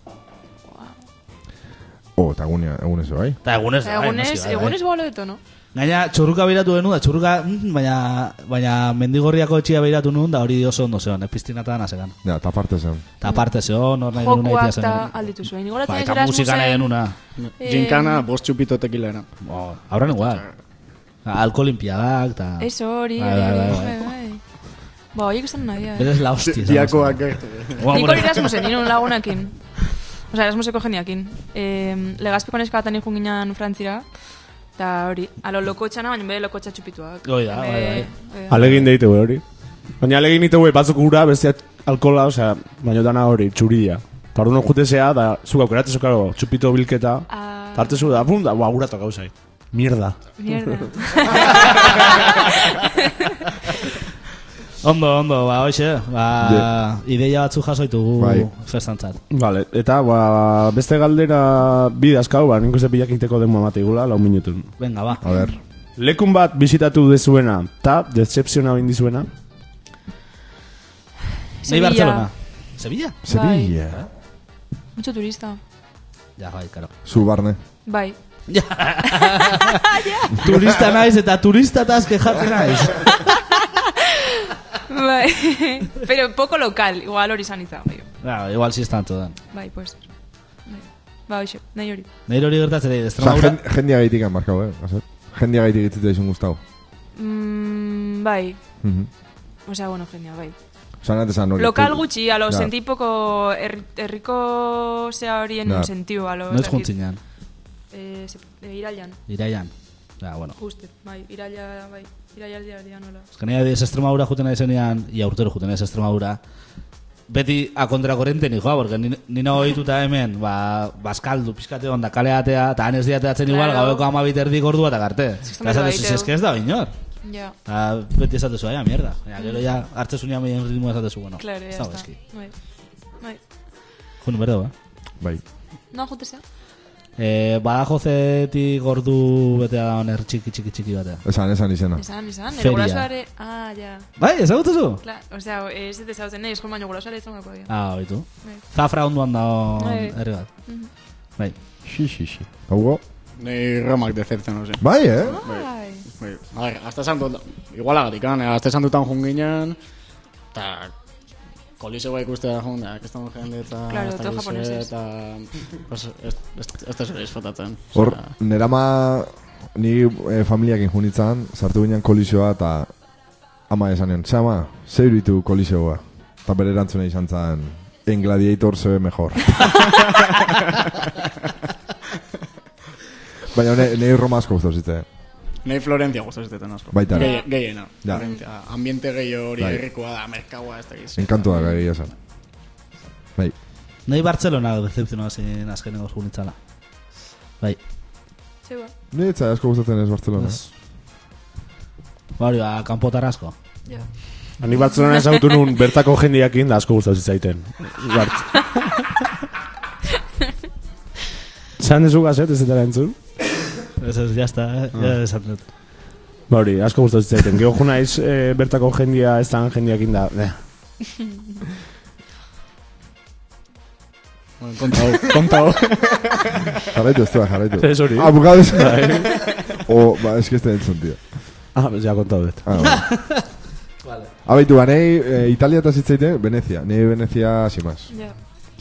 S3: Oh, eta egunia, egun ez bai.
S2: Eta egunez,
S6: Eta egunez,
S2: bai,
S6: egunez goalo eto, no?
S2: Gaina, txurruka beiratu genuen, da txurruka, mm, baina, baina mendigorriako etxia beiratu nuen, da hori oso ondo zeon, eh, piztinatan azegan.
S3: Ja, eta parte zen.
S2: Eta parte zeon, hor nahi genuen
S6: Jokuak
S2: egitea
S6: eta
S2: zen.
S6: alditu zuen.
S2: Ba,
S6: Nigoratzen ez
S2: eta musika nahi
S6: Erasmusen...
S2: genuna.
S6: eh,
S5: Ginkana, bost txupito tekilera.
S2: Bo, Haurren igual. Alkolimpiadak, eta...
S6: Ez hori,
S2: Bai,
S6: hori,
S2: bai,
S6: hori,
S2: bai,
S6: bai, bai. Ba, horiek izan nahi, eh.
S2: Berez la hostia. izan
S5: Diakoak
S2: zen.
S5: gertu.
S2: Ba,
S6: Nik
S2: bueno.
S6: hori Erasmusen, nire un lagunakin. Osa, Erasmuseko geniakin. Eh, legazpiko neska batan ikun ginen Frantzira. Eta hori, alo lokotxana, baina bere lokotxa txupituak.
S2: Hoi da, bai, bai.
S6: bai.
S4: Alegin deite hori. Baina alegin ditu hori batzuk ura, bestia alkola, osea, baina dana hori, txuria. Eta hori jutezea, da, zuk aukeratezu, karo, txupito bilketa.
S6: Ah.
S4: Eta hartezu da, bum, da, ua, ura tokau zait. Mierda.
S6: Mierda.
S2: Ondo, ondo, ba, hoxe, ba, ideia batzu jasoitugu
S3: Bai.
S2: festantzat.
S4: Vale, eta, ba, beste galdera bi dazkau, ba, nik uste pilak inteko demua matigula, lau minutun.
S2: Venga, ba.
S3: A ber,
S4: Lekun bat bisitatu dezuena, eta decepziona egin dizuena.
S2: Nei
S6: Sevilla.
S2: Barcelona. Sevilla?
S3: Sevilla.
S6: Mucho turista.
S2: Ja, bai, karo.
S3: Zu barne.
S6: Bai.
S2: turista naiz eta turista tazke jartzen naiz.
S6: Bai. Pero poco local, igual hori izan izan, bai.
S2: Ja, Ba, igual si estan todan.
S6: Bai, pues. Bai. Ba, hoxe, nahi hori.
S2: Neiro hori gertatzen ari,
S3: Osa,
S2: Extremadura...
S3: jen- jendia gaitik anbarkau, eh? Gazet. Jendia gaitik itzitea izan guztau.
S6: Mm, bai.
S3: Mhm.
S6: Osea, bueno, jendea, bai.
S3: Osa, nate zan hori.
S6: Lokal
S3: tu-
S6: gutxi, alo,
S3: Ja.
S6: er, sentipoko herriko zea horien
S3: Ja.
S6: sentiu, alo.
S2: Noiz
S6: ez dakit.
S2: juntzinean.
S6: eh, sep- eh, irailan,
S2: Iraian. Da, bueno.
S6: uste, bai, iraila, bai, irailaldia nola.
S2: Azkenea ez Extremadura juten naizenean, ia urtero juten naiz Extremadura, beti a kontrakorrente nijoa, porque ni, ni nago dituta hemen, ba, baskaldu, pizkate onda, kaleatea, eta han ez diateatzen igual,
S6: Claro.
S2: gabeko amabiterdik ordua eta garte.
S6: Sistema
S2: Eta esatezu,
S6: baiteu.
S2: si eske ez da inor.
S6: Ja,
S2: Eta beti esatezu, aia, mierda. Ja, gero ja, hartzezunean meien ritmoa esatezu, bueno.
S6: klaro,
S2: ez
S6: ya
S2: dago
S6: está.
S2: eski.
S6: Bai, bai.
S2: Jun, berdo, eh?
S3: Bai.
S6: No, jutezea?
S2: E, Badajozetik ordu betea da honer txiki txiki txiki batea.
S3: Esan, esan izena.
S6: Esan, esan,
S2: Feria.
S6: nire gurasoare... Ah, ja.
S2: Bai, ezagutuzu?
S6: Kla, osea, ez ez ezautzen nahi, esko baino gurasoare izan gakoa dira.
S2: Ah, oitu.
S6: Bai.
S2: Zafra onduan da
S6: Bai.
S2: herri bat. Bai.
S4: Xi, xi, xi.
S3: Hugo?
S5: Nei Romak decepten, ose.
S3: Bai, eh?
S6: Bai.
S5: Bai. A ver, hasta esan dut, igualagatik, han, eh, hasta esan dutan junginen, eta koliseo bai ikustea jun, da, kestan dut jende, eta...
S6: Claro,
S5: ez
S6: todo
S5: dakit zer,
S6: japoneses.
S5: Eta... Pues, ez, ez, ez, ez, ez, fotatzen.
S3: Hor,
S5: Osea,
S3: nerama ni eh, familiak injunitzan, sartu ginen kolizioa eta ama esan nion, txama, zer ditu kolizioa. Eta bere erantzuna izan zen, en gladiator se ve mejor. Baina ne, nei Roma asko guztu zitze.
S5: Nei Florentia guztu ez duten asko.
S3: Baita ere.
S5: Gehi- Gehiena.
S3: Ja.
S5: Florentia. Ambiente gehi hori
S3: Bai.
S5: herrikoa da, merkaua, ez da gizu.
S3: Enkantu da gai esan. Bai,
S2: Nei Bartzelona decepzioa zen azkeneko junitzala. Bai.
S6: Zeua.
S3: nire asko gustatzen ez Barcelona. eh?
S2: Ez. Ba hori, ba, kanpotar asko.
S6: Ja.
S4: Ani Barcelona ezautu nun bertako jendeak da asko gustatzen zitzaiten. Bart. Zan dezu gazet ez dela entzun?
S2: Ez ez, jazta, eh? Ja, esan dut.
S4: Ba hori, asko gustatzen zitzaiten. Gero jo naiz eh, bertako jendia ez dan jendeak inda. Eh.
S5: Bueno, Konta hau, konta hau.
S3: Jarraitu ez da, jarraitu.
S4: Ez hori.
S3: Ah, bukatu ez.
S5: Bai.
S3: O, ba, eski ez da entzun, tío.
S4: Ah, ja kontau dut.
S3: Ah, vale. Abaitu, ba, nei eh, Italia eta zitzaite, Venezia. Nei Venezia hasi más.
S6: Ja.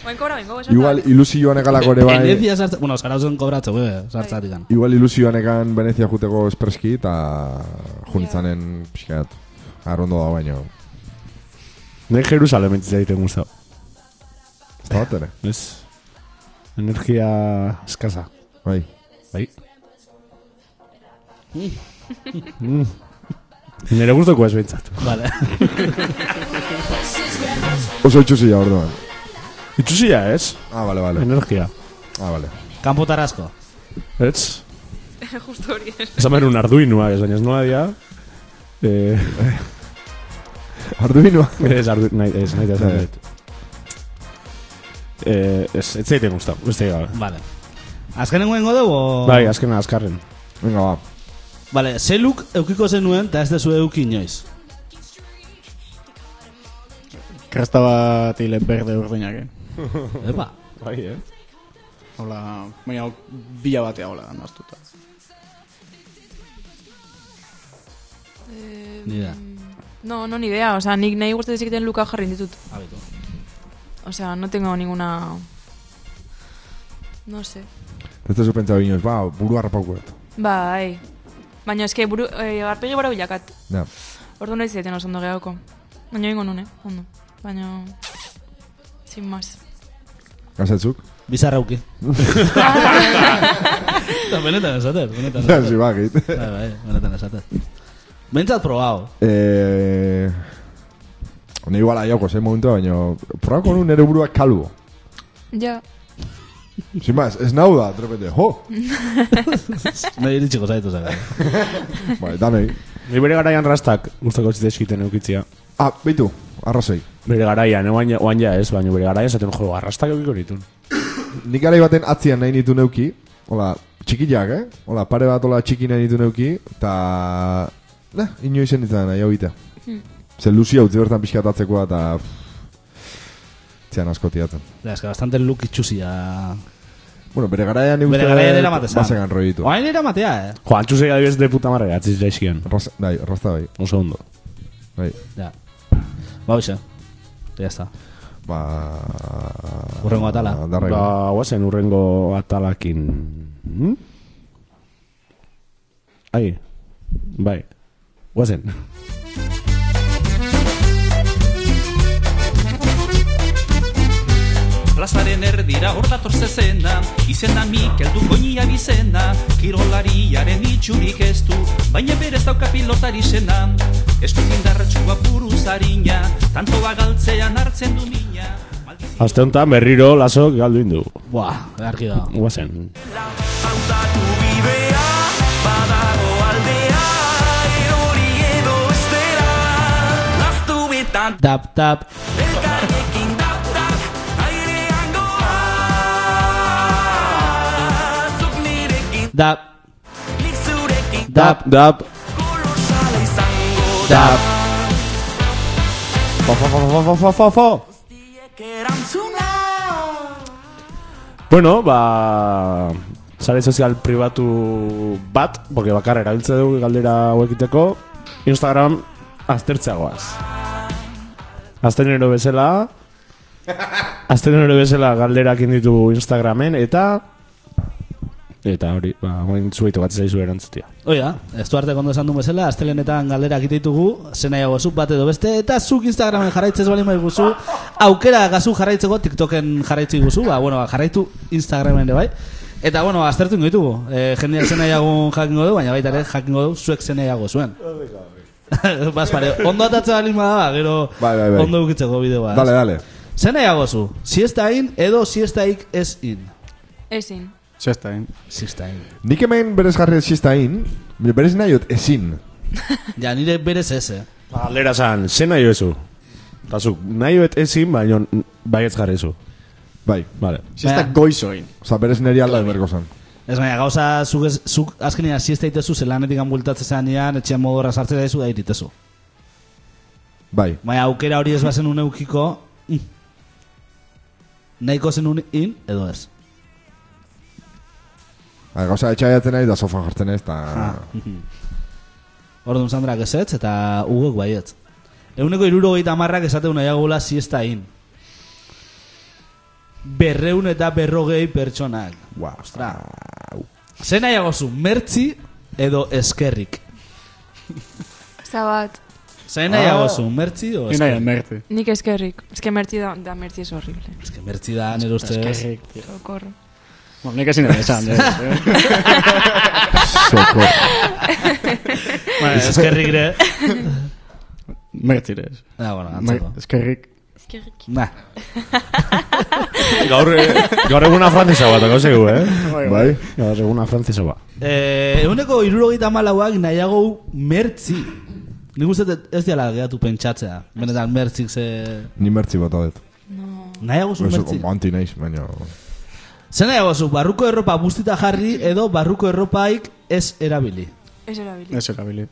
S6: Oain kobra, oain gogo,
S3: Igual ilusioan egalako ere bai...
S2: Venezia sartza, bueno, zarautzen kobratze, ue, sartzatik gana.
S3: Igual ilusioan egan Venezia juteko espreski eta junitzanen pixkat arrondo da baino.
S4: Nei Jerusalem zitzaiten guztau.
S3: Ez da bat ere,
S4: Ez? Energia eskasa.
S3: bai.
S4: Bai. Nere guztoko ez behintzat.
S2: Vale.
S3: Oso itxusia orduan.
S4: Itxusia ez?
S3: Ah, vale, vale.
S4: Energia.
S3: Ah, vale.
S2: kanpotar asko.
S4: Ez?
S6: justu hori.
S4: Esan behar un arduinua, ez baina ez nola dia. Eh,
S3: Arduinoa.
S4: ez ardu, nahi, ez nahi da esan
S3: Eh.
S4: dut. Eh, ez, ez zeiten guztau, beste gabe.
S2: Vale. Azkenengo ingo dugu? o-
S4: Bai, azkena azkarren.
S3: Venga, ba.
S2: Vale, ze look eukiko zenuen, eta ez dezu euki inoiz.
S5: Kresta bat hile berde urdinak, eh?
S2: Epa.
S4: Bai, eh?
S5: Hola, baina bila batea hola naztuta.
S6: Eh,
S2: Ni idea.
S6: No, no ni idea, osea, nik nahi gustatzen ziketen luka jarri ditut.
S2: Abitu.
S6: Osea, no tengo ninguna... No sé.
S3: Ez da pentsatu inoiz, ba, buru harrapaukuet.
S6: Bai. Baina eske buru, eh, arpegi bora bilakat.
S3: Ja.
S6: Ordu nahi zieten oso ondo gehiago. Baina ingo nune, ondo. Baina... Sin más.
S3: Gazetzuk?
S2: Bizarra euki. Eta benetan esatet, benetan
S3: Ja, zi,
S2: esatet.
S3: ba, gait.
S2: Bai, bai, benetan esatet. Bentsat probao.
S3: Eh... Nei igual aiako, zein momentua, baina... Probako nu nere burua kalbo.
S6: Ja.
S3: Sin más, ez nau da, de repente, jo!
S2: Nei iritsiko zaitu eh. zara.
S3: Bai, danei.
S4: Ni bere garaian rastak guztako ez eskiten eukitzia.
S3: Ah, beitu, arrazoi.
S4: Bere garaian, oain, oain ja ez, baina bere garaian zaten jo, arrastak eukiko ditun.
S3: Nik garai baten atzian nahi nitu neuki, hola, txikiak, eh? Hola, pare bat hola txiki nahi nitu neuki, eta... Na, inoiz enitzen nahi hau ite. Zer luzia utzi bertan pixkat atzekoa, eta... pff, Txean asko tiratzen.
S2: Ja, eske bastante look itxusia.
S3: Bueno, bere garaian nik
S2: Bere
S3: uste
S2: garaian
S3: dut
S2: eramate zan.
S3: Bazegan roi ditu.
S2: Oain eramatea, eh?
S4: Jo, antxusei adibidez de puta marre, atziz daizkian.
S3: Raz, dai, rasta bai,
S4: Un segundo.
S3: bai.
S2: Ja. Ba, hoxe. Ya está.
S3: Ba...
S2: Hurrengo atala.
S3: Darra
S4: Ba, guazen urrengo atalakin. Hm? Ai, bai, guazen.
S10: Plazaren erdira hor dator zezena Izena Mikel du goinia bizena Kirolariaren itxurik ez du Baina berez dauka pilotari sena Eskuz indarratxua buruz harina Tantoa galtzean hartzen du mina Maldizia-
S4: Aste honetan berriro laso galdu indu.
S2: Buah, argi dago.
S4: Guazen.
S10: Hautatu bidea, badago aldea, erori edo estera, naftu betan,
S2: Tap, tap.
S10: elkarrekin daptak, airean goaz. Zuk nirekin,
S2: Dap,
S10: nik zurekin,
S2: dap,
S4: Dap.
S10: kolosala izango da.
S2: dap.
S4: Fo, fo, fo, fo, fo, fo, fo.
S10: Erantzuna,
S4: Bueno, ba... Sare sozial pribatu bat, porque bakarra erabiltze dugu galdera hauek iteko, Instagram aztertzeagoaz. Aztenero bezala... Aztenero bezala galderak inditugu Instagramen, eta... Eta hori, ba, oin zueito bat zaizu erantzutia.
S2: Oia, ez du arte kondo esan du bezala, astelenetan galdera ditugu, zenaiago zu bat edo beste, eta zuk Instagramen jarraitzez balima iguzu, aukera gazu jarraitzeko, TikToken jarraitzi guzu, ba, bueno, ba, jarraitu Instagramen ere bai. Eta, bueno, ba, aztertu ingo ditugu, e, jendea zenaiago jakingo du, baina baita ere jakingo du zuek zenaiago zuen. Bas, pare, ondo atatze balima da, ba, gero
S3: Bai, bai, bai.
S2: ondo ukitzeko bideoa.
S3: Dale, dale.
S2: Zenaiago zu, siesta in edo siestaik ez in.
S6: Ezin.
S5: Txesta, eh?
S2: Siesta in.
S3: Nik hemen berez jarri existain, berez nahi dut ezin.
S2: Ja, nire berez ez, eh.
S4: Ba, galdera zan, ze nahi joezu? Eta zuk, nahi joet ezin, baina baietz jarrizu.
S3: Bai,
S4: Vale.
S5: Txesta
S2: Baina-
S5: goizoin.
S3: oza, berez neri alda berko zan.
S2: Ez baina gauza, zuk, ez, zuk azkenean siesta itezu, zelanetik anbultatze zanean, etxean modorra sartzea daizu, da iritezu.
S3: Bai,
S2: Baina aukera hori ez bazen uneukiko, mm. nahiko zen in, edo ez.
S3: Ha, gauza etxaiatzen nahi da sofan jartzen ez, eta...
S2: Orduan Sandra gezetz eta ugok baietz. Euneko irurogeita amarrak esateu nahiagula siesta in. Berreun eta berrogei pertsonak.
S3: Wow.
S2: Ostra. Zer nahiago zu, mertzi edo eskerrik?
S6: Zabat.
S2: Zer nahiago zu, mertzi edo
S5: Ni Ah. nahi
S2: eskerrik?
S5: merti.
S6: Nik eskerrik. Ez que merti da, da merti es horrible.
S2: Ez que mertzi da, nire ustez.
S5: Eskerrik, tío.
S6: Socorro.
S5: Bueno, nik ezin ere esan, eh?
S3: Soko.
S2: Bueno, eskerrik ere.
S5: Merti ere. ez.
S2: Da, bueno,
S5: Mer-
S2: antzeko.
S5: Eskerrik.
S6: Eskerrik.
S2: Nah.
S4: Gaur, eh, gaur eguna frantzisa bat, gauzegu, eh?
S3: Bai,
S4: Gaur eguna frantzisa bat.
S2: Eh, euneko irurogeita malauak nahiago mertzi. Nik uste dut ez diala gehatu pentsatzea. Benetan mertzik ze...
S3: ni mertzi bat adet.
S2: Nahiago zu mertzi.
S3: Manti naiz, baina...
S2: Zer nahiago zu, barruko erropa bustita jarri edo barruko erropaik ez erabili.
S6: Ez erabili.
S5: Ez erabili.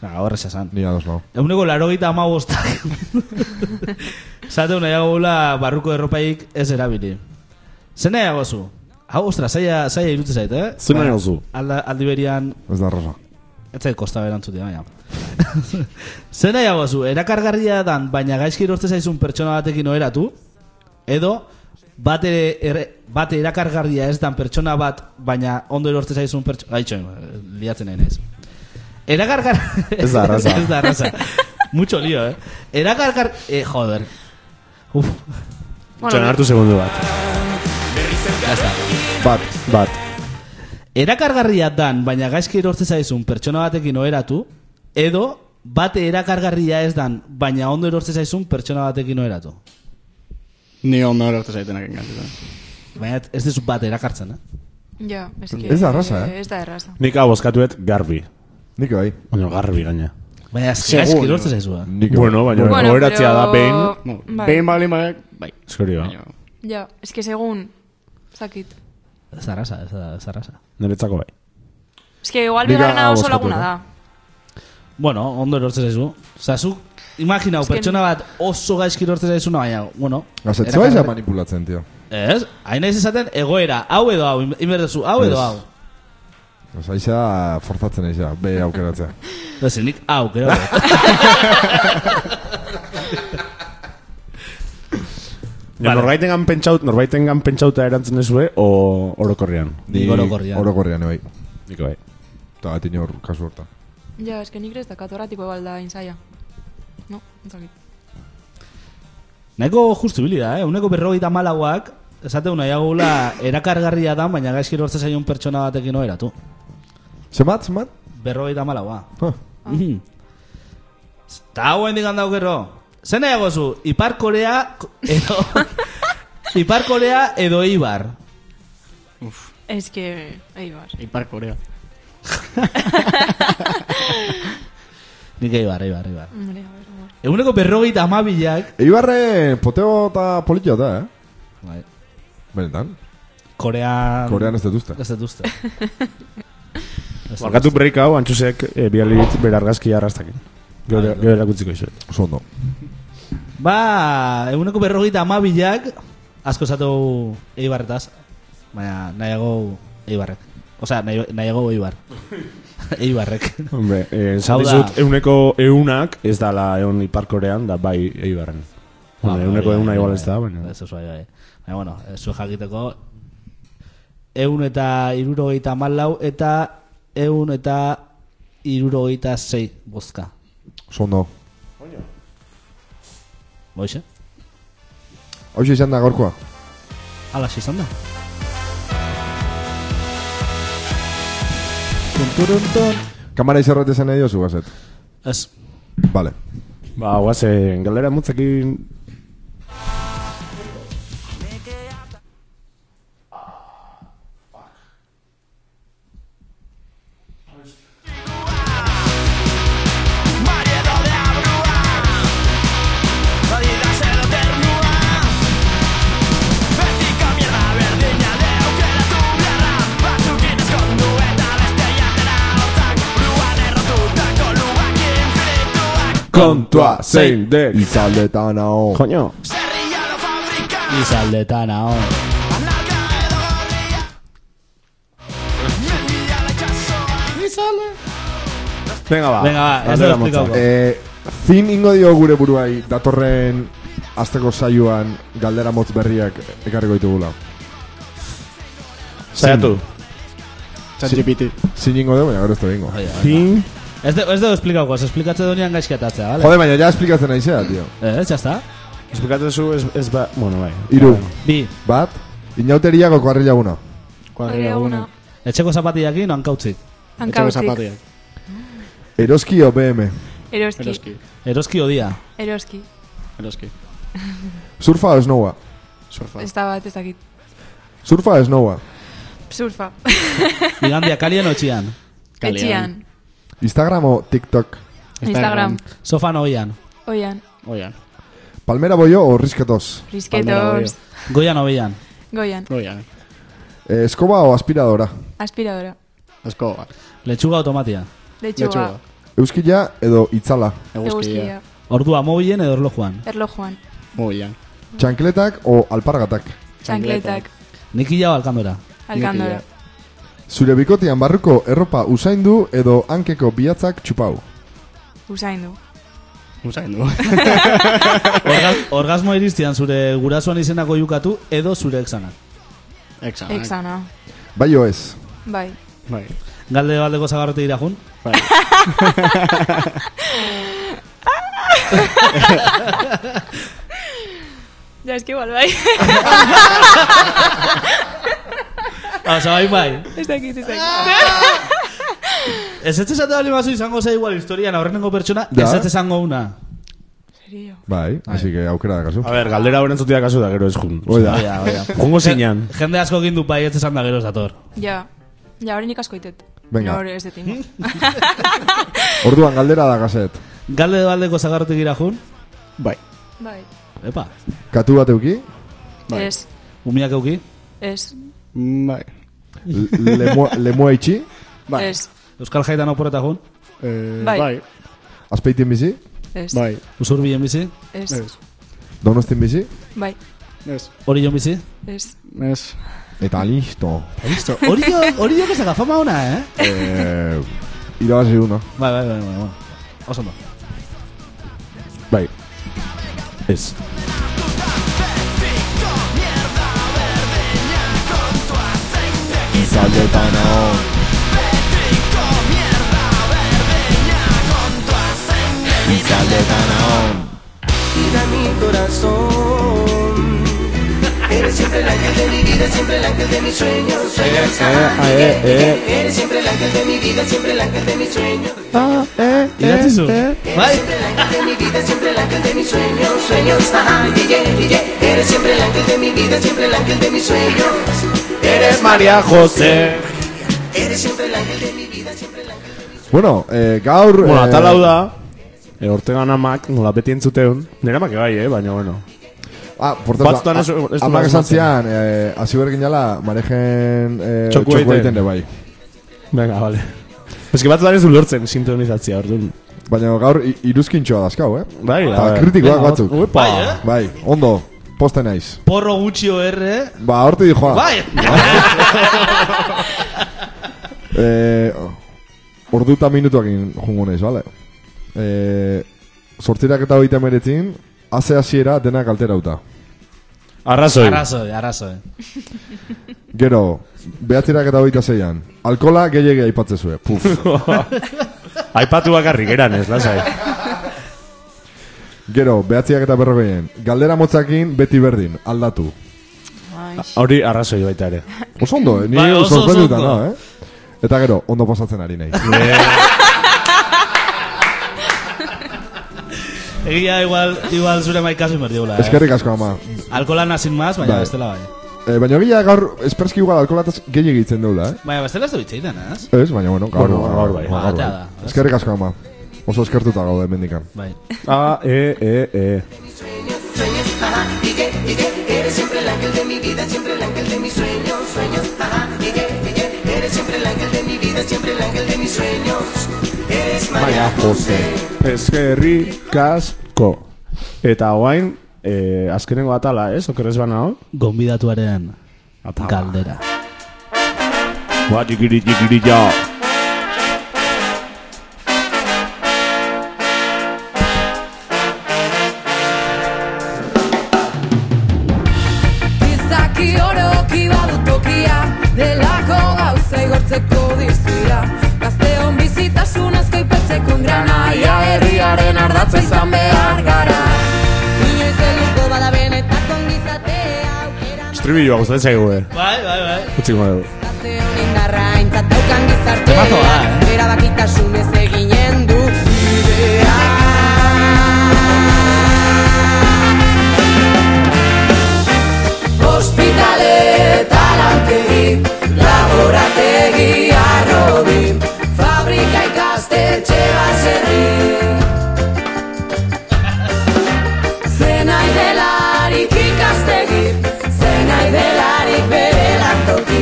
S2: Ah, horre esan.
S3: Ni ados nao.
S2: Euneko larogeita amabostak. Zateu nahiago gula barruko erropaik ez erabili. Zer nahiago zu? Hau, ostra, zaila, zaila irutze zait, eh?
S4: Zer nahiago zu?
S2: Alda, aldi berian
S3: Ez da rosa.
S2: Ez zait kosta berantzutia, baina. Zer nahiago zu, erakargarria dan, baina gaizki erortze zaizun pertsona batekin oheratu, edo bat ere, ere, bat erakargarria ez dan pertsona bat, baina ondo erortze zaizun pertsona... Gaitxo, liatzen nahi naiz. Erakargar...
S4: Ez da arraza.
S2: ez da arraza. Mucho lío, eh? Erakargar... Eh, joder. Uf,
S4: Txan hartu segundu bat.
S2: ya está.
S4: Bat, bat.
S2: Erakargarria dan, baina gaizki erortze zaizun pertsona batekin oheratu, edo bate erakargarria ez dan, baina ondo erortze zaizun pertsona batekin oheratu.
S5: Ni ondo erortu zaitenak engantzita.
S2: Baina ez dizu bate erakartzen, eh?
S6: Ja, es que...
S3: Ez da erraza, eh?
S6: Ez da erraza.
S4: Nik hau bozkatuet garbi.
S3: Nik bai.
S4: Baina garbi gaina.
S2: Baina ez
S5: Seguro.
S2: gaizki erortze zaizu, eh?
S3: Nik bai.
S4: Bueno, baina bueno, oheratzea da behin.
S5: Bueno,
S6: Bai.
S5: behin balin badek, bai.
S4: Eskori ba.
S5: Baina,
S6: Ja, ez que segun... Zakit.
S2: Ez da arrasa, eh? ez da, ez da arrasa.
S4: Niretzako bai.
S6: Ez que igual
S3: Dira,
S6: bigarrena
S3: hau
S6: oso
S3: bozkatu,
S6: laguna
S3: eh?
S6: da.
S2: Bueno, ondo erortze zaizu. Zazu, imaginau,
S6: que-
S2: pertsona bat oso gaizki erortze zaizuna, baina, bueno...
S3: Gazetze bai
S2: erakargarri-
S3: ja manipulatzen, tio.
S2: Ez, hain ez esaten egoera, hau edo hau, in- inberdezu, hau edo
S3: Ez.
S2: hau.
S3: Osa, isa forzatzen naiz ja, be aukeratzea.
S2: Ez, nik hau, gero.
S4: Vale. Norbaitengan pentsaut, norbaitengan pentsauta erantzen dezue o orokorrean.
S2: Ni orokorrean.
S3: Orokorrian, bai.
S4: Nik bai.
S3: Eta bat inor kasu horta.
S6: Ja, ez que nik ez dakat horratiko igual da inzaia. No, ez dakit.
S2: Nahiko justu bili da, eh? Uneko berrogeita malauak esate nahi agula erakargarria da, baina gaizki lortzen zaion pertsona batekin oheratu.
S3: Zemat, zemat?
S2: Berrogeita malaua.
S3: Ah.
S2: Mhm. Ta hau hendik handau gero. Zer nahiago zu, Ipar Korea edo... Ipar Korea edo Ibar.
S6: Es que... Eibar.
S5: Ipar Korea.
S2: Nik Eibar, Eibar, Eibar.
S6: Hombre, a ver, amor.
S2: Eguneko berrogeita amabilak.
S3: Eibarre poteo eta politxo da, eh?
S2: Bai.
S3: Benetan.
S2: Korea...
S3: Korean ez dut uste.
S2: Ez dut uste. Ez dut
S4: Barkatu break hau, antxusek e, bialit berargazki arrastakin. Gero gero erakutziko izuet.
S3: Oso ondo.
S2: Ba, eguneko berrogeita amabilak, asko esatu eibarretaz, baina nahiago eibarrek. Osea, nahi, nahiago eibar. eibarrek.
S4: Hombre, eh,
S2: Hau da.
S4: esan dizut, euneko eunak ez dala egon iparkorean, da bai eibarren. Hombre, euneko euna igual ez da, baina.
S2: Ez oso Ah, Ba, bai, bai. Baina, bueno, eh, zuen jakiteko, eun eta irurogeita malau eta eun eta irurogeita zei bozka.
S3: Oso ondo.
S2: Boixe?
S3: Hau izan da gaurkoa.
S2: Alas izan da.
S3: Kamara izerret esan nahi diozu, gazet.
S2: Ez.
S3: Vale.
S4: Ba, guazen, galdera mutzakin...
S3: Kontua zein de Izaldetan hau
S4: Koño,
S2: Izaldetan hau.
S4: venga ba.
S2: Venga, ba, ez
S4: galdera
S2: da esplikauko.
S4: motza.
S3: eh, Zin ingo dio gure buruai Datorren Azteko saioan Galdera motz berriak Ekarriko ditugula
S4: Saiatu.
S5: Chat GPT.
S3: Zin ingo dio, baina gero ez da bingo
S2: Oia, oia.
S4: Fin.
S2: Ez de, ez de esplikauko, ez esplikatze duenean gaizkiatatzea, bale?
S3: Jode, baina ja esplikatzen nahi zera, tio
S2: Eh, ya está.
S4: Esplikatu zu, ez, ez ba... Bueno, bai.
S3: Iru
S2: Bi,
S3: Bat Inauteria goko harri laguna
S5: Kuadrilla
S6: Horreguna.
S5: una.
S2: etxeko zapatiakin hankautzik.
S5: Etxeko
S6: Hankautzik.
S5: zapatiak.
S3: Eroski OBM
S6: Eroski.
S5: Eroski.
S2: Eroski odia.
S6: Eroski.
S5: Eroski.
S3: Surfa o esnoua
S5: Surfa.
S6: Ez da bat ez dakit.
S3: Surfa o esnoua
S6: Surfa.
S2: Igandia kalien otxian.
S6: Etxian.
S3: Instagram o TikTok
S6: Instagram.
S2: Sofan oian.
S6: Oian.
S5: Oian.
S3: Palmera boio o risketoz
S5: Palmera
S6: Risketos.
S2: Goian oian.
S6: Goian.
S5: Oian.
S3: eh, Eskoba o aspiradora
S6: Aspiradora.
S5: Asko bat.
S2: Lechuga automatia.
S6: Lechuga.
S3: Euskilla edo itzala
S6: Eguzkia.
S5: Eguzkia.
S2: Ordua mobilen edo erlojuan.
S6: Erlojuan.
S5: Oian.
S3: Txankletak o alpargatak
S6: Txankletak.
S2: Nik hila alkandora.
S6: Alkandora.
S5: Nikila.
S3: Zure bikotian barruko erropa usaindu edo hankeko bihatzak txupau.
S6: Usaindu.
S5: Usain du.
S2: Orga- orgasmo iristian zure gurasoan izenako jukatu edo zure exanak.
S5: Exana.
S6: Exana.
S3: Bai o ez.
S6: Bai.
S5: Bai.
S2: Galde baldeko zagarrote irajun.
S5: Bai.
S6: Ja, eski igual, bai.
S2: Osa, bai, bai.
S6: ez dakit, ez dakit.
S2: Ez ez esate bali bazu izango za igual historian aurrenengo pertsona,
S3: Da.
S2: ez ez esango una.
S6: Serio.
S3: Bai, Ah. así que aukera da kasu.
S4: A ber, galdera horren zutia kasu da, gero ez jun.
S3: Hoi da.
S2: Oia, oia.
S4: Jungo zinean.
S2: Jende asko egin du bai ez esan da gero zator.
S6: Ja. Ja, hori nik asko itet.
S3: Venga.
S6: Hori ez detin.
S3: Orduan galdera da gazet.
S2: Galde baldeko zagarrote irajun.
S5: Bai.
S6: Bai.
S2: Epa,
S3: Katu bat euki,
S5: Bai.
S6: Ez.
S2: umiak euki.
S6: Ez.
S5: Bai.
S3: l- lemua, lemua itxi,
S5: Bai.
S6: Ez.
S2: Euskal jaitan opuretajun.
S5: Eh,
S6: Bai.
S5: Bai.
S3: azpeitin bizi,
S6: Ez.
S5: Bai.
S2: Usur bilen bizi,
S6: Ez.
S5: Ez.
S3: donostin bizi,
S6: Bai.
S5: Ez.
S2: hori jon bizi.
S6: Ez.
S5: Ez.
S3: eta listo.
S2: Listo. Hori jo, hori jo que saca fama ona, eh?
S3: Eh, irabazi una.
S2: Bai, bai, bai, bai, bai. Oso ondo.
S4: Bai. Ez.
S3: Izaldetan hau.
S9: vida mi corazón. Eres siempre siempre el ángel de mi vida, siempre el ángel de mis sueños. Soy Alexander,
S4: eh, eh,
S9: eres siempre el ángel de mi vida, siempre el ángel de mis sueños.
S3: Ah,
S4: eh,
S2: Idatzizu.
S9: Eres siempre el ángel de mi vida, siempre el ángel de mis sueños, sueños, ajá, yeah, yeah, yeah. Eres siempre el ángel de mi vida, siempre el ángel de mis sueños.
S4: Eres María Jose.
S9: Eres siempre el ángel de mi vida, siempre el ángel.
S3: Bueno, eh, gaur...
S4: Bueno,
S3: eh,
S4: atal hau da, e, ortegan amak, nola beti entzuteun, nire amak ebai, eh, baina, bueno.
S3: Ah, por tanto,
S4: Batzutan ez-
S3: a-
S4: ez du
S3: amak esan
S4: asmatzen.
S3: zian, eh, hasi behar ginala, marejen eh,
S4: Txoku egiten.
S3: txoku egiten ere bai.
S4: Venga, vale. Ez que batzutan ez du lortzen sintonizatzea, orduan.
S3: Baina gaur i- iruzkintxoa dazkau, eh?
S4: Bai,
S3: Eta
S4: bai.
S3: kritikoak
S4: Venga,
S3: batzuk.
S4: Uepa.
S10: Bai, eh?
S3: Bai, ondo, poste naiz.
S2: Porro gutxi eh? erre.
S3: Ba, horti di joa.
S10: Bai!
S3: Eh, ordu eta minutuak in- jungo naiz, bale? Eh, sortzirak eta hogeita meretzin, haze hasiera denak alterauta.
S4: Arrazoi.
S2: Arrazoi, arrazoi.
S3: Gero, behatzirak eta hogeita zeian, alkola gehiagia aipatzezue. Puf.
S4: Aipatu bakarrik eran, ez, lasai.
S3: Gero, behatziak eta berrogeien, galdera motzakin beti berdin, aldatu.
S4: Hori arrazoi baita ere.
S3: Oso ondo, eh? ni
S10: Bai,
S3: bai,
S10: oso,
S3: sorprenduta
S10: oso ondo.
S3: no, eh? Eta gero, ondo pasatzen ari nahi.
S4: E,
S2: Egia igual, igual zure maikazu inberdiula, eh?
S3: Eskerrik asko ama.
S2: Alkola nazin maz, baina
S3: Bai.
S2: bestela bai.
S3: Eh, baina gila gaur, esperski igual alkolataz gehi egiten deula, eh?
S2: Baina bestela ez du itxeiten, ez?
S3: Ez, baina bueno, gaur,
S4: Bueno, gaur bai.
S3: gaur
S2: Batea
S3: bai.
S2: da.
S3: Eskerrik asko ama. Oso eskertuta gaude mendikan.
S2: Bai.
S4: A, e, e, e.
S3: Baina, Jose.
S4: Eskerrik asko. Eta guain, eh, azkenengo atala, ez? Okerrez banao?
S2: Gombidatuaren galdera.
S4: Ba, jikiri, jikiri, ja.
S11: Izaki oroki badu tokia Delako gauza igortzeko dizia Gazteon bizitasun azko ipetzeko grana Ia herriaren ardatza izan behar gara Inoiz helduko bada benetako ongizatea aukera
S4: Estribilloa gustatzen zaigu, eh?
S10: Bai, bai, bai.
S4: Utziko dugu.
S11: Gazteon indarra aintzat daukan gizartea
S2: Temazo da, eh?
S11: Erabakitasun ez eginen du bidea Hospitale talantegi, laborategi arrobi, fabrika ikastetxe baserri. Zena idelarik ikastegi, zena idelarik bere lantoki,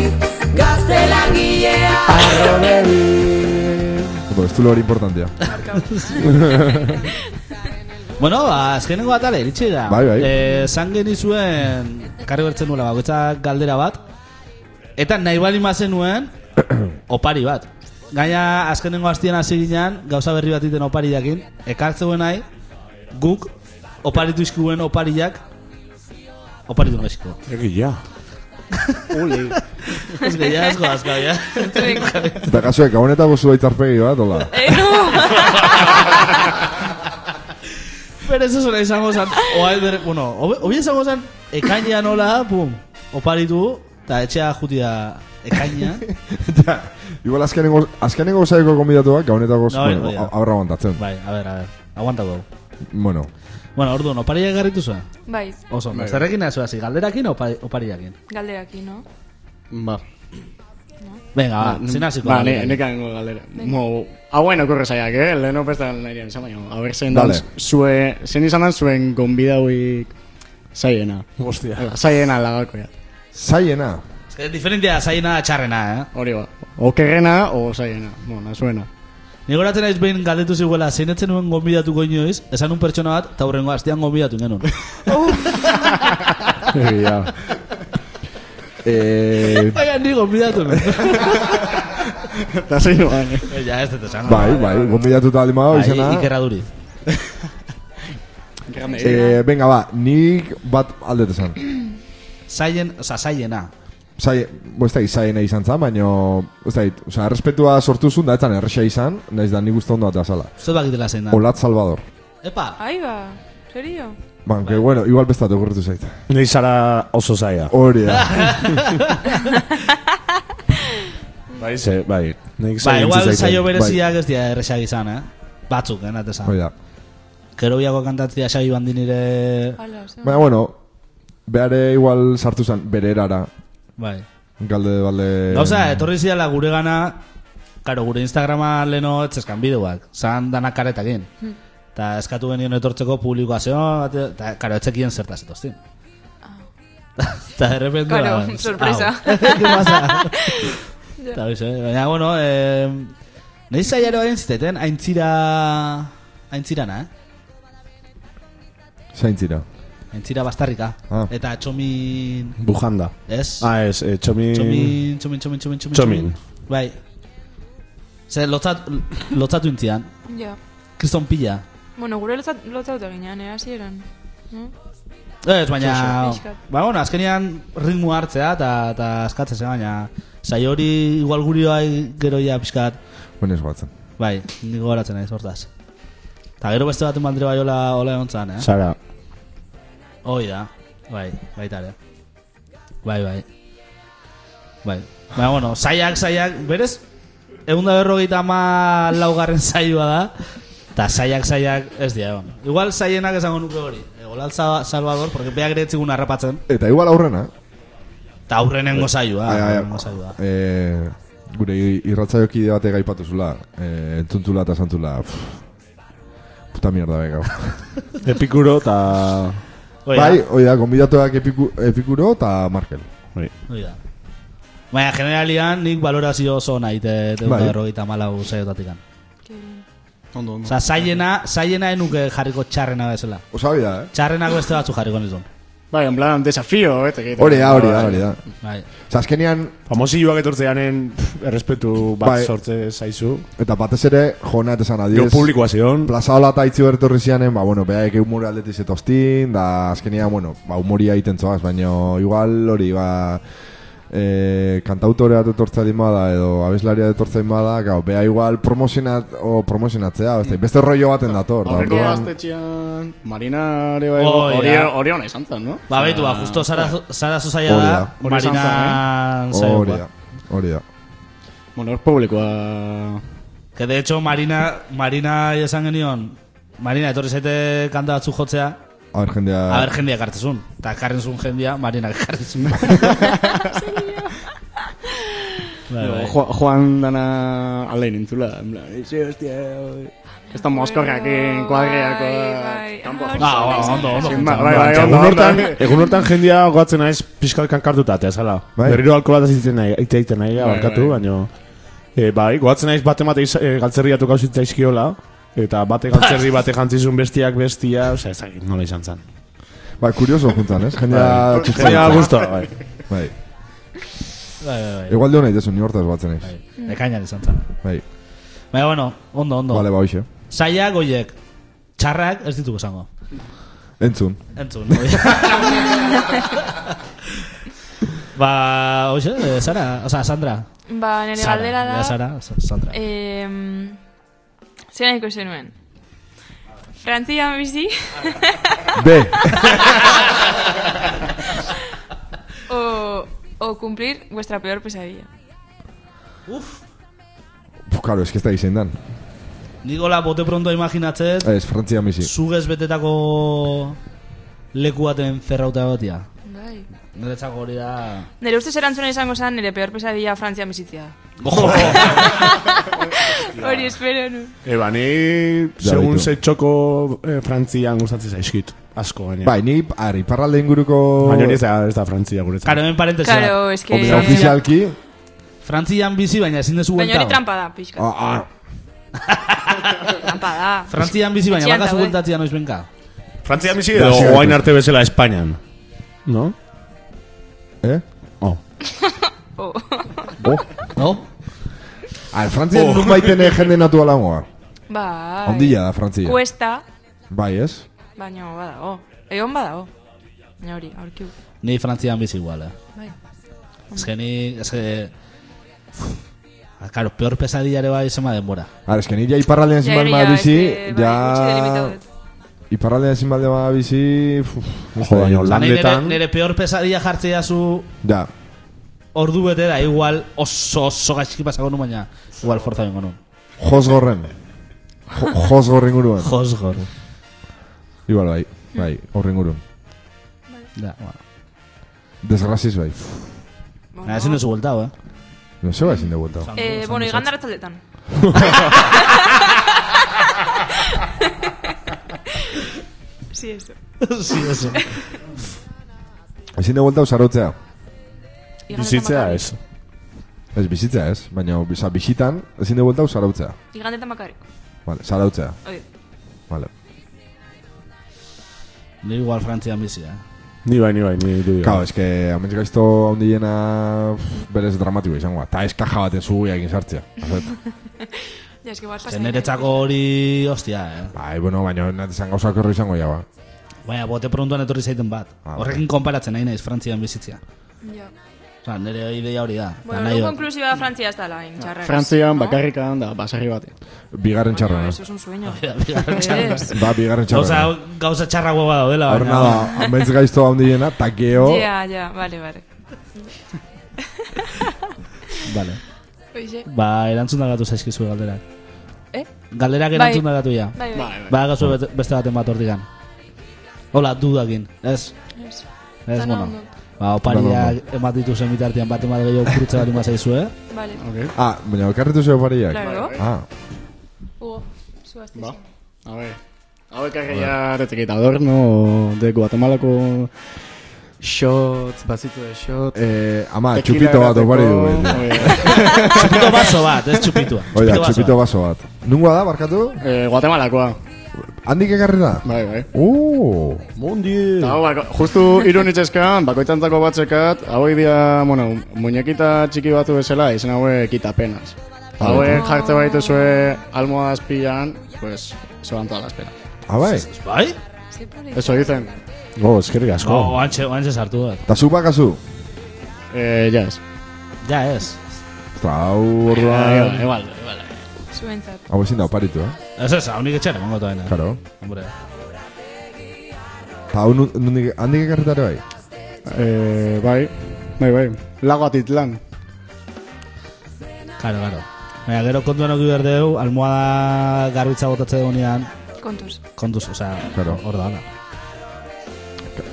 S11: gazte langilea
S3: Ondo, ez hori importantia.
S2: Bueno, ba, azkenengo atale, iritsi da.
S3: Bai, bai.
S2: Eh, zan genizuen, karri bertzen nuela, bakoitzak galdera bat. Eta nahi bali mazenuen, opari bat. Gaina, azkenengo hastien hasi ginean, gauza berri bat iten opari jakin. Ekartzeuen nahi, guk, oparitu izkuen opariak, oparitu gaizko.
S4: Egia.
S2: Ez gehiago, ez goaz, gaia.
S3: Eta kasuek, hau honetako zu aitzarpegi bat, hola.
S6: Eh, no!
S2: Pero eso suena izango zan, oai bere, bueno, hobe hobe izango zan, ekainean hola, pum, oparitu, eta etxea jutia ekainean.
S3: ja, igual azkenengo, azkenengo zaiko konbidatuak, gaunetako zu,
S2: No,
S3: bueno,
S2: bai, bai.
S3: abra aguantatzen.
S2: Bai, a ver, a ver, aguantako hau.
S3: Bueno,
S2: Bueno, orduan, opariak garritu zuen.
S6: bai,
S2: Oso, ondo. zerrekin nahi zuen, galderakin opari, opariakin.
S6: galderaki, no?
S5: Ba,
S2: Venga, ba, zein hasiko.
S5: Ba,
S2: galderakin.
S5: ne, neka nengo galdera. Mo, hauen okurre zaiak, eh? Lehen oprestan nahi dian, baina, haber zen dan,
S3: Dale.
S5: zue, zen izan dan zuen gonbidauik zaiena.
S4: Hostia.
S5: Eh, Zaiena lagako, ja.
S3: zaiena.
S2: Ez que diferentia da zaiena txarrena, eh?
S5: Hori ba, okerrena o zaiena, bueno, zuena.
S2: Nik horatzen naiz behin galdetu ziguela, zein etzen nuen gombidatuko inoiz, esan un pertsona bat, eta hurrengo astean gombidatu genuen.
S4: Egia.
S3: Eh,
S2: Baina ni gombidatu nuen.
S5: Eta zein oan, eh?
S2: Ja, ez dut esan.
S3: bai, bai, gombidatuta alima hau
S2: Bai,
S3: izena.
S2: Ikerra duri.
S5: Grande.
S3: Eh, venga, ba, nik bat aldet esan.
S2: Zaien, oza, zaiena.
S3: Zai, bo, ez da, zaiena izan zan, baino, ez da, oza, errespetua sortu zuen, da, etzan erresa izan, nahiz da, nik uste ondo atazala.
S2: Zut bakitela zein da.
S3: Olat Salvador.
S2: Epa,
S6: Ai, ba, serio?
S3: Banke, bueno, igual bestat okurritu zait.
S4: Nei zara oso zaia.
S3: Hori da.
S4: bai, ze, bai. Nik
S2: Ba,
S4: zaila
S2: igual
S4: zitzaidan,
S2: saio
S4: bai.
S2: bereziak ez dira erresak izan, eh? Batzuk, eh, natezan.
S3: Hori da.
S2: Gero biago kantatzea Xabi Bandinire...
S3: Baina, bueno, behare igual sartu zen bere erara.
S2: Bai.
S3: Galde, balde...
S2: Gauza, etorri zidala gure gana, karo, gure Instagrama leheno etzeskan bideoak, zan danak karetakin.
S6: Hmm.
S2: Eta eskatu genien etortzeko publikoa zeon, eta, karo, etzekien zertaz etoztin. Eta de repente...
S6: Ah. Claro,
S2: ba,
S6: sorpresa.
S2: hau. ¿Qué pasa?
S6: Ja.
S2: Eta horixe, baina, bueno, eh, nahi zaiaro egin ziteten, aintzira... Aintzirana, eh?
S3: Zaintzira.
S2: Aintzira bastarrika.
S3: Ah.
S2: Eta txomin...
S4: Bai. Bujanda.
S2: Ez?
S4: Ah, ez, eh, txomin...
S2: Txomin, txomin, txomin, txomin, txomin.
S4: Txomin.
S2: Bai. Zer, lotzat, lotzatu intzian.
S6: Ja.
S2: Kriston pila.
S6: Bueno, gure lotzat, lotzauta ginean, eh, hasieran. No?
S2: Ez, baina...
S6: Pixka.
S2: Ba, bueno, azkenean ritmo hartzea eta eta askatzea, ze, baina... Zai hori igual guri bai gero ja pixkat...
S3: Bueno, ez batzen.
S2: Bai, niko horatzen naiz, hortaz. Eta gero beste baten bandre bai hola, hola egon zan, eh?
S4: Zara.
S2: Hoi da, bai, baita ere. Bai, bai. Bai. Baina, bueno, zaiak, zaiak, berez, egun da berrogeita ama laugarren zaioa da, eta zaiak, zaiak, ez dira egon. Igual zaienak esango nuke hori. Egolal Sa- Salvador, porque beak ere etzigun harrapatzen,
S3: Eta igual aurrena.
S2: eta aurrenengo zaioa.
S3: Ai, ai, ai.
S2: aurrenengo zaioa.
S3: Eh, gure irratzaioki debate gaipatu zula. Eh, entzuntzula eta santzula. Pff, Puta mierda, venga.
S4: Epikuro eta...
S2: Hoi da.
S3: Bai, hoi da, gombidatuak epiku, epikuro eta Markel.
S2: Hoi da. Baina, generalian, nik balorazio oso nahi, te, te
S3: Bai.
S2: bai. berrogeita malau zaiotatik.
S5: Ondo, ondo.
S2: Osa, zaiena, zaiena enuke jarriko txarrena bezala.
S3: Osabi da, eh?
S2: Txarrenako beste batzu jarriko nizun.
S5: Bai, en plan, desafio, bete. que-
S3: Hori da, hori da, hori da.
S2: Bai.
S3: Osa, azkenean,
S4: Famosilloak etortzeanen pff, errespetu bat
S3: Bai.
S4: sortze zaizu.
S3: eta batez ere, jona eta esan
S4: Gero
S3: adiez.
S4: publikoa zion.
S3: Plaza hola eta itzi berretorri zianen, ba, bueno, behaik humore aldetik zetoztin, da azkenean, bueno, ba, humoria egiten zoaz, baino igual hori, ba, e, kantautorea detortza dimada edo abeslaria detortza dimada, gau, beha igual promozionat, o promozionatzea, beste, beste rollo baten dator. da,
S5: Aurreko
S3: orduan-
S5: gaztetxean, Marina ere bai,
S2: Hoi
S5: hori
S2: da.
S5: hori hona izan zen, no?
S2: Ba, baitu, ba, justo zara, zara zuzaia
S3: Ah. Hori
S2: da,
S3: da.
S5: Hori izan
S2: Marinan
S3: Hori
S2: zaioa.
S3: da, hori da.
S5: Bueno, hor publikoa...
S2: Que de hecho, Marina, Marina esan genion, Marina, etorri zaite kanta batzu jotzea,
S3: A ber, jendea...
S2: a ber jendia kartezun. Eta karren zuen jendia, Marina kartezun. bai,
S5: Luego,
S3: eh.
S2: bai.
S5: Ju- Juan dana alde nintzula, en plan, izi, hostia, oi. Ez da mozkorrekin, kuadriako...
S6: Bai, bai.
S2: Ah, bueno, ondo, ondo.
S5: Sin ma-
S2: ondo.
S5: bai, bai,
S4: Eta
S5: ondo,
S4: Ba, egun
S5: ondo.
S4: hortan, egun hortan jendia goatzen naiz pixkat kankartuta, eta zala.
S3: Bai.
S4: Berriro alkolata zitzen nahi, ite egiten nahi,
S5: Bai,
S4: barkatu,
S5: bai.
S4: baino... E, bai, goatzen naiz bate mate e, galtzerriatu gauzitza izkiola, eta bate galtzerri bate jantzizun bestiak bestia, osea, ez dakit nola izan zen.
S3: Ba, kurioso juntzan, ez?
S4: Bai.
S3: Jendea txutzen.
S4: Baina, gusto, bai.
S3: Bai.
S2: Bai, bai, bai.
S3: Igual deon egitezu, ni hortaz batzen
S4: Bai.
S3: eiz.
S2: Ekainan izan zen.
S3: Bai.
S2: Baina, bueno, ondo, ondo.
S3: Bale, ba, hoxe.
S2: Zaiak, oiek, txarrak ez dituko esango.
S3: Entzun.
S2: Entzun. oi. ba, oixe, eh, Sara, oza, Sandra.
S6: Ba, nire
S2: Sara,
S6: galdera da...
S2: ja, Sara, Sa- Sandra.
S6: Eh, zer nahiko zenuen? Frantzian bizi?
S3: B.
S6: o, o cumplir vuestra peor pesadilla.
S3: Puh, Karo, ez que ez da izen dan.
S2: Nikola bote pronto imaginatzen,
S3: Ez, Frantzia misi.
S2: zugez betetako leku baten ferrauta egotia.
S6: Bai.
S2: Niretzako hori da...
S6: Nire ustez erantzuna izango zen, nire peor pesadilla Frantzian bizitzea. Hori espero, nu.
S4: E, ba, ni,
S3: Ja,
S4: segun
S3: baitu.
S4: ze txoko e, Frantzian gustatzen zaizkit. Asko, baina.
S3: Bai, ni ar, iparralde inguruko...
S4: Baina hori ez da, ez da Frantzia guretzat.
S2: Karo, hemen parentesi bat.
S6: Claro, es que...
S3: Ofizial- Ofizialki...
S2: Frantzian bizi, baina ezin dezu
S6: Baina hori
S2: bueltao.
S6: trampa da, pixka.
S3: Ah, ah.
S6: Trampa da.
S2: Frantzian bizi, baina
S6: Etxean
S2: bakazu
S6: daude.
S2: bueltatzia noiz benka.
S4: Frantzia misi edo
S3: Brasil.
S4: oain arte bezala Espainian. No?
S3: Eh?
S4: Oh.
S6: Oh.
S3: Oh.
S2: No?
S3: Ar, Frantzia oh. nun baiten jende natua langoa.
S6: Bai.
S3: Ondila da, Frantzia.
S6: Cuesta,
S3: Bai, ez?
S6: baina badago. Egon badago. Baina hori, aurkiu.
S2: Ni Frantzian bizi igual, eh.
S6: Bai.
S2: Ez que ni... Ez que... Ah, Karo, peor pesadillare bai zema denbora.
S3: Ar, ez que ni ja iparraldean zin
S6: Ja,
S3: balma
S6: ja,
S3: bizi,
S6: eske, bai,
S3: ja...
S6: gutxi delimitatu dut.
S3: Iparraldean ezin balde bada bizi... Uf, ez da,
S4: Jo,
S2: Ba,
S3: ez da.
S4: baina
S2: nire-
S4: Landetan-
S2: Nire peor pesadilla jartzea zu
S3: Ja,
S2: ordu betera, igual oso oso gaizki pasako nu, baina igual forza bengo nu.
S3: josgorren. Jo, josgorren guruan.
S2: Josgor.
S3: Igual bai, bai, horren gurun.
S2: Da, bueno.
S3: Desgraziz bai.
S2: Nah, ezin duzu gueltao, eh?
S3: No se ezin de vuelta.
S6: Eh, bueno, igandar atzaldetan. sí, eso.
S2: sí, eso.
S3: Ezin de vuelta usarrotzea.
S6: Igandetan
S4: Bizitzea
S6: bakarrik.
S4: ez.
S3: Ez bizitzea ez, baina oza, bizitan ezin de vuelta usarautzea.
S6: Igandetan bakarrik.
S3: Vale, sarautzea.
S6: Hori.
S3: Vale.
S2: Ni igual Frantzian bizi, eh?
S4: Ni bai, ni bai, ni du.
S3: Claro, es que amets gaizto handillena pff, berez dramatikoa izango. Ta ez kaja baten zuguia egin sartzea. Azet.
S6: Ja, eski bat
S2: Ze
S6: pasa.
S2: Niretzako hori, hostia, eh?
S3: Bai, bueno, baina nat izan gauzak horro izango ja, ba.
S2: Baina, bote prontuan etorri zaiten bat.
S3: Ah,
S2: Horrekin konparatzen nahi naiz Frantzian bizitzea.
S6: Ja.
S2: Osa, nire ideia hori da. Eta
S6: Bueno,
S2: nahi
S6: no
S2: dut.
S6: konklusioa Frantzia ez dala, intxarra.
S5: Frantzian bakarrikan da, basarri bate.
S3: Bigarren txarra,
S6: Eso es un sueño.
S2: bigarren txarra.
S6: Ez.
S3: Ba, bigarren
S2: Gauza,
S3: txarra.
S2: gauza txarra guaba daudela,
S3: Horna da, amets gaizto handillena, ta geo...
S6: Ja, ja, vale, vale.
S2: Vale.
S6: Oixe.
S2: Ba, erantzun da gatu zaizkizu galderak.
S6: Eh?
S2: Galderak erantzun da gatu ja.
S6: Bai, bai.
S2: Ba, gazu bet- beste baten bat hortikan. Hola, dudakin, ez?
S6: Ez.
S2: Ez,
S6: Dana
S2: bueno.
S6: ondo.
S2: Ba, opariak ematitu zen bitartian bat emat gehiago kurutza bat imazaizu, eh?
S6: Vale.
S3: Ah, baina okarretu zeo pariak.
S6: Claro.
S3: Ah,
S6: Hugo, zuazte
S5: Ba.
S6: izan.
S5: A ver. Hau ekarria retekita adorno, de Guatemalako shots, bazitu de shots.
S3: eh, ama, txupito bat opari du. bai.
S2: Txupito baso bat, ez txupitua.
S3: Oida,
S2: baso
S3: txupito
S2: bat.
S3: baso bat. Nungoa da, barkatu?
S5: Eh, Guatemalakoa.
S3: Handik ekarri da?
S5: Bai, bai.
S3: Oh,
S4: Mundi.
S5: Eta hau, ba, bako, justu hiru nitxeskan, bakoitzantzako batzekat, hauek dira, bueno, muñekita txiki batzu bezala, izen hauek kitapenas. Hauek jartze baituzue almohadaz pilan, pues, se van todas las penas.
S3: ah, bai.
S2: Bai?
S5: Eso dicen,
S4: Oh, eskerrik asko.
S2: Ba, oantxe, oantxe sartu dut.
S3: Ta zu bakazu?
S5: eh, ya es.
S2: Ja, ez.
S3: Ostra, hau
S5: Igual,
S3: orduan...
S5: igual, igual.
S6: Zuentzat.
S3: Hau ezin da oparitu, eh?
S2: Ez ez, hau nik etxera, mongo toena.
S3: Karo.
S2: Hombre.
S3: Ta hau nun- nondik- handik ekarri dara bai?
S5: Eh, bai, bai, bai. Lago atitlan.
S2: Karo, karo. Baina, gero kontuan oki behar dugu, almohada garbitza botatzea dugunean,
S6: Kontuz.
S2: kontuz, osea,
S3: Claro.
S2: hor da, ona.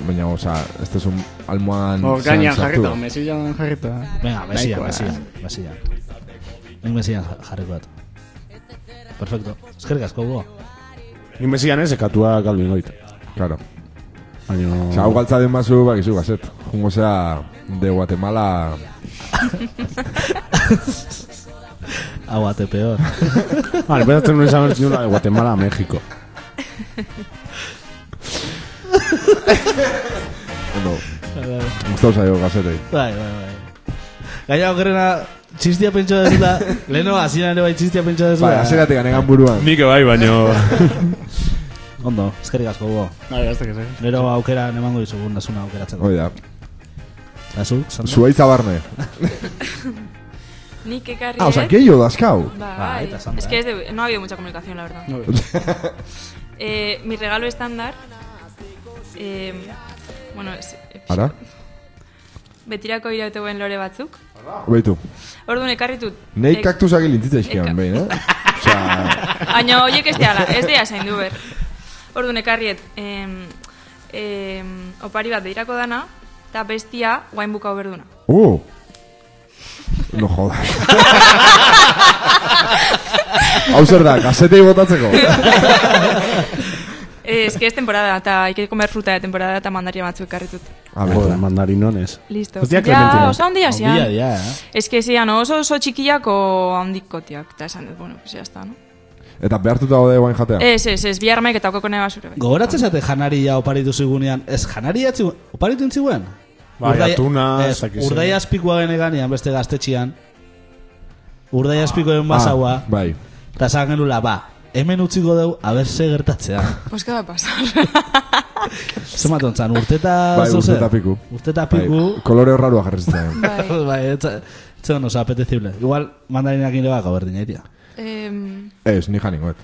S3: Baina, oza, ez tezun almoan...
S5: Hor gainean
S3: zean sartu.
S5: jarrita, mesillan jarrita.
S2: Venga, Mesías,
S5: Nahikoa.
S2: Mesías, Mesías. Nik Mesías ja- jarriko dut. Perfecto. Eskerrik asko, Hugo.
S4: Ni mesian ez ekatua galdu ingoit.
S3: Claro.
S4: Baina...
S3: Osa, hau galtza den bazu, bakizu, gazet. Jungo zea, de Guatemala...
S2: Hau ate peor.
S4: Vale, voy a hacer un examen señora, de Guatemala a México.
S3: Ondo. Gustau zaio, gazetei.
S2: bai, bai, bai. Gaina okerrena, txistia pentsa dezula, leheno hasieran ere bai txistia pentsa dezula.
S3: Bai, azeratik ganegan buruan.
S4: Nik bai, baino...
S2: Ondo, eskerrik asko, Hugo.
S5: Bai, ez dakiz, eh.
S2: Gero aukera emango dizugun nasuna aukeratzeko.
S3: Oida,
S2: Azu, santu.
S3: zuaitza barne.
S6: Nik ekarri
S3: Ah, oza,
S6: dut.
S3: gehiago dazkau.
S6: Ba,
S2: Ah, eta santa,
S6: es que es de- no ha habido mucha comunicación, la verdad. Eh, mi regalo estándar. Eh, bueno, es,
S3: Ara?
S6: betirako irautuen lore batzuk.
S3: Beitu.
S6: Orduan ekarritut.
S3: Nei
S6: Ek-
S3: kaktusak ilintzitzea izkian,
S6: Eka-
S3: behin, eh? Osa,
S6: Eh, Baina horiek ez dela, ez dira zain du ber. Orduan ekarriet, em, em, opari bat beirako dana, eta bestia guain bukau berduna.
S3: uh! No jodas. Hau zer da, gazetei botatzeko.
S6: Eh, es que es temporada, eta hay que comer fruta de temporada, eta mandaria batzuk ekarritut.
S3: A ver,
S4: Joder, mandarinones.
S6: Listo.
S4: Hostia,
S6: ja,
S4: Clementina.
S6: oso handia
S2: Ondia,
S6: zian.
S2: dia, eh?
S6: Es que zian oso oso txikiako handikotiak, eta esan dut, bueno, pues ya está, no?
S3: Eta behartuta daude guain jatea.
S6: Ez, ez, ez, bihar maik eta okokone basura. bai.
S2: Gogoratzen zate janaria oparitu zigunean, ez janaria atzi- oparitu intziguen?
S4: Bai,
S2: Urdai-
S4: atuna,
S2: ez,
S4: zakizu.
S2: Urdai azpikoa geneganean beste gaztetxian. Urdai
S4: Ah.
S2: azpikoen basaua.
S3: bai.
S2: Eta esan genula, ba, hemen utziko dugu, aber ze gertatzea.
S6: Pues que va a pasar.
S2: Zematen zan, urteta...
S3: Bai,
S2: zeu zer?
S3: urteta piku.
S2: Urteta
S3: Bai,
S2: piku.
S3: kolore horrarua jarri zitzen.
S6: bai.
S2: bai, etza- etzeon oso apetecible. Igual, mandarinak ere bako berdin, eh, tia.
S6: Em,
S3: Ez, ni janingoet.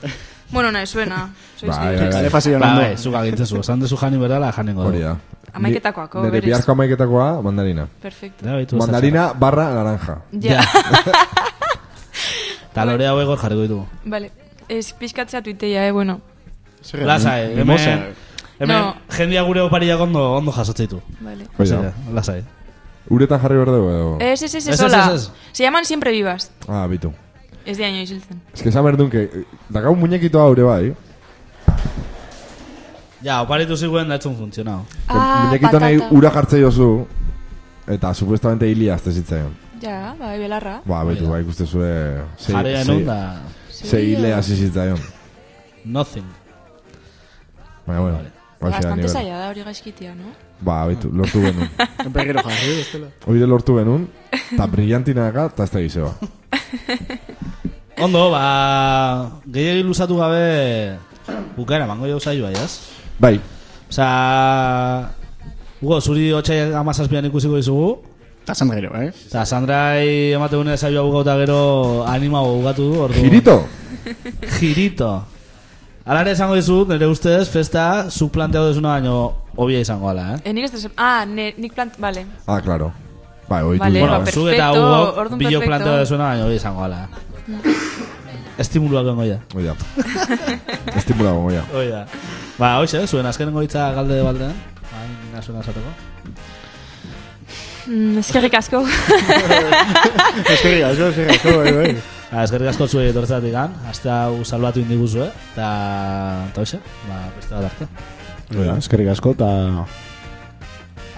S6: Bueno, nahi zuena. Soiz
S3: Bai,
S6: libres.
S3: bai, bai.
S2: Ba, bai, zuk agintzen zu. Esan duzu jani berdala janengo
S3: Hori da.
S6: Hamaiketakoako,
S3: Nire
S6: berez.
S3: biharko amaiketakoa, mandarina.
S6: Perfecto.
S2: Da, baitu, ez da
S3: Mandarina barra naranja.
S6: Ja.
S2: Eta lore hau egor jarriko ditugu.
S6: Vale. Ez pixkatzea tuiteia, eh, bueno.
S3: eh,
S2: Lasai,
S4: mimosa.
S2: hemen... Hemen,
S6: No.
S2: jendia gure opariak ondo, ondo jasotzeitu.
S6: Vale.
S3: Hoi da.
S2: Lasai, lasai.
S3: Uretan jarri behar dugu edo...
S6: Ez, ez, ez,
S2: Ez,
S6: ez,
S2: ez,
S6: hola.
S2: ez, ez.
S6: Se llaman siempre vivas.
S3: Ah, bitu.
S6: Ez de año isiltzen.
S3: Ez que esan behar dunke, dakau muñekitoa ure bai.
S2: Ja, oparitu ziguen datzun funtzionau.
S6: Ah,
S3: Muñekito nahi
S6: patata.
S3: ura jartzei oso, eta supuestamente hili azte zitzaion.
S6: Ja, bai, belarra.
S3: Ba, bitu, bai ikustezue... zei-
S2: Jarea
S3: zei-
S2: non da...
S3: Zei hile hasi zitzaion.
S2: Nothing.
S3: Baina, bueno. hoxe da
S6: Bastante
S3: nibela.
S6: zaila da hori gaizkitia, no?
S3: Ba, bitu, lortu genuen.
S5: Berriro jarri, bestela.
S3: Oire lortu genuen, eta brillantina ega, eta ez da gizeba.
S2: Ondo, ba... Gehiagin luzatu gabe... Bukaera, mango jau zaioa, jaz?
S3: Bai,
S2: Osa... Hugo, zuri hotxai amazazpian ikusiko dizugu.
S5: Eta zan gero, eh?
S2: Eta Sandrai emate gune zaioa bukauta gero anima bukatu du. ordu-
S3: girito!
S2: Girito. Alare esango dizut, nire ustez, festa, zuk planteau desuna baino obia izango ala, eh?
S6: Eh, nik ez desem... Ah, ne, nik plant... Vale.
S3: Ah, claro. Bai, oitu.
S6: Vale,
S3: dira.
S6: ba, per-
S2: zuk eta
S6: perfecto,
S2: Hugo,
S6: orduan
S2: bilo
S6: perfecto.
S2: planteau desuna baino obia izango ala. Estimuluak gongo ya.
S3: Oida. Estimula gongo, oida.
S2: Oida. Ba, hoxe, zuen azkenengo hitza galde baldean. Hain nasuna esateko.
S6: Mm, eskerrik asko.
S5: Eskerrik asko, eskerrik asko, bai, bai.
S2: Ba, eskerrik asko zuei etortzatik gan. Hasta hau salbatu indiguzu, eh? Ta, ta hoxe, ba, beste bat arte.
S4: Oida, Eskerrik asko eta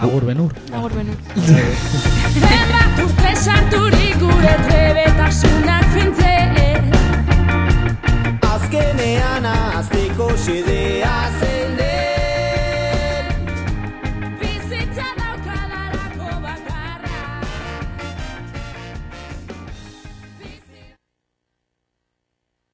S2: Agur benur.
S6: Agur benu.
S11: Zenbat urte sarturik gure trebetasuna